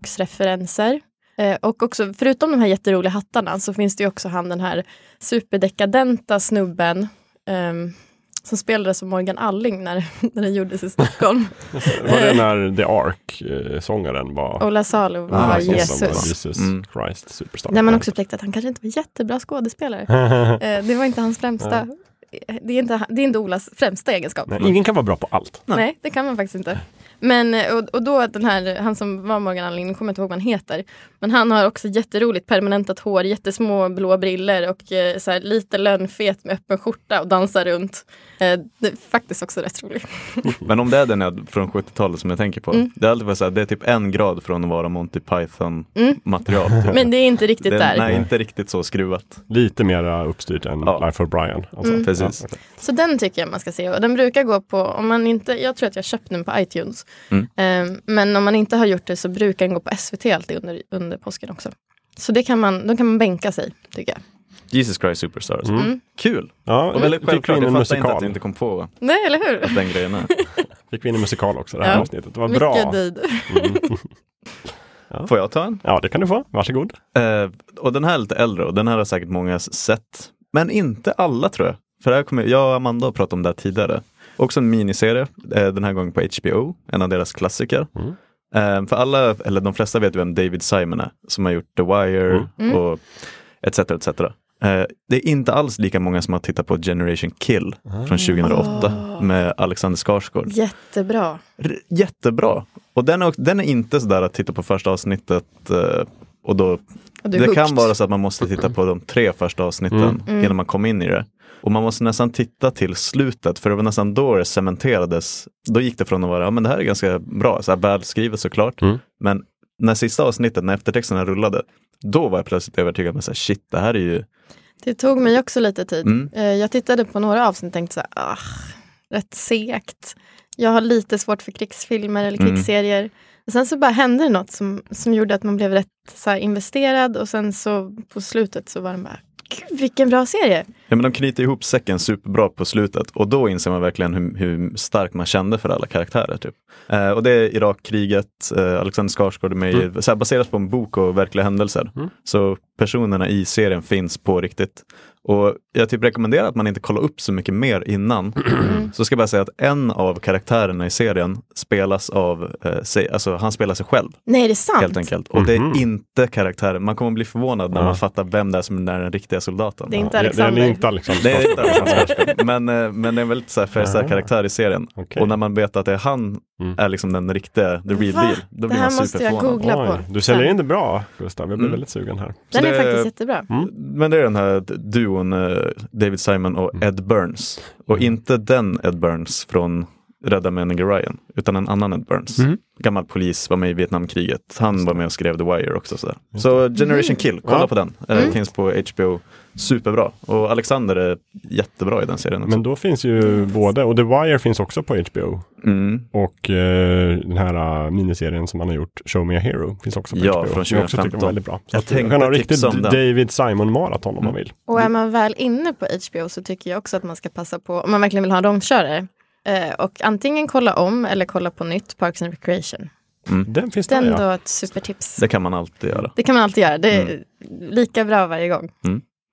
Speaker 2: glamrocksreferenser. Eh, och också, förutom de här jätteroliga hattarna så finns det ju också han den här superdekadenta snubben ehm, som spelades av Morgan Alling när, *laughs* när den gjordes i
Speaker 3: *laughs*
Speaker 2: Stockholm.
Speaker 3: Var det när The Ark-sångaren var
Speaker 2: Ola Salo var
Speaker 1: Ah,
Speaker 3: som- som var
Speaker 2: Jesus.
Speaker 3: Jesus
Speaker 1: Mm.
Speaker 3: Christ Superstar.
Speaker 2: Där man också upptäckte att han kanske inte var
Speaker 1: *laughs*
Speaker 2: jättebra skådespelare. Eh, Det var inte hans främsta. Det är inte, det är inte Olas främsta egenskap.
Speaker 3: Nej, ingen kan vara bra på allt.
Speaker 2: Nej. det kan man faktiskt inte. Men, eh, och, och då att den här, han som var Morgan Alling, nu kommer jag inte ihåg vad han heter. Men han har också jätteroligt permanentat hår, jättesmå blå briller och eh, så här, lite lönnfet med öppen skjorta och dansar runt. Eh, det är faktiskt också
Speaker 1: *laughs*
Speaker 2: rätt roligt.
Speaker 1: Men om det är den jag- från 70-talet som jag tänker på,
Speaker 2: Mm.
Speaker 1: det är alltid bara så här, det är typ en grad från att vara Monty
Speaker 2: *laughs*
Speaker 1: Python-material. typ.
Speaker 2: Mm. Men det är inte riktigt
Speaker 1: Det
Speaker 2: där.
Speaker 1: är, nej, inte riktigt så skruvat. Mm.
Speaker 3: Lite mera uppstyrt än
Speaker 1: Ja.
Speaker 3: Life of Brian.
Speaker 2: Mm.
Speaker 3: Alltså.
Speaker 1: Precis.
Speaker 3: Ja, okej.
Speaker 2: Så den tycker jag man ska se och den brukar gå på, om man inte, jag tror att jag köpte den på iTunes.
Speaker 1: Mm.
Speaker 2: Eh, men om man inte har gjort det så brukar den gå på SVT alltid under, under påsken också. Så det kan man, då kan man bänka sig tycker jag.
Speaker 1: Jesus Christ Superstars.
Speaker 2: Mm.
Speaker 1: Kul!
Speaker 3: Ja,
Speaker 1: Och väldigt
Speaker 3: fick vi
Speaker 1: självklart,
Speaker 3: in
Speaker 1: jag
Speaker 3: en
Speaker 1: fattar inte att
Speaker 3: musikal.
Speaker 1: ni inte kom på att
Speaker 2: Nej, eller hur?
Speaker 1: den grejen är.
Speaker 3: Fick vi in en musikal också det här
Speaker 2: Ja.
Speaker 3: avsnittet. Det var bra.
Speaker 2: Mycket död.
Speaker 1: Får jag ta en?
Speaker 3: Ja, det kan du få. Varsågod.
Speaker 1: Eh, och den här är lite äldre och den här har säkert många s- sett. Men inte alla tror jag. För det här kommer, jag och Amanda har pratat om det här tidigare. Också en miniserie, eh, den här gången på HBO, en av deras klassiker.
Speaker 3: Mm.
Speaker 1: Eh, för alla, eller de flesta vet vem David Simon är, som har gjort The Wire
Speaker 2: Mm.
Speaker 1: och etc. etc. Eh, det är inte alls lika många som har tittat på Generation Kill från 2008
Speaker 2: Ah.
Speaker 1: med Alexander Skarsgård.
Speaker 2: Jättebra.
Speaker 1: R- jättebra! Och den är, också- den är inte sådär att titta på första avsnittet eh, och då
Speaker 2: Och du är
Speaker 1: det kan
Speaker 2: hooked.
Speaker 1: vara så att man måste titta på de tre första avsnitten innan man kommer in i det. Och man måste nästan titta till slutet, för det var nästan då det cementerades. Då gick det från att vara, ja men det här är ganska bra, så här välskrivet såklart. Men när sista avsnittet, när eftertexterna rullade, då var jag plötsligt övertygad om att shit, det här är ju...
Speaker 2: Det tog mig också lite tid.
Speaker 1: Mm.
Speaker 2: Eh, Jag tittade på några avsnitt och tänkte så här, ah, rätt segt. Jag har lite svårt för krigsfilmer eller
Speaker 1: Mm.
Speaker 2: krigsserier. Och Sen så bara hände det något som, som gjorde att man blev rätt så här investerad och sen så på slutet så var den bara, gud vilken bra serie.
Speaker 1: Ja, men de knyter ihop säcken superbra på slutet och då inser man verkligen hur, hur starkt man kände för alla karaktärer. Typ. Eh, och det är Irakkriget, eh, Alexander Skarsgård är med i- så här, baserat på en bok och verkliga händelser. Så personerna i serien finns på riktigt. Och jag typ rekommenderar att man inte kollar upp så mycket mer innan.
Speaker 2: Mm.
Speaker 1: Så ska jag bara säga att en av karaktärerna i serien spelas av, eh, sig, alltså han spelar sig själv
Speaker 2: Nej, det är sant.
Speaker 1: helt enkelt. Och det är inte karaktären, man kommer bli förvånad när man fattar vem det är som är den riktiga soldaten.
Speaker 2: Det är inte
Speaker 3: Den
Speaker 2: Alexander.
Speaker 3: är inte Alexander
Speaker 1: Det är inte
Speaker 3: Skarsgård.
Speaker 1: Alexander Skarsgård. Men, eh, men det är en väldigt så här färgstark
Speaker 3: Ah.
Speaker 1: karaktär i serien.
Speaker 3: Okej.
Speaker 1: Och när man vet att det är han
Speaker 3: Mm.
Speaker 1: är liksom den riktiga, the real
Speaker 2: Va?
Speaker 1: deal. Då
Speaker 2: Det
Speaker 1: blir
Speaker 2: här
Speaker 1: man
Speaker 2: måste jag
Speaker 1: superförvånad.
Speaker 2: googla på.
Speaker 3: Oj, du säljer in det bra Gustav, jag blir
Speaker 1: Mm.
Speaker 3: väldigt sugen här.
Speaker 1: Så
Speaker 2: Den är
Speaker 1: det-
Speaker 2: faktiskt jättebra.
Speaker 1: Men det är den här duon eh, David Simon och Ed Burns. Och
Speaker 3: Mm.
Speaker 1: inte den Ed Burns från Rädda Meningen Ryan, utan en annan Ed Burns.
Speaker 3: Mm.
Speaker 1: Gammal polis, var med i Vietnamkriget. Han var med och skrev The Wire också. Sådär. Så
Speaker 2: Mm.
Speaker 1: Generation Kill, kolla
Speaker 3: Ja.
Speaker 1: på den. Eh, Finns på HBO. Superbra. Och Alexander är jättebra i den serien också.
Speaker 3: Men då finns ju både, och The Wire finns också på HBO.
Speaker 1: Mm.
Speaker 3: Och eh, den här eh, miniserien som han har gjort, Show Me A Hero, finns också på
Speaker 1: Ja,
Speaker 3: HBO.
Speaker 1: från
Speaker 3: som Jag också tycker
Speaker 1: 2015.
Speaker 3: var väldigt bra. Så
Speaker 1: Jag
Speaker 3: att man
Speaker 1: tänkte
Speaker 3: kan ha
Speaker 1: tipsa
Speaker 3: riktigt
Speaker 1: om den. Mm.
Speaker 3: David Simon-maraton om man vill.
Speaker 2: Och är man väl inne på HBO så tycker jag också att man ska passa på, om man verkligen vill ha en långkörare, eh, och antingen kolla om eller kolla på nytt Parks and Recreation.
Speaker 3: Den finns
Speaker 2: Den
Speaker 3: där
Speaker 2: då
Speaker 3: ja.
Speaker 2: är ett supertips.
Speaker 1: Det kan man alltid göra.
Speaker 2: Det kan man alltid göra, det är
Speaker 3: Mm.
Speaker 2: lika bra varje gång.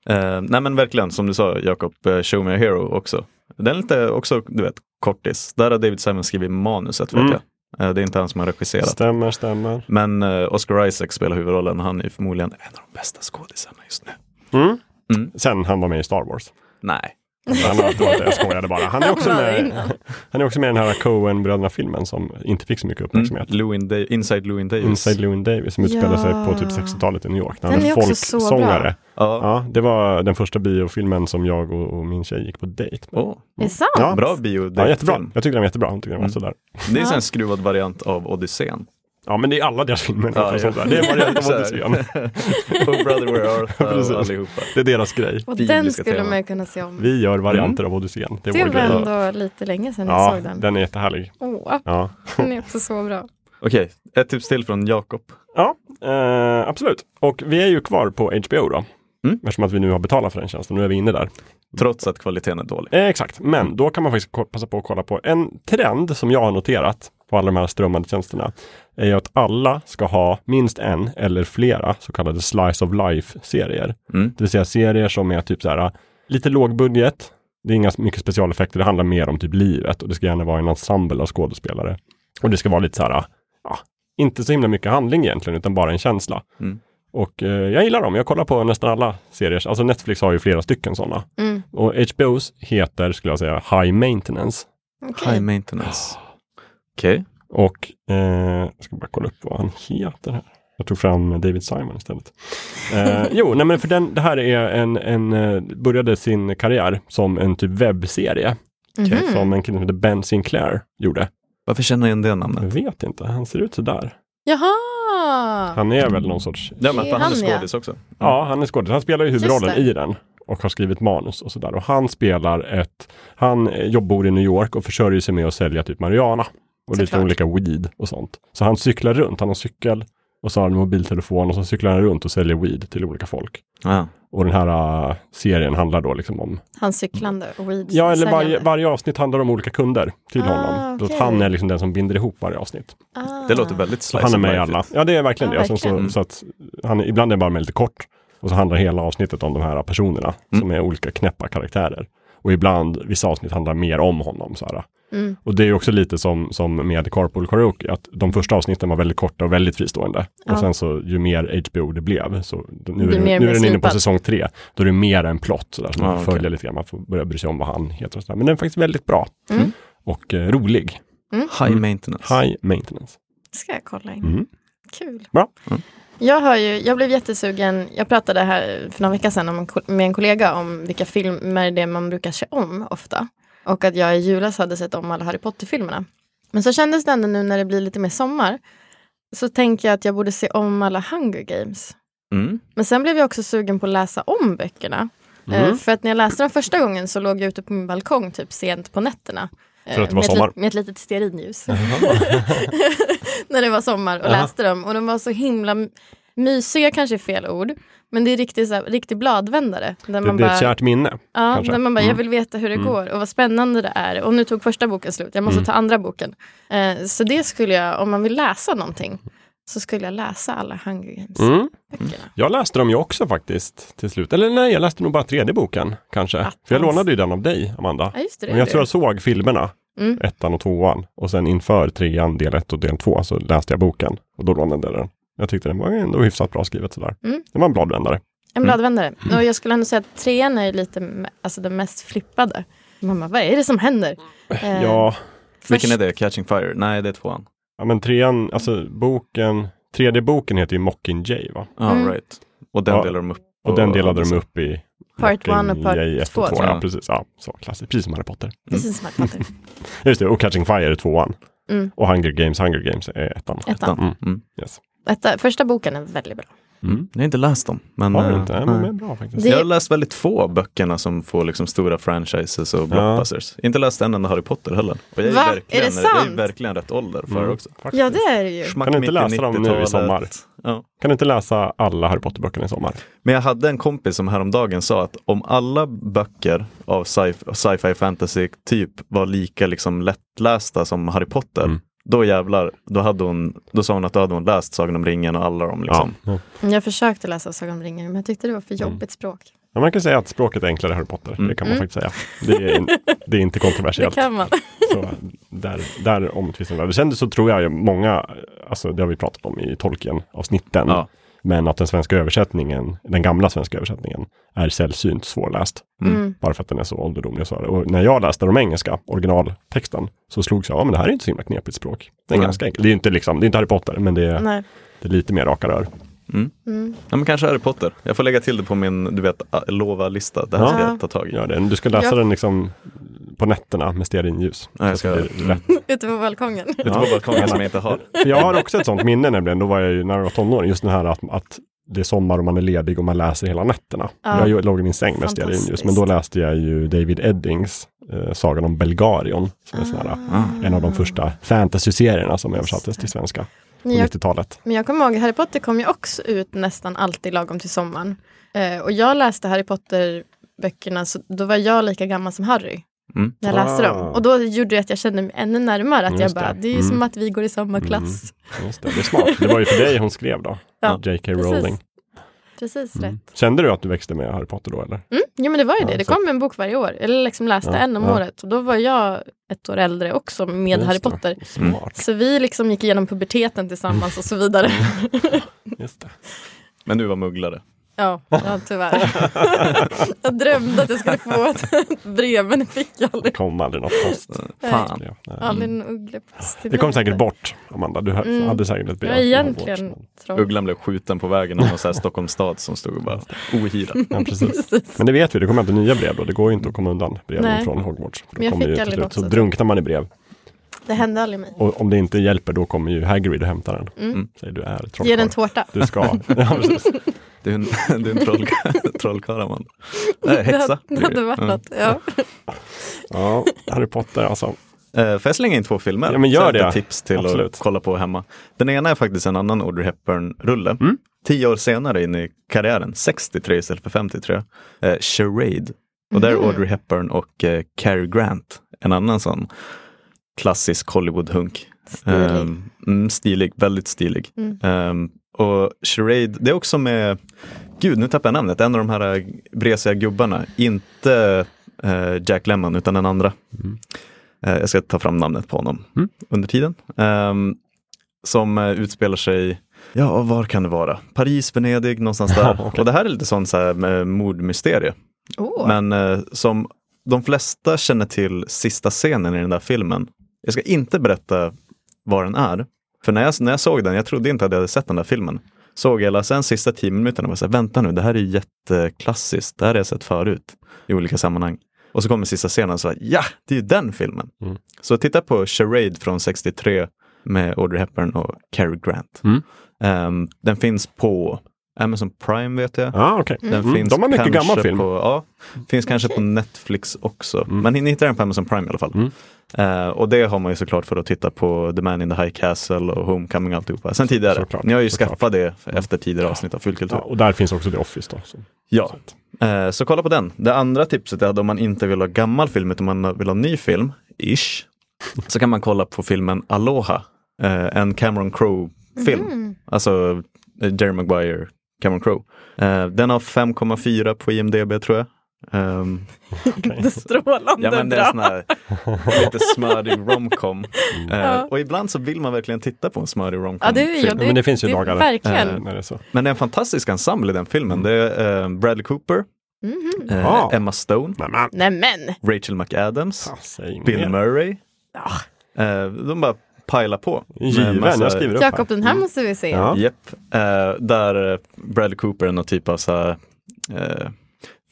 Speaker 1: Eh, nej men verkligen, som du sa Jakob, eh, Show Me A Hero också. Den är lite också, du vet, kortis. Där har David Simon skrivit manuset vet
Speaker 3: Mm.
Speaker 1: jag. Eh, det är inte han som har regisserat.
Speaker 3: Stämmer, stämmer.
Speaker 1: Men eh, Oscar Isaac spelar huvudrollen och han är ju förmodligen en av de bästa skådisarna just nu.
Speaker 3: Mm.
Speaker 1: Mm.
Speaker 3: Sen han var med i Star Wars.
Speaker 1: Nej.
Speaker 3: Han har inte varit det, jag skojade bara. Han är
Speaker 2: *laughs*
Speaker 3: också
Speaker 2: Han var det
Speaker 3: med,
Speaker 2: innan.
Speaker 3: han är också med i den här Coen-bröderna-filmen som inte fick så mycket
Speaker 1: Mm.
Speaker 3: uppmärksamhet.
Speaker 1: Lewin Da- Inside Lewin Davis.
Speaker 3: Inside Llewyn Mm, Davis som utspelar sig
Speaker 2: Ja.
Speaker 3: på typ 60-talet i New York. När
Speaker 2: Den
Speaker 3: han är
Speaker 2: är också så
Speaker 3: folksångare.
Speaker 1: Ja.
Speaker 3: Ja, det var den första biofilmen som jag och, och min tjej gick på dejt med.
Speaker 1: Åh,
Speaker 2: Är det sant?
Speaker 3: Ja.
Speaker 1: Bra bio.
Speaker 3: Ja, jättebra. Jag tyckte den var jättebra. Jag tyckte den var
Speaker 1: Mm.
Speaker 3: sådär.
Speaker 1: Det är så en skruvad variant av
Speaker 3: *laughs*
Speaker 1: Odysseen.
Speaker 3: Ja, men det är alla deras filmer.
Speaker 1: Ja,
Speaker 3: Ja,
Speaker 1: ja.
Speaker 3: Sånt där. Det är
Speaker 1: *laughs*
Speaker 3: varianten
Speaker 1: Så
Speaker 3: av
Speaker 1: här.
Speaker 3: Odysseen.
Speaker 1: Oh brother where art thou
Speaker 3: Precis.
Speaker 1: och allihopa.
Speaker 3: Det är deras grej.
Speaker 2: Och
Speaker 1: Bibliska
Speaker 2: den skulle
Speaker 1: teman.
Speaker 2: man ju kunna se om.
Speaker 3: Vi gör varianter av Odysseen. Det är
Speaker 2: Det
Speaker 3: vår
Speaker 2: var
Speaker 3: grej.
Speaker 2: ändå lite länge sedan jag
Speaker 3: Ja,
Speaker 2: såg den.
Speaker 3: den är jättehärlig.
Speaker 2: Åh,
Speaker 3: Ja,
Speaker 2: den är också så bra.
Speaker 1: Okej, ett tips till från Jakob.
Speaker 3: ja eh, absolut. Och vi är ju kvar på HBO då.
Speaker 1: Mm.
Speaker 3: Eftersom att vi nu har betalat för den tjänsten. Nu är vi inne där.
Speaker 1: Trots att kvaliteten är dålig.
Speaker 3: Eh, exakt, men då kan man faktiskt ko- passa på att kolla på en trend som jag har noterat på alla de här strömmande tjänsterna. är ju att alla ska ha minst en eller flera så kallade slice of life-serier.
Speaker 1: Mm.
Speaker 3: Det vill säga serier som är typ så här lite låg budget. Det är inga s- mycket specialeffekter, det handlar mer om typ livet och det ska gärna vara en ensemble av skådespelare. Och det ska vara lite så här, äh, ja, inte så himla mycket handling egentligen, utan bara en känsla.
Speaker 1: Mm.
Speaker 3: Och eh, jag gillar dem, jag kollar på nästan alla serier. Alltså Netflix har ju flera stycken sådana.
Speaker 2: Mm.
Speaker 3: Och HBOs heter, skulle jag säga, High Maintenance.
Speaker 2: Okej.
Speaker 1: High maintenance. Okej.
Speaker 3: Och eh, jag ska bara kolla upp vad han heter här. Jag tog fram David Simon istället. Eh, jo, nej men för den, det här är en, en, eh, började sin karriär som en typ webbserie
Speaker 2: Mhm.
Speaker 3: som en kille som heter Ben Sinclair gjorde.
Speaker 1: Varför känner jag igen det
Speaker 3: Jag
Speaker 1: namnet?
Speaker 3: vet inte, han ser ut sådär.
Speaker 2: Jaha!
Speaker 3: Han är väl någon sorts,
Speaker 1: Ja, men
Speaker 2: Det är
Speaker 1: för han är
Speaker 2: han, ja.
Speaker 1: skådis också.
Speaker 3: ja han är skådis, han spelar ju huvudrollen
Speaker 2: Just det.
Speaker 3: i den och har skrivit manus och sådär. Och han spelar ett, han eh, jobb- bor i New York och försörjer sig med att sälja typ marijuana och lite
Speaker 2: Såklart.
Speaker 3: olika weed och sånt. Så han cyklar runt, han har cykel och så har han en mobiltelefon och så cyklar han runt och säljer weed till olika folk.
Speaker 1: Ja.
Speaker 3: Och den här eh, serien handlar då liksom om
Speaker 2: Han cyklande och weed
Speaker 3: Ja, eller varje, varje avsnitt handlar om olika kunder till
Speaker 2: Ah,
Speaker 3: honom. Så
Speaker 2: okej.
Speaker 3: att han är liksom den som binder ihop varje avsnitt.
Speaker 2: ah.
Speaker 1: Det låter väldigt
Speaker 3: Så
Speaker 1: slice
Speaker 3: Typ han är
Speaker 1: of
Speaker 3: med i
Speaker 1: life.
Speaker 3: alla. Ja, det är verkligen
Speaker 2: Ja,
Speaker 3: det. Och sen
Speaker 2: verkligen.
Speaker 3: så, så att han, är- ibland är det bara med lite kort. Och så handlar hela avsnittet om de här personerna som är olika knäppa karaktärer. Och ibland, vissa avsnitt handlar mer om honom. Så här.
Speaker 2: Mm.
Speaker 3: Och det är ju också lite som, som med Carpool Karaoke, att de första avsnitten var väldigt korta och väldigt fristående.
Speaker 2: Ja.
Speaker 3: Och sen så, ju mer HBO det blev, så nu är,
Speaker 2: Blir
Speaker 3: det,
Speaker 2: mer
Speaker 3: nu är den inne på
Speaker 2: slipad.
Speaker 3: säsong tre, då är det mer en plott, så där, som man
Speaker 1: Ja,
Speaker 3: får följa
Speaker 1: okej.
Speaker 3: lite grann, man får börja bry sig om vad han heter och sådär. Men den är faktiskt väldigt bra.
Speaker 2: Mm.
Speaker 3: Och eh, rolig.
Speaker 1: High maintenance.
Speaker 3: High maintenance.
Speaker 2: ska jag kolla in.
Speaker 3: Mm.
Speaker 2: Kul.
Speaker 3: Bra.
Speaker 2: Jag, har ju, jag blev jättesugen, jag pratade här för några veckor sedan om, en ko- med en kollega om vilka filmer det är man brukar se om ofta. Och att jag i julas hade sett om alla Harry Potter-filmerna. Men så kändes det ändå nu när det blir lite mer sommar. Så tänker jag att jag borde se om alla Hunger Games.
Speaker 1: Mm.
Speaker 2: Men sen blev jag också sugen på att läsa om böckerna.
Speaker 3: Mm.
Speaker 2: Eh, För att när jag läste dem första gången så låg jag ute på min balkong typ sent på nätterna. Eh,
Speaker 3: För att det var
Speaker 2: med, ett
Speaker 3: sommar.
Speaker 2: lit- med ett litet stearinljus. *laughs* när det var sommar och läste dem. Och de var så himla m- mysiga, kanske är fel ord. Men det är riktigt, så här, riktig bladvändare. Där
Speaker 3: Det
Speaker 2: man
Speaker 3: blir ett
Speaker 2: bara,
Speaker 3: kärt minne.
Speaker 2: ja,
Speaker 3: kanske. Mm.
Speaker 2: där man bara jag vill veta hur det går och vad spännande det är. Och nu tog första boken slut, jag måste
Speaker 3: Mm.
Speaker 2: ta andra boken. Eh, så det skulle jag, om man vill läsa någonting, så skulle jag läsa alla Hunger Games-böckerna.
Speaker 3: Mm. Jag läste dem ju också faktiskt till slut. Eller nej, jag läste nog bara tredje boken kanske. För
Speaker 2: Attans.
Speaker 3: jag lånade ju den av dig, Amanda.
Speaker 2: Ah, Ja, just det, det
Speaker 3: Men jag
Speaker 2: är
Speaker 3: tror
Speaker 2: det.
Speaker 3: jag såg filmerna,
Speaker 2: Mm.
Speaker 3: ettan och tvåan. Och sen inför trean, del ett och del två, så läste jag boken. Och då lånade jag den. Jag tyckte den var ändå hyfsat bra skrivet sådär.
Speaker 2: Mm.
Speaker 3: Det var en bladvändare.
Speaker 2: En bladvändare. Och jag skulle ändå säga att trean är lite m- alltså, den mest flippade. Mamma, vad är det som händer? Eh,
Speaker 3: Ja,
Speaker 1: Vilken är det? Mm. Catching Fire? Nej, det är tvåan.
Speaker 3: ja men trean, alltså boken, tredje boken heter ju Mockingjay va?
Speaker 1: Ja,
Speaker 2: Mm.
Speaker 1: Ah, right. Och den
Speaker 3: Ja,
Speaker 1: delar de upp.
Speaker 3: Och den delade
Speaker 1: alltså,
Speaker 3: de upp i
Speaker 2: Part one och part
Speaker 3: Mockingjay ett
Speaker 2: två,
Speaker 3: och
Speaker 2: tror
Speaker 1: jag.
Speaker 3: Ja, precis. Ja, så klassiskt. Precis som Harry Potter.
Speaker 2: Precis som Harry Potter.
Speaker 3: Just det, och Catching Fire är tvåan.
Speaker 2: Mm.
Speaker 3: Och Hunger Games, Hunger Games är ettan.
Speaker 2: Ettan.
Speaker 1: Mm.
Speaker 3: Yes.
Speaker 2: Etta, första boken är väldigt bra.
Speaker 1: Jag har inte läst dem. Men,
Speaker 3: Har du
Speaker 1: eh,
Speaker 3: inte? Ja, men
Speaker 1: nej.
Speaker 3: det är bra faktiskt.
Speaker 2: Det-
Speaker 1: Jag har läst väldigt få av böckerna som får liksom stora franchises och blockbusters. Inte läst en enda Harry Potter heller. Och jag är, ju
Speaker 2: Va? Är
Speaker 1: verkligen,
Speaker 2: det
Speaker 1: Jag är ju
Speaker 2: sant?
Speaker 1: verkligen rätt ålder för det också.
Speaker 3: Faktiskt.
Speaker 2: Ja, det är det ju.
Speaker 1: Schmack
Speaker 3: Kan Mm. du inte
Speaker 1: mitt i
Speaker 3: läsa dem nu i
Speaker 1: 90-talet.
Speaker 3: sommar?
Speaker 1: Ja.
Speaker 3: Kan du inte läsa alla Harry Potter-böckerna i sommar?
Speaker 1: Men jag hade en kompis som häromdagen sa att om alla böcker av sci- sci-fi fantasy typ var lika liksom lättlästa som Harry Potter,
Speaker 3: Mm.
Speaker 1: då jävlar, då, hade hon, då sa hon att då hade hon läst Sagan om ringen och alla dem. Liksom.
Speaker 3: Ja.
Speaker 2: Mm, Jag försökte läsa Sagan om ringen men jag tyckte det var för jobbigt språk.
Speaker 3: Ja, man kan säga att språket är enklare i Harry Potter. Det kan man faktiskt säga. Det är, det är inte
Speaker 2: Mm. Det
Speaker 3: kontroversiellt.
Speaker 2: kan man.
Speaker 3: Så där, där omtvistar vi. Sen så tror jag ju många, alltså det har vi pratat om i Tolkien-avsnitten,
Speaker 1: Ja.
Speaker 3: men att den svenska översättningen, den gamla svenska översättningen, är sällsynt svårläst.
Speaker 1: Mm.
Speaker 3: Bara för att den är så ålderdomlig. Och, så. och när jag läste de engelska originaltexten så slogs jag av, men det här är inte så himla knepigt språk. Det är
Speaker 1: Nej.
Speaker 3: ganska enkelt. Det är ju inte, liksom, det är inte Harry Potter, men det är,
Speaker 2: Nej. *laughs*
Speaker 3: det är lite mer raka rör.
Speaker 1: Ja, men kanske Harry Potter. Jag får lägga till det på min, du vet, a- lova-lista. Det här ska
Speaker 3: Ja.
Speaker 1: jag ta tag i.
Speaker 3: Gör det. Du ska läsa
Speaker 2: Ja.
Speaker 3: den liksom på nätterna med stearinljus.
Speaker 1: Ja, jag
Speaker 3: Så
Speaker 1: ska
Speaker 3: att det
Speaker 1: göra
Speaker 3: blir rätt.
Speaker 2: Ute på balkongen.
Speaker 1: Ute på balkongen som jag inte har.
Speaker 3: För jag har också ett sånt minne nämligen, då var jag ju när jag var tonåring, just den här att, att det är sommar och man är ledig och man läser hela nätterna.
Speaker 2: Ja.
Speaker 3: Jag ju- låg i min säng med
Speaker 2: Fantastiskt.
Speaker 3: stearinljus, men då läste jag ju David Eddings eh, Sagan om Belgarion, som är sån här,
Speaker 2: Ah.
Speaker 3: en av
Speaker 2: Mm.
Speaker 3: de första fantasy-serierna som översattes till svenska på
Speaker 2: Men jag,
Speaker 3: 90-talet.
Speaker 2: men jag kommer ihåg, Harry Potter kom ju också ut nästan alltid lagom till sommaren. Eh, och jag läste Harry Potter-böckerna, så då var jag lika gammal som Harry.
Speaker 1: Mm.
Speaker 2: När jag läste
Speaker 3: Ah.
Speaker 2: dem. Och då gjorde det att jag kände mig ännu närmare. Att jag
Speaker 3: Just
Speaker 2: bara,
Speaker 3: det.
Speaker 2: det, är ju
Speaker 3: Mm.
Speaker 2: som att vi går i samma klass.
Speaker 3: Just det, det är smart. Det var ju för dig hon skrev då,
Speaker 2: Ja,
Speaker 3: J.K.
Speaker 2: precis.
Speaker 3: Rowling.
Speaker 2: Precis
Speaker 3: Mm.
Speaker 2: rätt.
Speaker 3: Kände du att du växte med Harry Potter då eller?
Speaker 2: Jo men det var ju
Speaker 3: Ja,
Speaker 2: det. Det
Speaker 3: så-
Speaker 2: kom en bok varje år. Eller liksom läste
Speaker 3: Ja,
Speaker 2: en om
Speaker 3: ja.
Speaker 2: året. Och då var jag ett år äldre också med
Speaker 3: Just
Speaker 2: Harry
Speaker 3: det.
Speaker 2: Potter.
Speaker 3: Smart,
Speaker 2: Så vi liksom gick igenom puberteten tillsammans och så
Speaker 3: *laughs*
Speaker 2: vidare.
Speaker 3: just det.
Speaker 1: Men du var mugglare.
Speaker 2: Ja, ja tyvärr. *laughs* jag drömde att jag skulle få ett *laughs* brev men det fick jag
Speaker 3: Det
Speaker 2: aldrig.
Speaker 3: kom aldrig något post.
Speaker 1: Fan.
Speaker 3: Ja, nej.
Speaker 2: Aldrig en ugglepost till
Speaker 3: Mm. Det kom
Speaker 2: mig.
Speaker 3: säkert bort, Amanda. Du hade
Speaker 2: Mm.
Speaker 3: hade säkert ett brev.
Speaker 2: Ja, egentligen. Troll.
Speaker 1: Ugglan blev skjuten på vägen av någon så här Stockholms stad som stod och bara ohyra.
Speaker 3: Ja, precis.
Speaker 2: Precis.
Speaker 3: Men det vet vi, det kommer inte nya brev då. Det går ju inte att komma undan breven
Speaker 2: Nej.
Speaker 3: från Hogwarts. För då
Speaker 2: Men jag
Speaker 3: kommer
Speaker 2: fick
Speaker 3: ju till
Speaker 2: aldrig
Speaker 3: slut.
Speaker 2: något
Speaker 3: Så
Speaker 2: sånt.
Speaker 3: drunknar man i brev.
Speaker 2: Det hände aldrig mig.
Speaker 3: Och om det inte hjälper, då kommer ju Hagrid och hämtar den.
Speaker 2: Mm.
Speaker 3: Säger du är trollkarl.
Speaker 2: Ge den tårta.
Speaker 3: Du
Speaker 2: *laughs*
Speaker 3: ska. Ja, precis.
Speaker 1: Du är en, *laughs* du är en troll, trollkarl Amanda. Nej,
Speaker 2: Det
Speaker 1: häxa.
Speaker 2: hade- Det hade
Speaker 3: Mm.
Speaker 2: varit något. Ja.
Speaker 3: ja, *laughs* Harry Potter alltså.
Speaker 1: Eh, Får jag slänga in två filmer?
Speaker 3: Ja, men gör
Speaker 1: Så jag har
Speaker 3: det.
Speaker 1: lite tips till
Speaker 3: Absolut.
Speaker 1: att kolla på hemma. Den ena är faktiskt en annan Audrey Hepburn-rulle.
Speaker 3: Mm.
Speaker 1: Tio år senare in i karriären, 63 istället för 53, eh, Charade. Och där är
Speaker 2: Mm.
Speaker 1: Audrey Hepburn och eh, Cary Grant, en annan sån klassisk Hollywood-hunk.
Speaker 2: Stilig.
Speaker 1: Ehm, mm, stilig, väldigt stilig. Ehm, och Charade, det är också med, gud nu tappar jag namnet, en av de här eh, vresiga gubbarna. Inte eh, Jack Lemmon utan den andra. Eh, jag ska ta fram namnet på honom under tiden. Ehm, som eh, utspelar sig, ja var kan det vara? Paris, Venedig, någonstans där. Och det här är lite sånt så här, med mordmysterie.
Speaker 2: Åh.
Speaker 1: Men eh, som de flesta känner till sista scenen i den där filmen. Jag ska inte berätta vad den är. För när jag, när jag såg den, jag trodde inte att jag hade sett den där filmen. Såg hela sen sista tio minuterna och var så här, vänta nu, det här är ju jätteklassiskt. Det här har jag sett förut i olika sammanhang. Och så kommer sista scenen och så här, ja, det är ju den filmen. Så titta på Charade från 63 med Audrey Hepburn och Cary Grant. Ehm, den finns på Amazon Prime vet jag.
Speaker 3: Ja, okej.
Speaker 1: Den finns
Speaker 3: Mm. De har mycket
Speaker 1: kanske
Speaker 3: gammal film.
Speaker 1: På, ja, finns kanske på Netflix också.
Speaker 3: Mm.
Speaker 1: Men ni hittar den på Amazon Prime i alla fall. Eh, och det har man ju såklart för att titta på The Man in the High Castle och Homecoming och alltihopa. Sen tidigare.
Speaker 3: Såklart,
Speaker 1: ni har ju
Speaker 3: såklart. Mm.
Speaker 1: skaffat det efter tidigare avsnitt av Fullkultur.
Speaker 3: Ja, och där finns också The Office då. Så.
Speaker 1: Ja, eh, så kolla på den. Det andra tipset är att om man inte vill ha gammal film utan man vill ha ny film, ish, så kan man kolla på filmen Aloha, eh, en Cameron Crowe-film.
Speaker 2: Mm.
Speaker 1: Alltså eh, Jerry Maguire, Cameron Crowe. Eh, Den har 5,4 på IMDB tror jag. Ehm,
Speaker 2: Det strålande
Speaker 1: ja, men det är
Speaker 2: bra.
Speaker 1: sån här *laughs* lite smörig romcom. Eh,
Speaker 2: Ja.
Speaker 1: Och ibland så vill man verkligen titta på en smörig romcom.
Speaker 2: ja, det är, ja,
Speaker 1: film.
Speaker 2: det,
Speaker 3: men det finns ju dagar Ehm. där.
Speaker 2: Verkligen.
Speaker 1: Eh,
Speaker 3: När det är så.
Speaker 1: Men det är en fantastisk ensemble i den filmen. Det är eh, Bradley Cooper,
Speaker 2: Mhm.
Speaker 1: eh,
Speaker 3: Ah.
Speaker 1: Emma Stone,
Speaker 3: Men, men.
Speaker 2: Nej men,
Speaker 1: Rachel McAdams,
Speaker 3: fan, Säg
Speaker 1: Bill
Speaker 3: mer.
Speaker 1: Murray.
Speaker 2: Ah.
Speaker 1: Eh, de bara pilar på. med
Speaker 3: Given,
Speaker 1: massa-
Speaker 3: jag skriver upp här. Mm.
Speaker 2: Jakob den här måste vi se.
Speaker 3: Ja.
Speaker 1: Japp. Eh, där eh, Bradley Cooper är någon typ av så här, eh,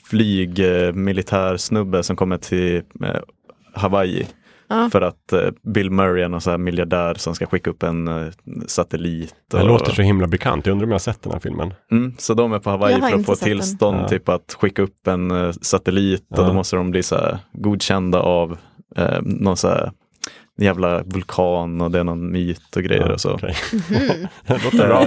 Speaker 1: flyg, eh, militär snubbe som kommer till eh, Hawaii.
Speaker 2: Ja.
Speaker 1: För att eh, Bill Murray är någon så här miljardär som ska skicka upp en eh, satellit.
Speaker 3: Det låter så himla bekant. Jag undrar om jag har sett den här filmen.
Speaker 1: Mm, så de är på
Speaker 2: Jag
Speaker 1: Hawaii
Speaker 2: har
Speaker 1: för att
Speaker 2: inte
Speaker 1: få
Speaker 2: sett den.
Speaker 1: tillstånd
Speaker 3: Ja.
Speaker 1: typ att skicka upp en eh, satellit och
Speaker 3: Ja.
Speaker 1: då måste de bli så här, godkända av eh, någon så här jävla vulkan och det är någon myt och grejer
Speaker 3: Ja,
Speaker 1: och så. Eh,
Speaker 3: okej. det låter bra.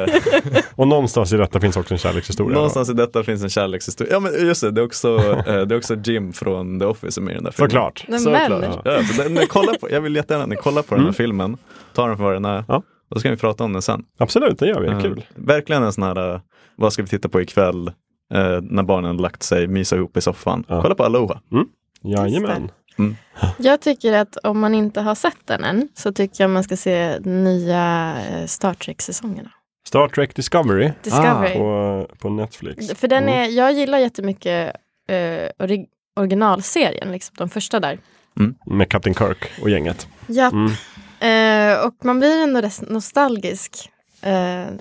Speaker 3: Och någonstans i detta finns också en kärlekshistoria. då.
Speaker 1: Någonstans i detta finns en kärlekshistoria. Ja men just det, det är
Speaker 3: *laughs*
Speaker 1: också, eh, det är också Jim från The Office som är med i den där filmen.
Speaker 3: Såklart.
Speaker 2: Nej,
Speaker 1: Såklart.
Speaker 2: men.
Speaker 1: Ja. så den, den, kolla på, jag vill jättegärna att ni kollar på den här filmen, tar den för vad den är
Speaker 3: Mm. Ja.
Speaker 1: och så kan vi prata om den sen.
Speaker 3: Absolut, det gör vi.
Speaker 1: Eh,
Speaker 3: Kul.
Speaker 1: Verkligen en sån här, eh, vad ska vi titta på ikväll? Eh, när barnen lagt sig, mysa ihop i soffan.
Speaker 3: Ja.
Speaker 1: Kolla på Aloha.
Speaker 3: Jajamän.
Speaker 2: Jag tycker att om man inte har sett den än så tycker jag man ska se nya eh, Star Trek-säsongerna.
Speaker 3: Star Trek Discovery. Ah,
Speaker 2: Discovery.
Speaker 3: På, på Netflix.
Speaker 2: För den
Speaker 3: Mm.
Speaker 2: är, jag gillar jättemycket eh, ori- originalserien, liksom, de första där.
Speaker 3: Med Captain Kirk och gänget.
Speaker 2: Japp.
Speaker 3: Mm.
Speaker 2: Eh, och man blir ändå res- nostalgisk eh,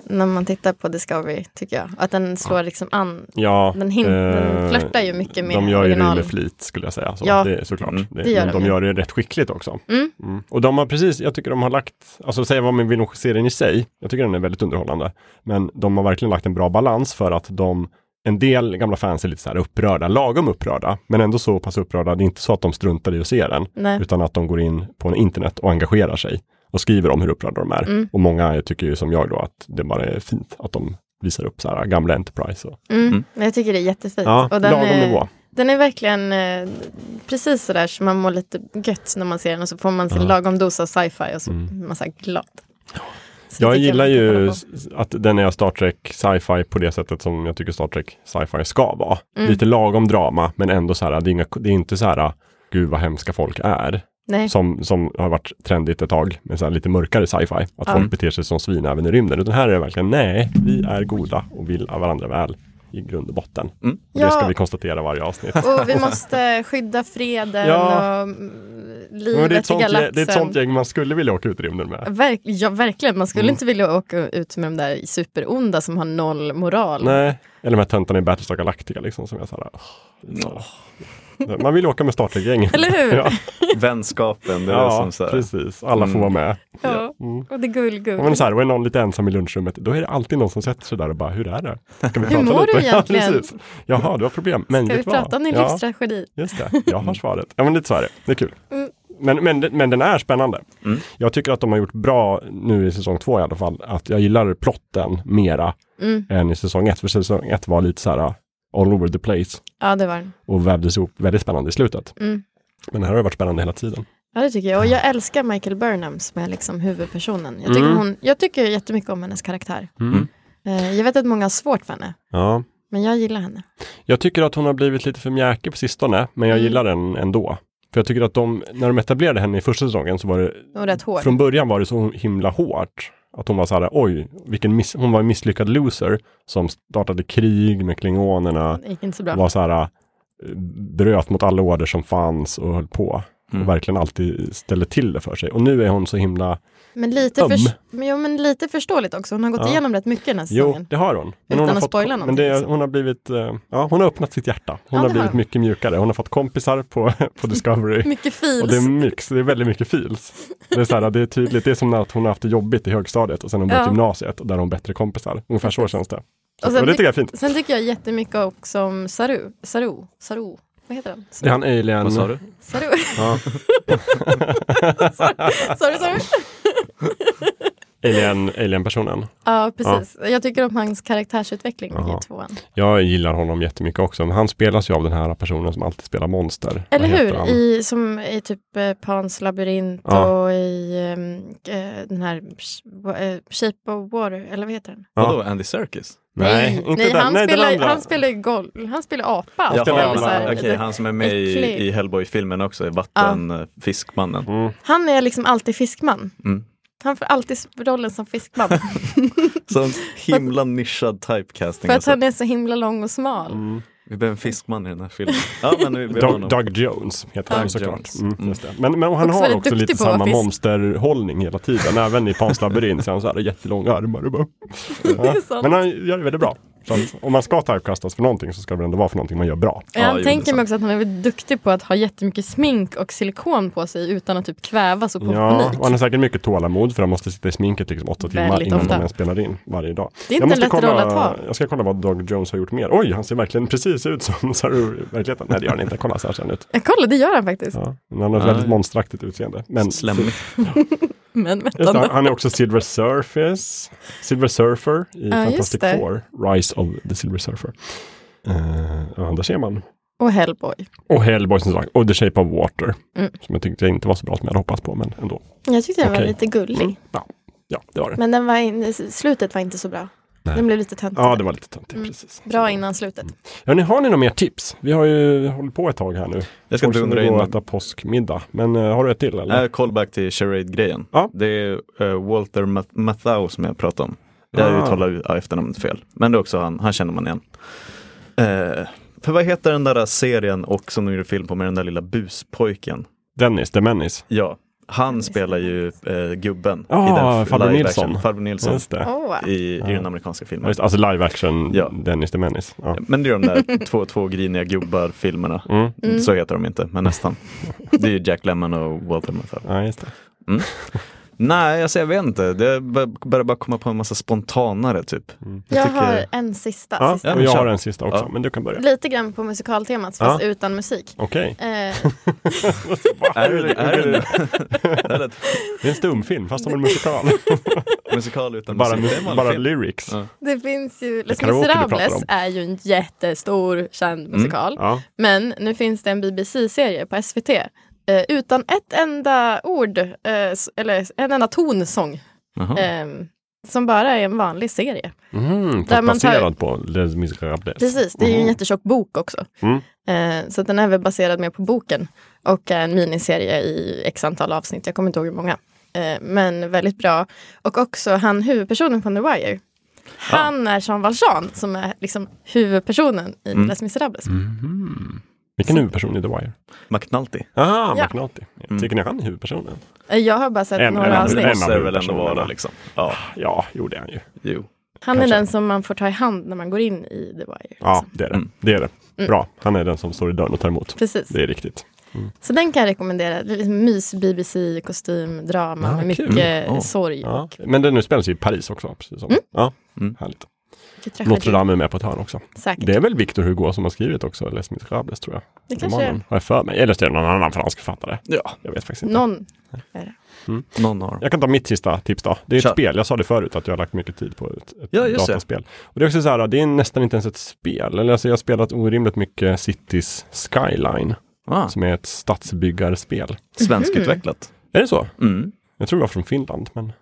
Speaker 2: när man tittar på Discovery, tycker jag. Att den slår liksom an.
Speaker 3: Ja,
Speaker 2: Den hin- den flörtar ju mycket med
Speaker 3: Eh, De gör ju det
Speaker 2: original.
Speaker 3: med flit skulle jag säga. Så
Speaker 2: Ja.
Speaker 3: det är såklart.
Speaker 1: Mm.
Speaker 3: Det,
Speaker 2: Det gör
Speaker 3: men
Speaker 2: de
Speaker 3: de
Speaker 2: ju.
Speaker 3: gör det rätt skickligt också.
Speaker 2: Mm.
Speaker 3: Och de har precis, jag tycker de har lagt, alltså säga vad man vill om serien i sig, jag tycker den är väldigt underhållande. Men de har verkligen lagt en bra balans för att de, en del gamla fans är lite så här upprörda, lagom upprörda, men ändå så pass upprörda. Det är inte så att de struntar i att se den,
Speaker 2: Nej.
Speaker 3: utan att de går in på en internet och engagerar sig och skriver om hur upprörda de är.
Speaker 2: Mm.
Speaker 3: Och många tycker ju som jag då att det bara är fint att de visar upp så här gamla Enterprise. Och,
Speaker 2: Mm.
Speaker 1: Mm.
Speaker 2: Men Jag tycker det är jättefint.
Speaker 3: ja,
Speaker 2: och den,
Speaker 3: lagom
Speaker 2: är,
Speaker 3: nivå.
Speaker 2: den är verkligen eh, precis sådär så man mår lite gött när man ser den och så får man sin
Speaker 3: Ja.
Speaker 2: lagom dos av sci-fi och så
Speaker 3: Mm.
Speaker 2: är man så här glad. Så
Speaker 3: Jag
Speaker 2: tycker
Speaker 3: gillar
Speaker 2: man kan
Speaker 3: ju
Speaker 2: kolla på.
Speaker 3: s- att den är Star Trek sci-fi på det sättet som jag tycker Star Trek sci-fi ska vara.
Speaker 2: Mm.
Speaker 3: Lite lagom drama, men ändå så här, det är, inga, det är inte så här, gud vad hemska folk är.
Speaker 2: Nej.
Speaker 3: Som, som har varit trendigt ett tag, med så här lite mörkare sci-fi. Att folk beter sig som svin även i rymden. Utan här är det verkligen, nej, vi är goda och vill varandra väl i grund och botten. Och
Speaker 2: Ja.
Speaker 3: Det ska vi konstatera
Speaker 2: *laughs*
Speaker 3: varje avsnitt.
Speaker 2: Och
Speaker 3: *laughs*
Speaker 2: vi måste skydda freden
Speaker 3: Ja.
Speaker 2: och mm,
Speaker 3: Men det, är ett
Speaker 2: livet i
Speaker 3: sånt, gä-
Speaker 2: galaxen.
Speaker 3: det är ett sånt gäng man skulle vilja åka ut i rymden med.
Speaker 2: Verk, ja, verkligen. Man skulle
Speaker 3: Mm.
Speaker 2: inte vilja åka ut med de där superonda som har noll moral.
Speaker 3: Nej, eller de här töntarna i Battlestar Galactica liksom som jag såhär, man vill åka med Star Trek-gäng.
Speaker 2: Eller hur?
Speaker 3: Ja,
Speaker 1: Vänskapen, det är
Speaker 3: ja
Speaker 1: som så här,
Speaker 3: precis. Alla får vara med.
Speaker 2: Ja.
Speaker 3: Mm.
Speaker 2: Och det gull-gull.
Speaker 3: Ja, Men så här, och är någon lite ensam i lunchrummet, då är det alltid någon som sätter sig där och bara, hur är det? Ska vi
Speaker 2: Hur mår du egentligen?
Speaker 3: *laughs* Ja, precis. Jaha, du har problem. Men
Speaker 2: Ska vi
Speaker 3: vet du vad?
Speaker 2: prata om din
Speaker 3: ja,
Speaker 2: livstragedi?
Speaker 3: Just det, jag har svaret. Ja, men lite så är det. Det är kul.
Speaker 2: Mm.
Speaker 3: Men, men, men den är spännande.
Speaker 1: Mm.
Speaker 3: Jag tycker att de har gjort bra nu i säsong två i alla fall, att jag gillar plotten mera
Speaker 2: Mm.
Speaker 3: än i säsong ett. För säsong ett var lite så här uh, all over the place
Speaker 2: Ja, det var den.
Speaker 3: och vävdes ihop väldigt spännande i slutet.
Speaker 2: Mm.
Speaker 3: Men det här har varit spännande hela tiden.
Speaker 2: Ja, det tycker jag. Och jag älskar Michael Burnham som är liksom huvudpersonen. Jag tycker,
Speaker 3: Mm.
Speaker 2: hon, jag tycker jättemycket om hennes karaktär.
Speaker 1: Mm.
Speaker 2: Eh, Jag vet att många har svårt för henne,
Speaker 3: Ja.
Speaker 2: men jag gillar henne.
Speaker 3: Jag tycker att hon har blivit lite för mjäkig på sistone, men jag
Speaker 2: Mm.
Speaker 3: gillar den ändå. För jag tycker att de, när de etablerade henne i första säsongen så var det,
Speaker 2: Hon är rätt hård.
Speaker 3: från början var det så himla hårt. Att hon var så här, oj, vilken miss, hon var en misslyckad loser som startade krig med klingonerna.
Speaker 2: Det gick inte så bra.
Speaker 3: Var så här, eh, bröt mot alla order som fanns och höll på.
Speaker 1: Mm.
Speaker 3: Och verkligen alltid ställde till det för sig. Och nu är hon så himla,
Speaker 2: Men lite,
Speaker 3: Öm.
Speaker 2: förs- men, jo, men lite förståeligt också. Hon har gått
Speaker 3: Ja.
Speaker 2: igenom rätt mycket den här
Speaker 3: jo
Speaker 2: säsongen.
Speaker 3: det har hon.
Speaker 2: Utan
Speaker 3: hon har
Speaker 2: att spoila
Speaker 3: men
Speaker 2: någonting,
Speaker 3: det,
Speaker 2: liksom.
Speaker 3: hon har blivit, eh, ja hon har öppnat sitt hjärta. Hon
Speaker 2: Ja,
Speaker 3: har
Speaker 2: det
Speaker 3: blivit
Speaker 2: har hon.
Speaker 3: mycket mjukare. Hon har fått kompisar på, *laughs*
Speaker 2: *laughs*
Speaker 3: på Discovery.
Speaker 2: Mycket feels.
Speaker 3: Och det är mix, det är väldigt mycket feels. Det är, så här, det är tydligt, det är som att hon har haft det jobbigt i högstadiet och sen har hon börjat
Speaker 2: Ja.
Speaker 3: gymnasiet och där har hon bättre kompisar. Ungefär så känns det. Så,
Speaker 2: Och sen
Speaker 3: och, det
Speaker 2: tyck-
Speaker 3: tycker jag är fint.
Speaker 2: Sen tycker jag jättemycket också om Saru. Saru. Saru. Vad heter han?
Speaker 3: Det är han alien.
Speaker 1: Vad sa du?
Speaker 2: Saru.
Speaker 3: Ja.
Speaker 2: *laughs* Saru, Saru.
Speaker 3: Alien, alien-personen.
Speaker 2: Ja, precis. Jag tycker om hans karaktärsutveckling
Speaker 3: Jaha.
Speaker 2: i tvåan.
Speaker 3: Jag gillar honom jättemycket också. Men han spelas ju av den här personen som alltid spelar monster.
Speaker 2: Eller
Speaker 3: Vad heter han?
Speaker 2: hur? I, som i typ eh, Pans labyrint
Speaker 3: Ja.
Speaker 2: och i ehm, eh, den här sh- wa- eh, Shape of Water, eller vad heter den?
Speaker 3: Ja.
Speaker 1: Vadå, Andy Serkis?
Speaker 3: Nej, inte
Speaker 2: nej
Speaker 3: den.
Speaker 2: han,
Speaker 3: Nej, den
Speaker 2: spelar,
Speaker 3: andra.
Speaker 2: han spelar ju golv, han spelar apa.
Speaker 1: Jaha,
Speaker 2: och spelar
Speaker 3: men,
Speaker 2: så här,
Speaker 1: okej,
Speaker 2: lite-
Speaker 1: han som är med i,
Speaker 2: äcklig.
Speaker 1: i eh, Hellboy-filmen också, är vattenfiskmannen.
Speaker 2: han är liksom alltid fiskman.
Speaker 1: Mm.
Speaker 2: Han får alltid rollen som fiskman.
Speaker 1: Sån himla nischad typecasting.
Speaker 2: för att
Speaker 1: Alltså.
Speaker 2: han är så himla lång och smal.
Speaker 3: Mm.
Speaker 1: Vi behöver en fiskman i den här filmen. Ja, men vi, vi har
Speaker 3: Doug,
Speaker 1: honom.
Speaker 3: Doug Jones heter han
Speaker 1: Doug
Speaker 3: såklart.
Speaker 1: Jones.
Speaker 3: Mm. Just det. Men, men han
Speaker 2: Också
Speaker 3: har
Speaker 2: väldigt
Speaker 3: också lite
Speaker 2: duktig på att
Speaker 3: samma
Speaker 2: vara fisk.
Speaker 3: monsterhållning hela tiden. Även i Pans labyrint så är han så här jättelånga armar.
Speaker 2: *laughs*
Speaker 3: Och bara,
Speaker 2: är
Speaker 3: ja.
Speaker 2: sant.
Speaker 3: Men han gör det väldigt bra. Så att om man ska typecastas för någonting så ska det väl ändå vara för någonting man gör bra.
Speaker 1: Ja,
Speaker 2: han
Speaker 1: jo, det är
Speaker 2: tänker
Speaker 1: sant.
Speaker 2: mig också att han är väldigt duktig på att ha jättemycket smink och silikon på sig utan att typ kvävas och få
Speaker 3: Ja,
Speaker 2: panik.
Speaker 3: och han har säkert mycket tålamod för han måste sitta i sminket liksom åtta timmar
Speaker 2: Väldigt
Speaker 3: innan
Speaker 2: ofta.
Speaker 3: han ens spelar in varje dag.
Speaker 2: Det är inte en lätt roll att
Speaker 3: kolla,
Speaker 2: ha.
Speaker 3: jag ska kolla vad Doug Jones har gjort mer. Oj, han ser verkligen precis ut som *laughs* Saru i verkligheten. Nej, det gör han inte. Kolla så här ser han ut.
Speaker 2: Ja, Eh, Kolla, det gör han faktiskt.
Speaker 3: Ja, men han har ett
Speaker 1: Ja.
Speaker 3: väldigt monsteraktigt utseende. Men
Speaker 1: Slemmigt.
Speaker 2: Men
Speaker 3: Just det,
Speaker 2: vänta
Speaker 3: han-
Speaker 2: nu.
Speaker 3: han är också Silver Surface, Silver Surfer i
Speaker 2: Ja, just
Speaker 3: Fantastic
Speaker 2: det.
Speaker 3: Four, Rise of the Silver Surfer. Eh, ja, där ser man.
Speaker 2: Och Hellboy.
Speaker 3: Och Hellboy som sagt, och The Shape of Water.
Speaker 2: Mm.
Speaker 3: Som jag tyckte inte var så bra som jag hade hoppats på, men ändå.
Speaker 2: Jag tyckte den var
Speaker 3: Okej. Mm.
Speaker 2: lite gullig.
Speaker 3: Ja, ja, det var det.
Speaker 2: Men den var in, slutet var inte så bra. Den blev lite töntig.
Speaker 3: Ja, det Mm. var lite töntigt, precis.
Speaker 2: Mm. Bra innan slutet.
Speaker 3: Hörrni, har ni några mer tips? Vi har ju hållit på ett tag här nu.
Speaker 1: Jag ska
Speaker 3: Folk som
Speaker 1: dundra
Speaker 3: vill
Speaker 1: in
Speaker 3: gå och
Speaker 1: med-
Speaker 3: äta påskmiddag. Men eh, har du ett till eller?
Speaker 1: Äh, callback till charade-grejen.
Speaker 3: Ja.
Speaker 1: Det är eh, Walter Ma- Matthau som jag pratade om. Jag
Speaker 3: Ah.
Speaker 1: uttalar ju ja, efternamnet fel, men det är också han, han känner man igen. Eh, för vad heter den där serien och som de gjorde film på med den där lilla buspojken?
Speaker 3: Dennis, The Menace.
Speaker 1: Ja, han spelar ju eh, gubben
Speaker 3: Ah,
Speaker 1: i den f-
Speaker 3: Farbror
Speaker 1: live
Speaker 3: Nilsson.
Speaker 1: action. Farbror Nilsson
Speaker 3: Just det.
Speaker 2: Åh,
Speaker 1: i, i den amerikanska filmen.
Speaker 3: Just, alltså live action,
Speaker 1: Ja.
Speaker 3: Dennis the Menace. Ja.
Speaker 1: Men det är de
Speaker 2: *laughs*
Speaker 1: där två, två griniga gubbar-filmerna.
Speaker 3: Mm.
Speaker 1: Så heter de inte, men nästan. Det är ju Jack Lemmon och Walter Matthau.
Speaker 3: ja, just det.
Speaker 1: Nej, alltså jag vet inte. Det bör- börjar bara komma på en massa spontanare typ.
Speaker 3: Mm.
Speaker 2: jag
Speaker 1: tycker-
Speaker 2: har en sista.
Speaker 3: Ja,
Speaker 2: sista.
Speaker 3: och jag
Speaker 1: kör.
Speaker 3: har en sista också,
Speaker 1: Ja.
Speaker 3: men du kan börja.
Speaker 2: Lite grann på musikaltemat fast
Speaker 3: Ja.
Speaker 2: utan musik.
Speaker 3: Okej. *laughs*
Speaker 2: Eh,
Speaker 1: Är det är det,
Speaker 2: *laughs*
Speaker 1: är det ett
Speaker 3: Det är en stumfilm fast som
Speaker 1: *laughs*
Speaker 3: en musikal.
Speaker 1: musikal utan
Speaker 3: bara
Speaker 1: musik? Det är en vanlig
Speaker 3: bara
Speaker 1: film.
Speaker 3: lyrics.
Speaker 1: Ja.
Speaker 2: det finns ju, Les
Speaker 3: karaoke du pratar
Speaker 2: Misérables
Speaker 3: om. Mm.
Speaker 2: är ju en jättestor känd musikal.
Speaker 3: Ja.
Speaker 2: Men nu finns det en BBC-serie på SVT eh, utan ett enda ord eh, s- eller en enda tonsång.
Speaker 1: Jaha.
Speaker 2: Eh, som bara är en vanlig serie.
Speaker 3: Mm,
Speaker 2: Där
Speaker 3: fast
Speaker 2: man tar-
Speaker 3: baserad på Les Misérables.
Speaker 2: Precis, det är ju en jättetjock bok också.
Speaker 3: Mm.
Speaker 2: Eh, så att den är väl baserad mer på boken och är en miniserie i x antal avsnitt. Jag kommer inte ihåg hur många. Eh, men väldigt bra. Och också han huvudpersonen från The Wire. Han är Jean Valjean som är liksom huvudpersonen i
Speaker 3: Mm.
Speaker 2: Les Misérables.
Speaker 3: Vilken huvudperson i The Wire?
Speaker 1: McNulty.
Speaker 3: Ah,
Speaker 2: Ja.
Speaker 3: McNulty. Tycker ni han är huvudpersonen?
Speaker 2: Eh, Jag har bara sett
Speaker 3: En-
Speaker 2: några
Speaker 3: en annan-
Speaker 1: Det
Speaker 2: avsnitt.
Speaker 3: en
Speaker 1: måste det väl ändå
Speaker 3: personerna.
Speaker 1: vara liksom. Ja,
Speaker 3: Ja, jo det är han ju.
Speaker 1: jo.
Speaker 2: Han
Speaker 3: Kanske.
Speaker 2: är den som man får ta i hand när man går in i The Wire. liksom.
Speaker 3: Ja,
Speaker 2: Så.
Speaker 3: det är det.
Speaker 1: Mm.
Speaker 3: Det är det. Bra, han är den som står i dörren och tar emot.
Speaker 2: Precis.
Speaker 3: Det är riktigt.
Speaker 2: Så den kan jag rekommendera. Det är liksom mys, BBC, kostym, drama
Speaker 3: Ja,
Speaker 2: med
Speaker 3: kul.
Speaker 2: mycket
Speaker 1: Ja.
Speaker 2: sorg
Speaker 3: Ja.
Speaker 2: och
Speaker 3: Men den nu spelas ju i Paris också. Precis som. Ja,
Speaker 1: Mm.
Speaker 3: härligt.
Speaker 2: mycket
Speaker 3: Notre
Speaker 2: tragedi.
Speaker 3: Dame är med på ett hörn också.
Speaker 2: Säkert.
Speaker 3: Det är väl Victor Hugo som har skrivit också Les Misérables tror jag.
Speaker 2: Det kanske
Speaker 3: Romanen,
Speaker 2: är.
Speaker 3: Har jag för mig. Eller så är det någon annan fransk författare.
Speaker 1: Ja,
Speaker 3: Jag vet faktiskt inte.
Speaker 2: Någon är det.
Speaker 1: någon har
Speaker 3: Jag kan ta mitt sista tips då. Det är ett
Speaker 1: Kör.
Speaker 3: spel, jag sa det förut att jag har lagt mycket tid på ett, ett
Speaker 1: Ja, just det.
Speaker 3: dataspel. Och det är också så här, det är nästan inte ens ett spel. Eller alltså, jag har spelat orimligt mycket Cities Skyline,
Speaker 1: ah,
Speaker 3: som är ett stadsbyggarspel.
Speaker 1: Svenskutvecklat.
Speaker 3: Är det så?
Speaker 1: Mm.
Speaker 3: Jag tror det var från Finland, men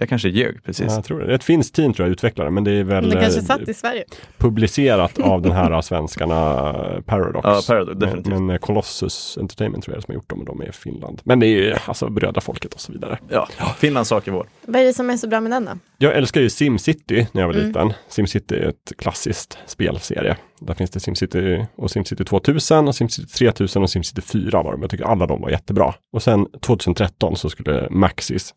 Speaker 1: Jag kanske ljög precis.
Speaker 3: ja, jag tror det. Det är ett finskt team tror jag, utvecklare, men det är väl
Speaker 2: Men det kanske
Speaker 3: eh,
Speaker 2: satt i Sverige.
Speaker 3: publicerat av
Speaker 2: *laughs*
Speaker 3: den här svenskarna eh, Paradox.
Speaker 1: Ja, Paradox,
Speaker 3: Men-
Speaker 1: definitivt.
Speaker 3: Men eh, Colossus Entertainment tror jag som har gjort dem och de är i Finland. Men det är ju alltså bröda folket och så vidare.
Speaker 1: Ja, Finlands sak är vår.
Speaker 2: Vad är det som är så bra med den då?
Speaker 3: Jag älskar ju Simcity när jag var liten. Simcity är ett klassiskt spelserie. Där finns det Simcity och Simcity 2000 och Simcity 3000 och Simcity 4 var de. Jag tycker alla de var jättebra. Och sen 2013 så skulle Maxis,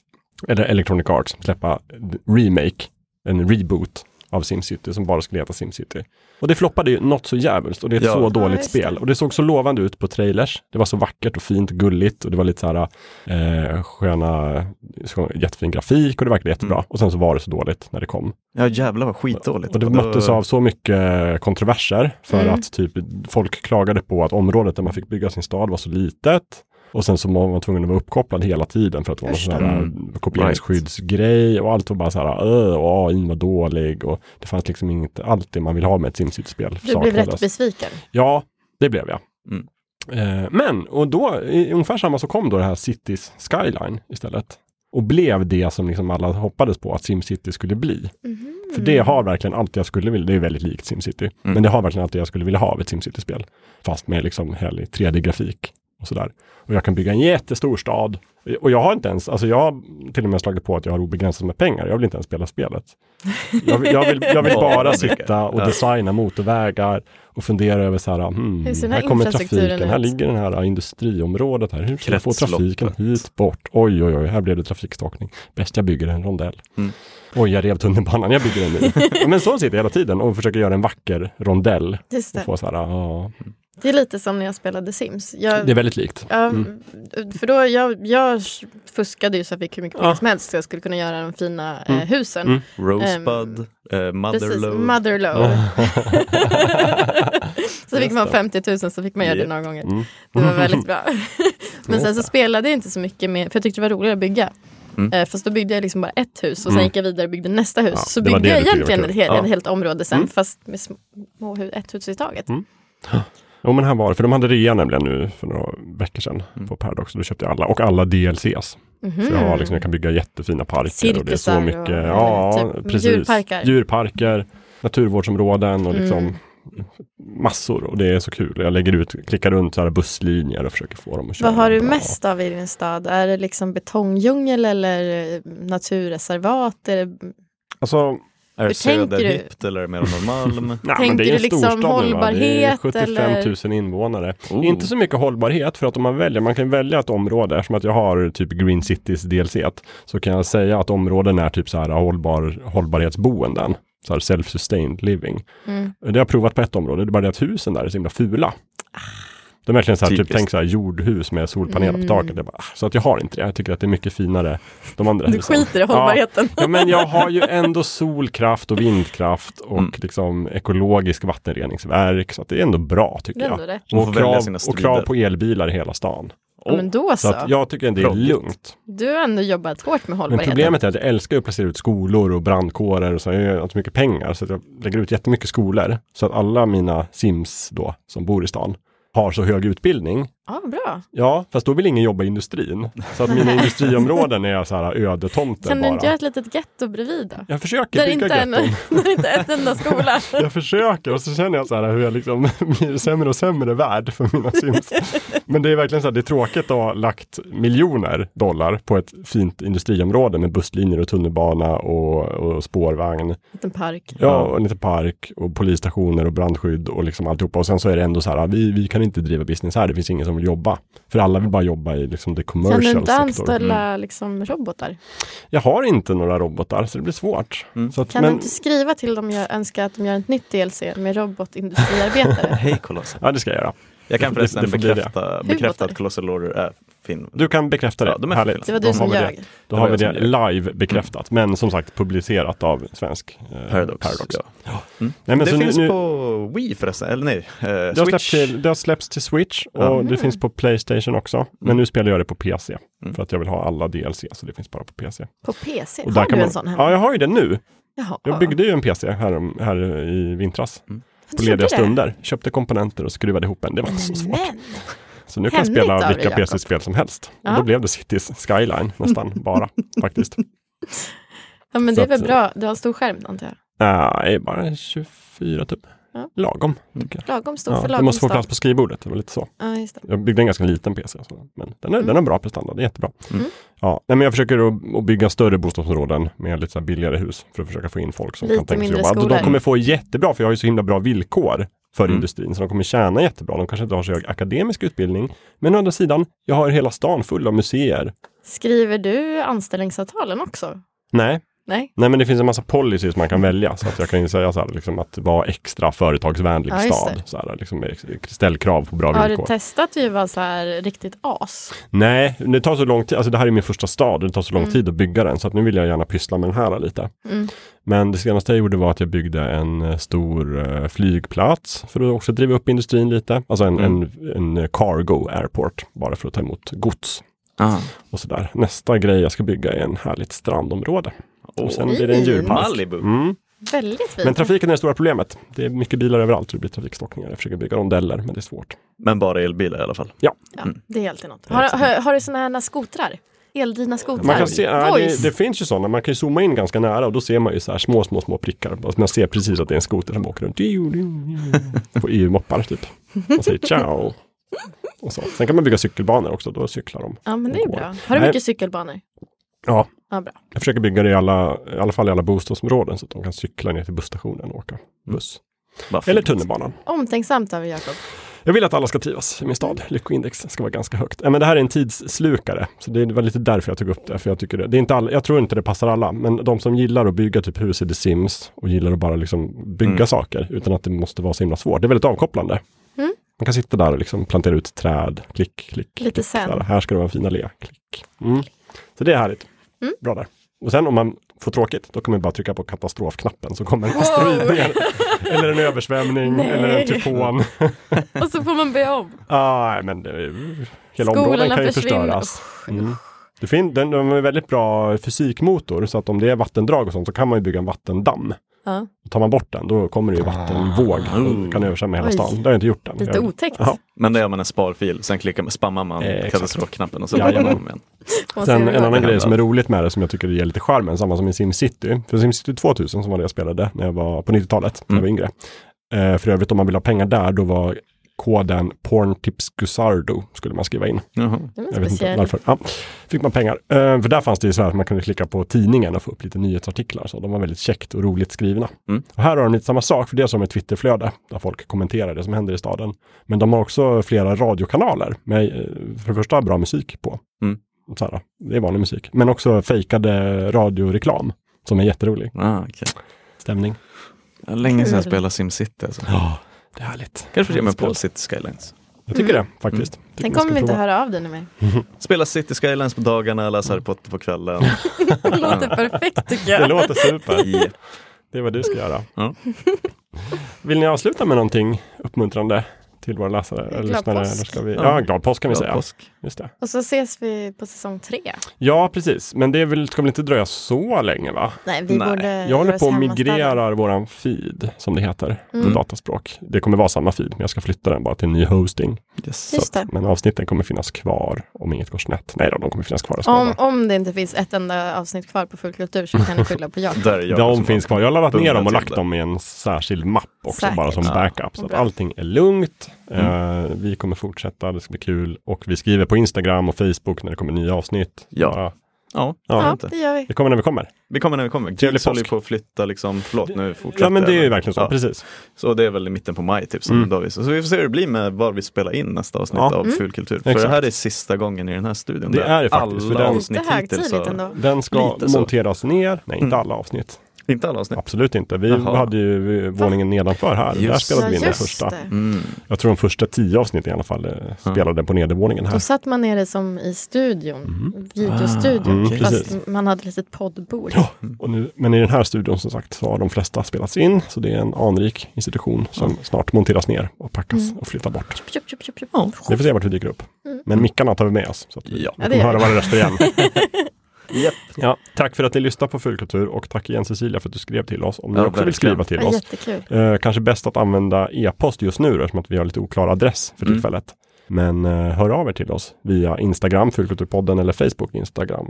Speaker 3: eller Electronic Arts, släppa remake, en reboot av Simcity som bara skulle heta Simcity. Och det floppade ju något så jävligt och det är ett
Speaker 1: Ja.
Speaker 3: så
Speaker 2: Ja,
Speaker 3: dåligt
Speaker 2: just det.
Speaker 3: spel. Och det såg så lovande ut på trailers. Det var så vackert och fint, gulligt och det var lite så här eh, sköna, så- jättefin grafik och det verkade jättebra. Och sen så var det så dåligt när det kom.
Speaker 1: Ja, jävlar vad skitdåligt.
Speaker 3: Och det möttes av så mycket kontroverser för att typ folk klagade på att området där man fick bygga sin stad var så litet. Och sen så var man tvungen att vara uppkopplad hela tiden för att det var någon
Speaker 2: Just
Speaker 3: sån här
Speaker 1: Mm.
Speaker 3: kopieringsskyddsgrej och allt var bara så här, "Ö, och AI var dålig och det fanns liksom inte allt det man vill ha med ett SimCity-spel.
Speaker 2: Du blev rätt
Speaker 3: saknades.
Speaker 2: besviken.
Speaker 3: Ja, det blev jag.
Speaker 1: Mm.
Speaker 3: Eh, men, och då, i, ungefär samma så kom då det här Cities Skyline istället. Och blev det som liksom alla hoppades på att SimCity skulle bli. För det har verkligen allt jag skulle vilja, det är väldigt likt SimCity,
Speaker 1: Mm.
Speaker 3: men det har verkligen allt jag skulle vilja ha av ett SimCity-spel. Fast med liksom härlig 3D-grafik och sådär. Och jag kan bygga en jättestor stad. Och jag har inte ens, alltså jag har till och med slagit på att jag har obegränsat med pengar. Jag vill inte ens spela spelet. Jag, vill- jag, vill,
Speaker 1: *laughs*
Speaker 3: jag vill bara sitta och
Speaker 1: Ja.
Speaker 3: designa motorvägar och fundera över så här, hmm,
Speaker 2: Hur ser den
Speaker 3: här
Speaker 2: här
Speaker 3: kommer
Speaker 2: infrastrukturen
Speaker 3: trafiken, här
Speaker 2: ut?
Speaker 3: ligger den här industriområdet här. Hur kan jag få
Speaker 1: Kretsloppet.
Speaker 3: trafiken hit bort? Oj, oj, oj, här blev det trafikstakning. Bäst jag bygger en rondell. Oj, jag rev tunnelbanan, jag bygger
Speaker 2: *laughs*
Speaker 3: en ny. Ja, Men så sitter jag hela tiden och försöker göra en vacker rondell.
Speaker 2: Just
Speaker 3: Och
Speaker 2: det.
Speaker 3: få så här, ja,
Speaker 2: det är lite som när jag spelade Sims. Jag,
Speaker 3: det Mm. är väldigt likt.
Speaker 2: ja, För då, jag, jag fuskade ju så att vi fick hur mycket pengar som helst så jag skulle kunna göra de fina
Speaker 3: Mm.
Speaker 2: eh, husen.
Speaker 1: Rosebud, eh,
Speaker 2: Precis,
Speaker 1: Motherload.
Speaker 2: Motherlow. *laughs* så fick
Speaker 1: Just
Speaker 2: man
Speaker 1: det.
Speaker 2: 50 000 så fick man göra det
Speaker 1: Japp.
Speaker 2: några gånger.
Speaker 3: Mm.
Speaker 2: Det var väldigt *laughs* bra. Men sen så spelade jag inte så mycket med, för jag tyckte det var roligare att bygga. Eh, Fast då byggde jag liksom bara ett hus och sen gick jag vidare och byggde nästa hus. så
Speaker 3: det var
Speaker 2: byggde
Speaker 3: det
Speaker 2: jag
Speaker 3: du tyckte var
Speaker 2: egentligen
Speaker 3: kul.
Speaker 2: ett helt,
Speaker 1: Ja.
Speaker 2: ett helt område sen fast med små, hu- ett hus i taget.
Speaker 3: Jo men här var det, för de hade rea nämligen nu för några veckor sedan på Paradox. och Då köpte jag alla, och alla DLCs. Så jag, har
Speaker 2: Mhm.
Speaker 3: liksom, jag kan bygga jättefina parker och det är
Speaker 2: Mm. Cirkusar
Speaker 3: så
Speaker 2: och-
Speaker 3: mycket,
Speaker 2: eller
Speaker 3: ja
Speaker 2: typ
Speaker 3: precis.
Speaker 2: djurparker.
Speaker 3: Djurparker, naturvårdsområden och liksom
Speaker 2: Mm.
Speaker 3: massor. Och det är så kul. Jag lägger ut, klickar runt så här busslinjer och försöker få dem att köra.
Speaker 2: Vad har du
Speaker 3: bra.
Speaker 2: mest av i din stad? Är det liksom betongdjungel eller eh, naturreservat? Är det
Speaker 3: Alltså,
Speaker 1: Är det
Speaker 2: Hur tänker du?
Speaker 1: söderhippt eller är det mer Norrmalm?
Speaker 3: Nej,
Speaker 2: Tänker
Speaker 3: men det är
Speaker 2: du
Speaker 3: en
Speaker 2: liksom
Speaker 3: storstad nu, va? Det är
Speaker 2: hållbarhet
Speaker 3: 75 000 invånare.
Speaker 1: Oh.
Speaker 3: Inte så mycket hållbarhet för att om man väljer, man kan välja ett område, eftersom att jag har typ Green Cities DLC, så kan jag säga att områden är typ så här hållbar, hållbarhetsboenden. Så här self-sustained living.
Speaker 2: Mm.
Speaker 3: Det har jag provat på ett område, det är bara det att husen där är så himla fula.
Speaker 2: Ah.
Speaker 3: De är verkligen så här, typ,
Speaker 1: Typiskt.
Speaker 3: tänk så här jordhus med solpaneler
Speaker 2: Mm.
Speaker 3: på taket. Jag bara, ah, så att jag har inte det, jag tycker att det är mycket finare. De andra
Speaker 2: Du
Speaker 3: husen.
Speaker 2: skiter i
Speaker 3: Ja.
Speaker 2: hållbarheten.
Speaker 3: Ja, men jag har ju ändå solkraft och vindkraft och
Speaker 1: Mm.
Speaker 3: liksom ekologisk vattenreningsverk. Så att det är ändå bra tycker
Speaker 2: Det är
Speaker 3: jag.
Speaker 2: ändå rätt.
Speaker 1: Man
Speaker 3: Och
Speaker 1: får
Speaker 3: krav,
Speaker 1: välja sina
Speaker 3: och krav
Speaker 1: strider.
Speaker 3: på elbilar i hela stan.
Speaker 2: Ja, men då så.
Speaker 3: Så att jag tycker att det är
Speaker 1: Proffsigt.
Speaker 3: lugnt.
Speaker 2: Du har ändå jobbat hårt med
Speaker 3: Men
Speaker 2: hållbarheten.
Speaker 3: problemet är att jag älskar att placera ut skolor och brandkårer och så. Jag har inte så mycket pengar så att jag lägger ut jättemycket skolor. Så att alla mina sims då som bor i stan har så hög utbildning
Speaker 2: Ja, bra.
Speaker 3: Ja, fast då vill ingen jobba i industrin. Så att
Speaker 2: *laughs*
Speaker 3: mina industriområden är så här ödetomter
Speaker 2: Kan du
Speaker 3: bara.
Speaker 2: inte göra ett litet getto bredvid då?
Speaker 3: Jag försöker
Speaker 2: Där
Speaker 3: bygga
Speaker 2: inte, en,
Speaker 3: getton.
Speaker 2: *laughs* där inte ett enda skola.
Speaker 3: *laughs* Jag försöker och så känner jag så här hur jag liksom *laughs* blir sämre och sämre värd för mina sims. Men det är verkligen så här, det är tråkigt att ha lagt miljoner dollar på ett fint industriområde med busslinjer och tunnelbana och, och spårvagn.
Speaker 2: Liten park.
Speaker 3: Ja, och en liten park och polisstationer och brandskydd och liksom alltihopa. Och sen så är det ändå så här, vi, vi kan inte driva business här, det finns ingen som vill jobba. För alla vill bara jobba i liksom the
Speaker 2: Kan
Speaker 3: commercial Mm.
Speaker 2: du inte
Speaker 3: sector.
Speaker 2: anställa liksom, robotar?
Speaker 3: Jag har inte några robotar så det blir svårt.
Speaker 1: Mm.
Speaker 3: Så att,
Speaker 2: Kan du
Speaker 3: men,
Speaker 2: inte skriva till dem jag önskar att de gör ett nytt DLC med
Speaker 3: *laughs*
Speaker 2: robotindustriarbetare?
Speaker 1: Hej Colossal.
Speaker 3: Ja, det ska jag göra.
Speaker 1: Jag kan
Speaker 3: Det-
Speaker 1: förresten
Speaker 3: det får bli det.
Speaker 1: bekräfta, bekräfta att Colossal Order är fin.
Speaker 3: Du kan bekräfta det.
Speaker 1: Ja, de är
Speaker 3: Härligt.
Speaker 2: det
Speaker 1: fina.
Speaker 2: var
Speaker 3: Då
Speaker 2: du som
Speaker 3: har vi det.
Speaker 2: ljög.
Speaker 3: Då
Speaker 1: Det
Speaker 3: har
Speaker 1: var
Speaker 3: vi det
Speaker 1: jag som
Speaker 3: live bekräftat, men som sagt publicerat av svensk eh,
Speaker 1: Paradox. Ja.
Speaker 3: Nej, men
Speaker 1: det
Speaker 3: så
Speaker 1: finns
Speaker 3: nu, nu,
Speaker 1: på Wii förresten, eller nej, eh,
Speaker 3: det, har släppts
Speaker 1: Switch.
Speaker 3: till, det har släppts till Switch och det finns på Playstation också.
Speaker 1: Mm.
Speaker 3: Men nu spelar jag det på PC. För att jag vill ha alla DLC, så det finns bara på PC.
Speaker 2: På PC?
Speaker 3: Och
Speaker 2: Har du
Speaker 3: man,
Speaker 2: en sån hemma?
Speaker 3: Ja, jag har ju den nu.
Speaker 2: Jaha.
Speaker 3: Jag byggde ju en PC här, om- här i vintras.
Speaker 2: Du
Speaker 3: På
Speaker 2: gjorde
Speaker 3: lediga
Speaker 2: det?
Speaker 3: stunder. Köpte komponenter och skruvade ihop den. Det var inte så svårt.
Speaker 2: Men,
Speaker 3: Så nu kan jag
Speaker 2: Händigt av
Speaker 3: spela
Speaker 2: dig,
Speaker 3: vilka
Speaker 2: Jakob.
Speaker 3: PC-spel som helst.
Speaker 2: Ja.
Speaker 3: Och då blev det Cities Skyline nästan
Speaker 2: *laughs*
Speaker 3: bara faktiskt. Äh,
Speaker 2: ja, men
Speaker 3: Så
Speaker 2: det är väl
Speaker 3: att-
Speaker 2: bra. Du har en stor skärm antar jag?
Speaker 3: Nej, bara 24 typ.
Speaker 2: Ja.
Speaker 3: Lagom, tycker jag.
Speaker 2: Lagom stor
Speaker 3: Ja,
Speaker 2: för
Speaker 3: det
Speaker 2: lagom
Speaker 3: måste få
Speaker 2: stor.
Speaker 3: plats på skrivbordet, det var lite så.
Speaker 2: Ja, just det.
Speaker 3: Jag byggde en ganska liten PC, så, men den, är,
Speaker 2: Mm.
Speaker 3: den har bra prestanda, det är jättebra. Ja, nej, men jag försöker att, att bygga större bostadsområden med lite så här billigare hus för att försöka få in folk som
Speaker 2: Lite
Speaker 3: kan tänka sig
Speaker 2: mindre
Speaker 3: jobba. De-
Speaker 2: skolor.
Speaker 3: De kommer få jättebra, för jag har ju så himla bra villkor för industrin, så de kommer tjäna jättebra. De kanske inte har så hög akademisk utbildning, men å andra sidan, jag har hela stan full av museer.
Speaker 2: Skriver du anställningsavtalen också?
Speaker 3: Nej,
Speaker 2: Nej?
Speaker 3: Nej men det finns en massa policies man kan välja. Så att jag kan ju säga så här, liksom, att vara extra företagsvänlig
Speaker 2: Ja, just
Speaker 3: stad.
Speaker 2: det.
Speaker 3: Så här, liksom, ex- ställ krav på bra
Speaker 2: Har du
Speaker 3: villkor.
Speaker 2: testat att ju vara så här riktigt as?
Speaker 3: Nej, det tar så lång tid. Alltså det här är min första stad. och Det tar så lång
Speaker 2: Mm.
Speaker 3: tid att bygga den. Så att nu vill jag gärna pyssla med den här lite. Men det senaste jag gjorde var att jag byggde en eh, stor eh, flygplats. För att också driva upp industrin lite. Alltså en,
Speaker 2: Mm.
Speaker 3: en, en eh, cargo airport. Bara för att ta emot gods.
Speaker 1: Ah.
Speaker 3: Och så där. Nästa grej jag ska bygga är en härligt strandområde. och sen blir det en
Speaker 2: fint.
Speaker 3: djurpark.
Speaker 1: Malibu.
Speaker 3: Mm.
Speaker 2: Väldigt fint.
Speaker 3: Men trafiken är det stora problemet. Det är mycket bilar överallt och det blir trafikstockningar. Jag försöker bygga rondeller, men det är svårt.
Speaker 1: Men bara elbilar i alla fall.
Speaker 3: Mm.
Speaker 2: ja, det är alltid något. Har, har, har du såna här skotrar? eldrivna skotrar.
Speaker 3: Man kan se, ja,
Speaker 2: Voice.
Speaker 3: det, det finns ju sådana, man kan ju zooma in ganska nära och då ser man ju så här små, små, små prickar. Alltså man ser precis att det är en skoter som åker runt. Diu, diu, diu. På EU-moppar typ. Man säger ciao. Och så. Sen kan man bygga cykelbanor också, då cyklar de.
Speaker 2: Ja, men det är bra. Har du
Speaker 3: Nej.
Speaker 2: mycket cykelbanor?
Speaker 3: Ja,
Speaker 2: Ja, bra.
Speaker 3: jag försöker bygga det i alla, i alla fall i alla bostadsområden så att de kan cykla ner till busstationen och åka buss.
Speaker 1: Vad
Speaker 3: Eller
Speaker 1: fint.
Speaker 3: tunnelbanan.
Speaker 2: Omtänksamt av er, Jakob.
Speaker 3: Jag vill att alla ska trivas i min stad. Lyckoindex ska vara ganska högt. Ja, men det här är en tidsslukare, så det var lite därför jag tog upp det. För jag, tycker det, det är inte all, jag tror inte det passar alla, men de som gillar att bygga typ hus i The Sims och gillar att bara liksom bygga saker utan att det måste vara så himla svårt. Det är väldigt avkopplande.
Speaker 2: Mm.
Speaker 3: Man kan sitta där och liksom plantera ut träd, klick, klick.
Speaker 2: Lite
Speaker 3: klick,
Speaker 2: zen.
Speaker 3: sådär. Här ska det vara en fin allé, klick. Mm. Så det är härligt.
Speaker 2: Mm.
Speaker 3: Bra där. Och sen om man får tråkigt, då kan man bara trycka på katastrofknappen så kommer
Speaker 2: *laughs*
Speaker 3: en asteroid ner. Eller en översvämning,
Speaker 2: Nej.
Speaker 3: eller en tyfon.
Speaker 2: Och så får man börja om.
Speaker 3: Ja, men det, hela
Speaker 2: Skolorna
Speaker 3: områden kan ju
Speaker 2: försvinner.
Speaker 3: förstöras. Mm. Det fin, den, de har en väldigt bra fysikmotor så att om det är vattendrag och sånt så kan man ju bygga en vattendamm.
Speaker 2: Ja,
Speaker 3: Tar man bort den då kommer det ju vattenvåg och det kan översvämma hela
Speaker 2: Oj.
Speaker 3: stan. Det har jag inte gjort än.
Speaker 2: lite
Speaker 3: jag,
Speaker 2: otäckt.
Speaker 3: Ja.
Speaker 1: Men det gör man en sparfil, sen klickar man, spammar man
Speaker 3: Eh, exakt.
Speaker 1: katastrofknappen och så laddar man
Speaker 3: Jajamän.
Speaker 1: om igen.
Speaker 2: Får man se
Speaker 3: Sen
Speaker 2: hur det
Speaker 3: en
Speaker 2: går.
Speaker 1: Det
Speaker 3: annan
Speaker 1: händer.
Speaker 3: grej som är roligt med det som jag tycker ger lite charmen, samma som i SimCity. För SimCity 2000 som var det jag spelade när jag var på 90-talet, när jag var yngre. Eh, för övrigt om man vill ha pengar där då var koden Porntipsgusardo skulle man skriva in.
Speaker 1: Jaha.
Speaker 2: Den är
Speaker 3: Jag vet inte
Speaker 2: speciell.
Speaker 3: varför. Ja, fick man pengar. Eh, för där fanns det ju så här att man kunde klicka på tidningen och få upp lite nyhetsartiklar. Så de var väldigt käckt och roligt skrivna.
Speaker 1: Mm.
Speaker 3: Och här har de lite samma sak, för det är som ett Twitterflöde där folk kommenterar det som händer i staden. Men de har också flera radiokanaler med eh, för det första bra musik på.
Speaker 1: Mm.
Speaker 3: Så här, det är vanlig musik. Men också fejkade radioreklam som är jätterolig.
Speaker 1: Ah, okej.
Speaker 3: Stämning.
Speaker 1: Det var Länge sedan jag
Speaker 2: Kul.
Speaker 1: spelade SimCity. Alltså.
Speaker 3: Ja, det är härligt.
Speaker 1: Kanske till och med
Speaker 3: Spel.
Speaker 1: på City Skylines.
Speaker 3: Jag tycker det faktiskt. Tycker
Speaker 2: Mm. Sen
Speaker 3: man ska
Speaker 2: kommer vi inte
Speaker 3: prova.
Speaker 2: höra av dig nu
Speaker 3: *laughs*
Speaker 2: mer.
Speaker 1: Spela City Skylines på dagarna, läsa Harry Potter på
Speaker 3: *laughs*
Speaker 1: kvällen.
Speaker 2: Det låter perfekt tycker
Speaker 3: Det
Speaker 2: jag.
Speaker 3: låter super.
Speaker 1: Japp.
Speaker 3: Det är vad du ska göra.
Speaker 1: *laughs* Ja.
Speaker 3: Vill ni avsluta med någonting uppmuntrande till våra läsare?
Speaker 2: Glad
Speaker 3: eller lyssnare?
Speaker 2: påsk.
Speaker 3: Eller ska vi...
Speaker 1: Ja.
Speaker 3: ja. glad påsk kan vi
Speaker 1: Glad
Speaker 3: säga.
Speaker 1: påsk.
Speaker 3: Just det.
Speaker 2: Och så ses vi på säsong tre.
Speaker 3: Ja, precis. Men det är väl, ska väl inte dröja så länge, va?
Speaker 2: Nej, vi
Speaker 1: Nej,
Speaker 2: borde
Speaker 3: Jag håller
Speaker 2: göra oss
Speaker 3: på och
Speaker 2: hemmastadda.
Speaker 3: migrerar våran feed, som det heter
Speaker 2: Mm.
Speaker 3: på dataspråk. Det kommer vara samma feed, men jag ska flytta den bara till en ny hosting.
Speaker 1: Yes.
Speaker 2: Just det.
Speaker 3: Men avsnitten kommer finnas kvar om inget går snett. Nej då, de kommer finnas kvar. det ska jag
Speaker 2: Om,
Speaker 3: vara.
Speaker 2: om det inte finns ett enda avsnitt kvar på Fullkultur så kan ni skylla på
Speaker 1: *laughs*
Speaker 2: Jakob.
Speaker 1: Där är jag
Speaker 3: De
Speaker 1: som
Speaker 3: finns
Speaker 1: har-
Speaker 3: kvar. Jag har laddat ner dem och
Speaker 1: Bubbla till
Speaker 3: lagt
Speaker 1: det.
Speaker 3: dem i en särskild mapp också,
Speaker 2: Säkert.
Speaker 3: bara som
Speaker 1: Ja.
Speaker 3: backup. Så att
Speaker 2: Bra.
Speaker 3: allting är lugnt.
Speaker 1: Mm.
Speaker 3: Eh, vi kommer fortsätta, det ska bli kul. Och vi skriver på Instagram och Facebook när det kommer nya avsnitt.
Speaker 1: Ja.
Speaker 3: Bara,
Speaker 1: Ja,
Speaker 3: Ja.
Speaker 2: Ja,
Speaker 1: inte.
Speaker 2: det gör vi.
Speaker 3: det kommer när vi kommer.
Speaker 1: Vi kommer när vi kommer.
Speaker 3: Trevlig
Speaker 1: Gigs håller ju
Speaker 3: påsk.
Speaker 1: på att flytta liksom. Förlåt, nu fortsätter
Speaker 3: Ja, men det är ju
Speaker 1: jag.
Speaker 3: verkligen så.
Speaker 1: Ja.
Speaker 3: Precis. Mm.
Speaker 1: Så det är väl i mitten på maj typ. Som David. sa. Så vi får se hur det blir med var vi spelar in nästa avsnitt
Speaker 3: Ja.
Speaker 2: Mm.
Speaker 1: av Fulkultur. För
Speaker 3: Exakt.
Speaker 1: det här är sista gången i den här studion.
Speaker 3: Det
Speaker 1: där
Speaker 3: är det faktiskt, för
Speaker 1: Alla
Speaker 3: den-
Speaker 1: avsnitt
Speaker 2: Lite
Speaker 1: hittills.
Speaker 2: högtidligt
Speaker 1: har-
Speaker 2: ändå.
Speaker 3: Den ska
Speaker 1: Lite så.
Speaker 3: monteras ner. Nej, inte alla avsnitt.
Speaker 1: Inte alla avsnitt.
Speaker 3: Absolut inte. Vi
Speaker 1: Jaha.
Speaker 3: hade ju eh, våningen nedanför här.
Speaker 1: Just
Speaker 3: Där
Speaker 1: det.
Speaker 3: spelade vi in den
Speaker 2: just
Speaker 3: första.
Speaker 2: det.
Speaker 1: Mm.
Speaker 3: Jag tror de första tio avsnitten i alla fall eh, spelade på nedervåningen
Speaker 2: Då
Speaker 3: här.
Speaker 2: satt man nere som i studion, videostudion,
Speaker 3: Ah,
Speaker 1: okej.
Speaker 2: fast
Speaker 3: Precis.
Speaker 2: man hade ett litet poddbord.
Speaker 3: Ja, och nu, men i den här studion som sagt så har de flesta spelats in. Så det är en anrik institution som snart monteras ner och packas
Speaker 2: Mm.
Speaker 3: och flyttar bort.
Speaker 2: Tjup, tjup, tjup, tjup.
Speaker 3: Vi får se vart vi dyker upp. Men mickarna tar vi med oss. Så att vi,
Speaker 1: Ja.
Speaker 3: vi
Speaker 2: Mm. Ja, det
Speaker 3: kommer
Speaker 2: gör
Speaker 3: höra
Speaker 2: vi.
Speaker 3: våra
Speaker 2: *laughs*
Speaker 3: röster igen.
Speaker 1: Japp.
Speaker 3: ja, tack för att ni lyssnar på Fullkultur och tack igen Cecilia för att du skrev till oss. Om ni
Speaker 1: Ja,
Speaker 3: också vill
Speaker 1: verkligen.
Speaker 3: skriva till
Speaker 2: Ja,
Speaker 3: oss.
Speaker 2: jättekul.
Speaker 3: Eh, kanske bäst att använda e-post just nu då, eftersom att vi har lite oklar adress för
Speaker 1: Mm.
Speaker 3: tillfället. Men eh, hör av er till oss via Instagram, Fullkulturpodden eller Facebook, Instagram,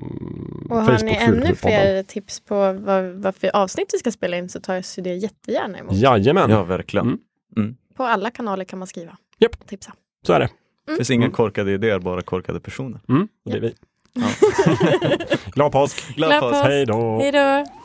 Speaker 2: Och har ni ännu fler tips på vad, vad för avsnitt vi ska spela in så tas ju det jättegärna emot.
Speaker 3: Jajamän,
Speaker 1: Ja, verkligen.
Speaker 3: Mm.
Speaker 2: På alla kanaler kan man skriva.
Speaker 3: Japp.
Speaker 2: och Tipsa.
Speaker 3: så är det.
Speaker 1: Det finns inga korkade idéer, bara korkade personer.
Speaker 2: *laughs*
Speaker 3: Mm. Och det är vi. Glad påsk!
Speaker 1: Glad
Speaker 2: Glad
Speaker 1: påsk!
Speaker 2: påsk.
Speaker 3: Hej då!
Speaker 2: Hej då!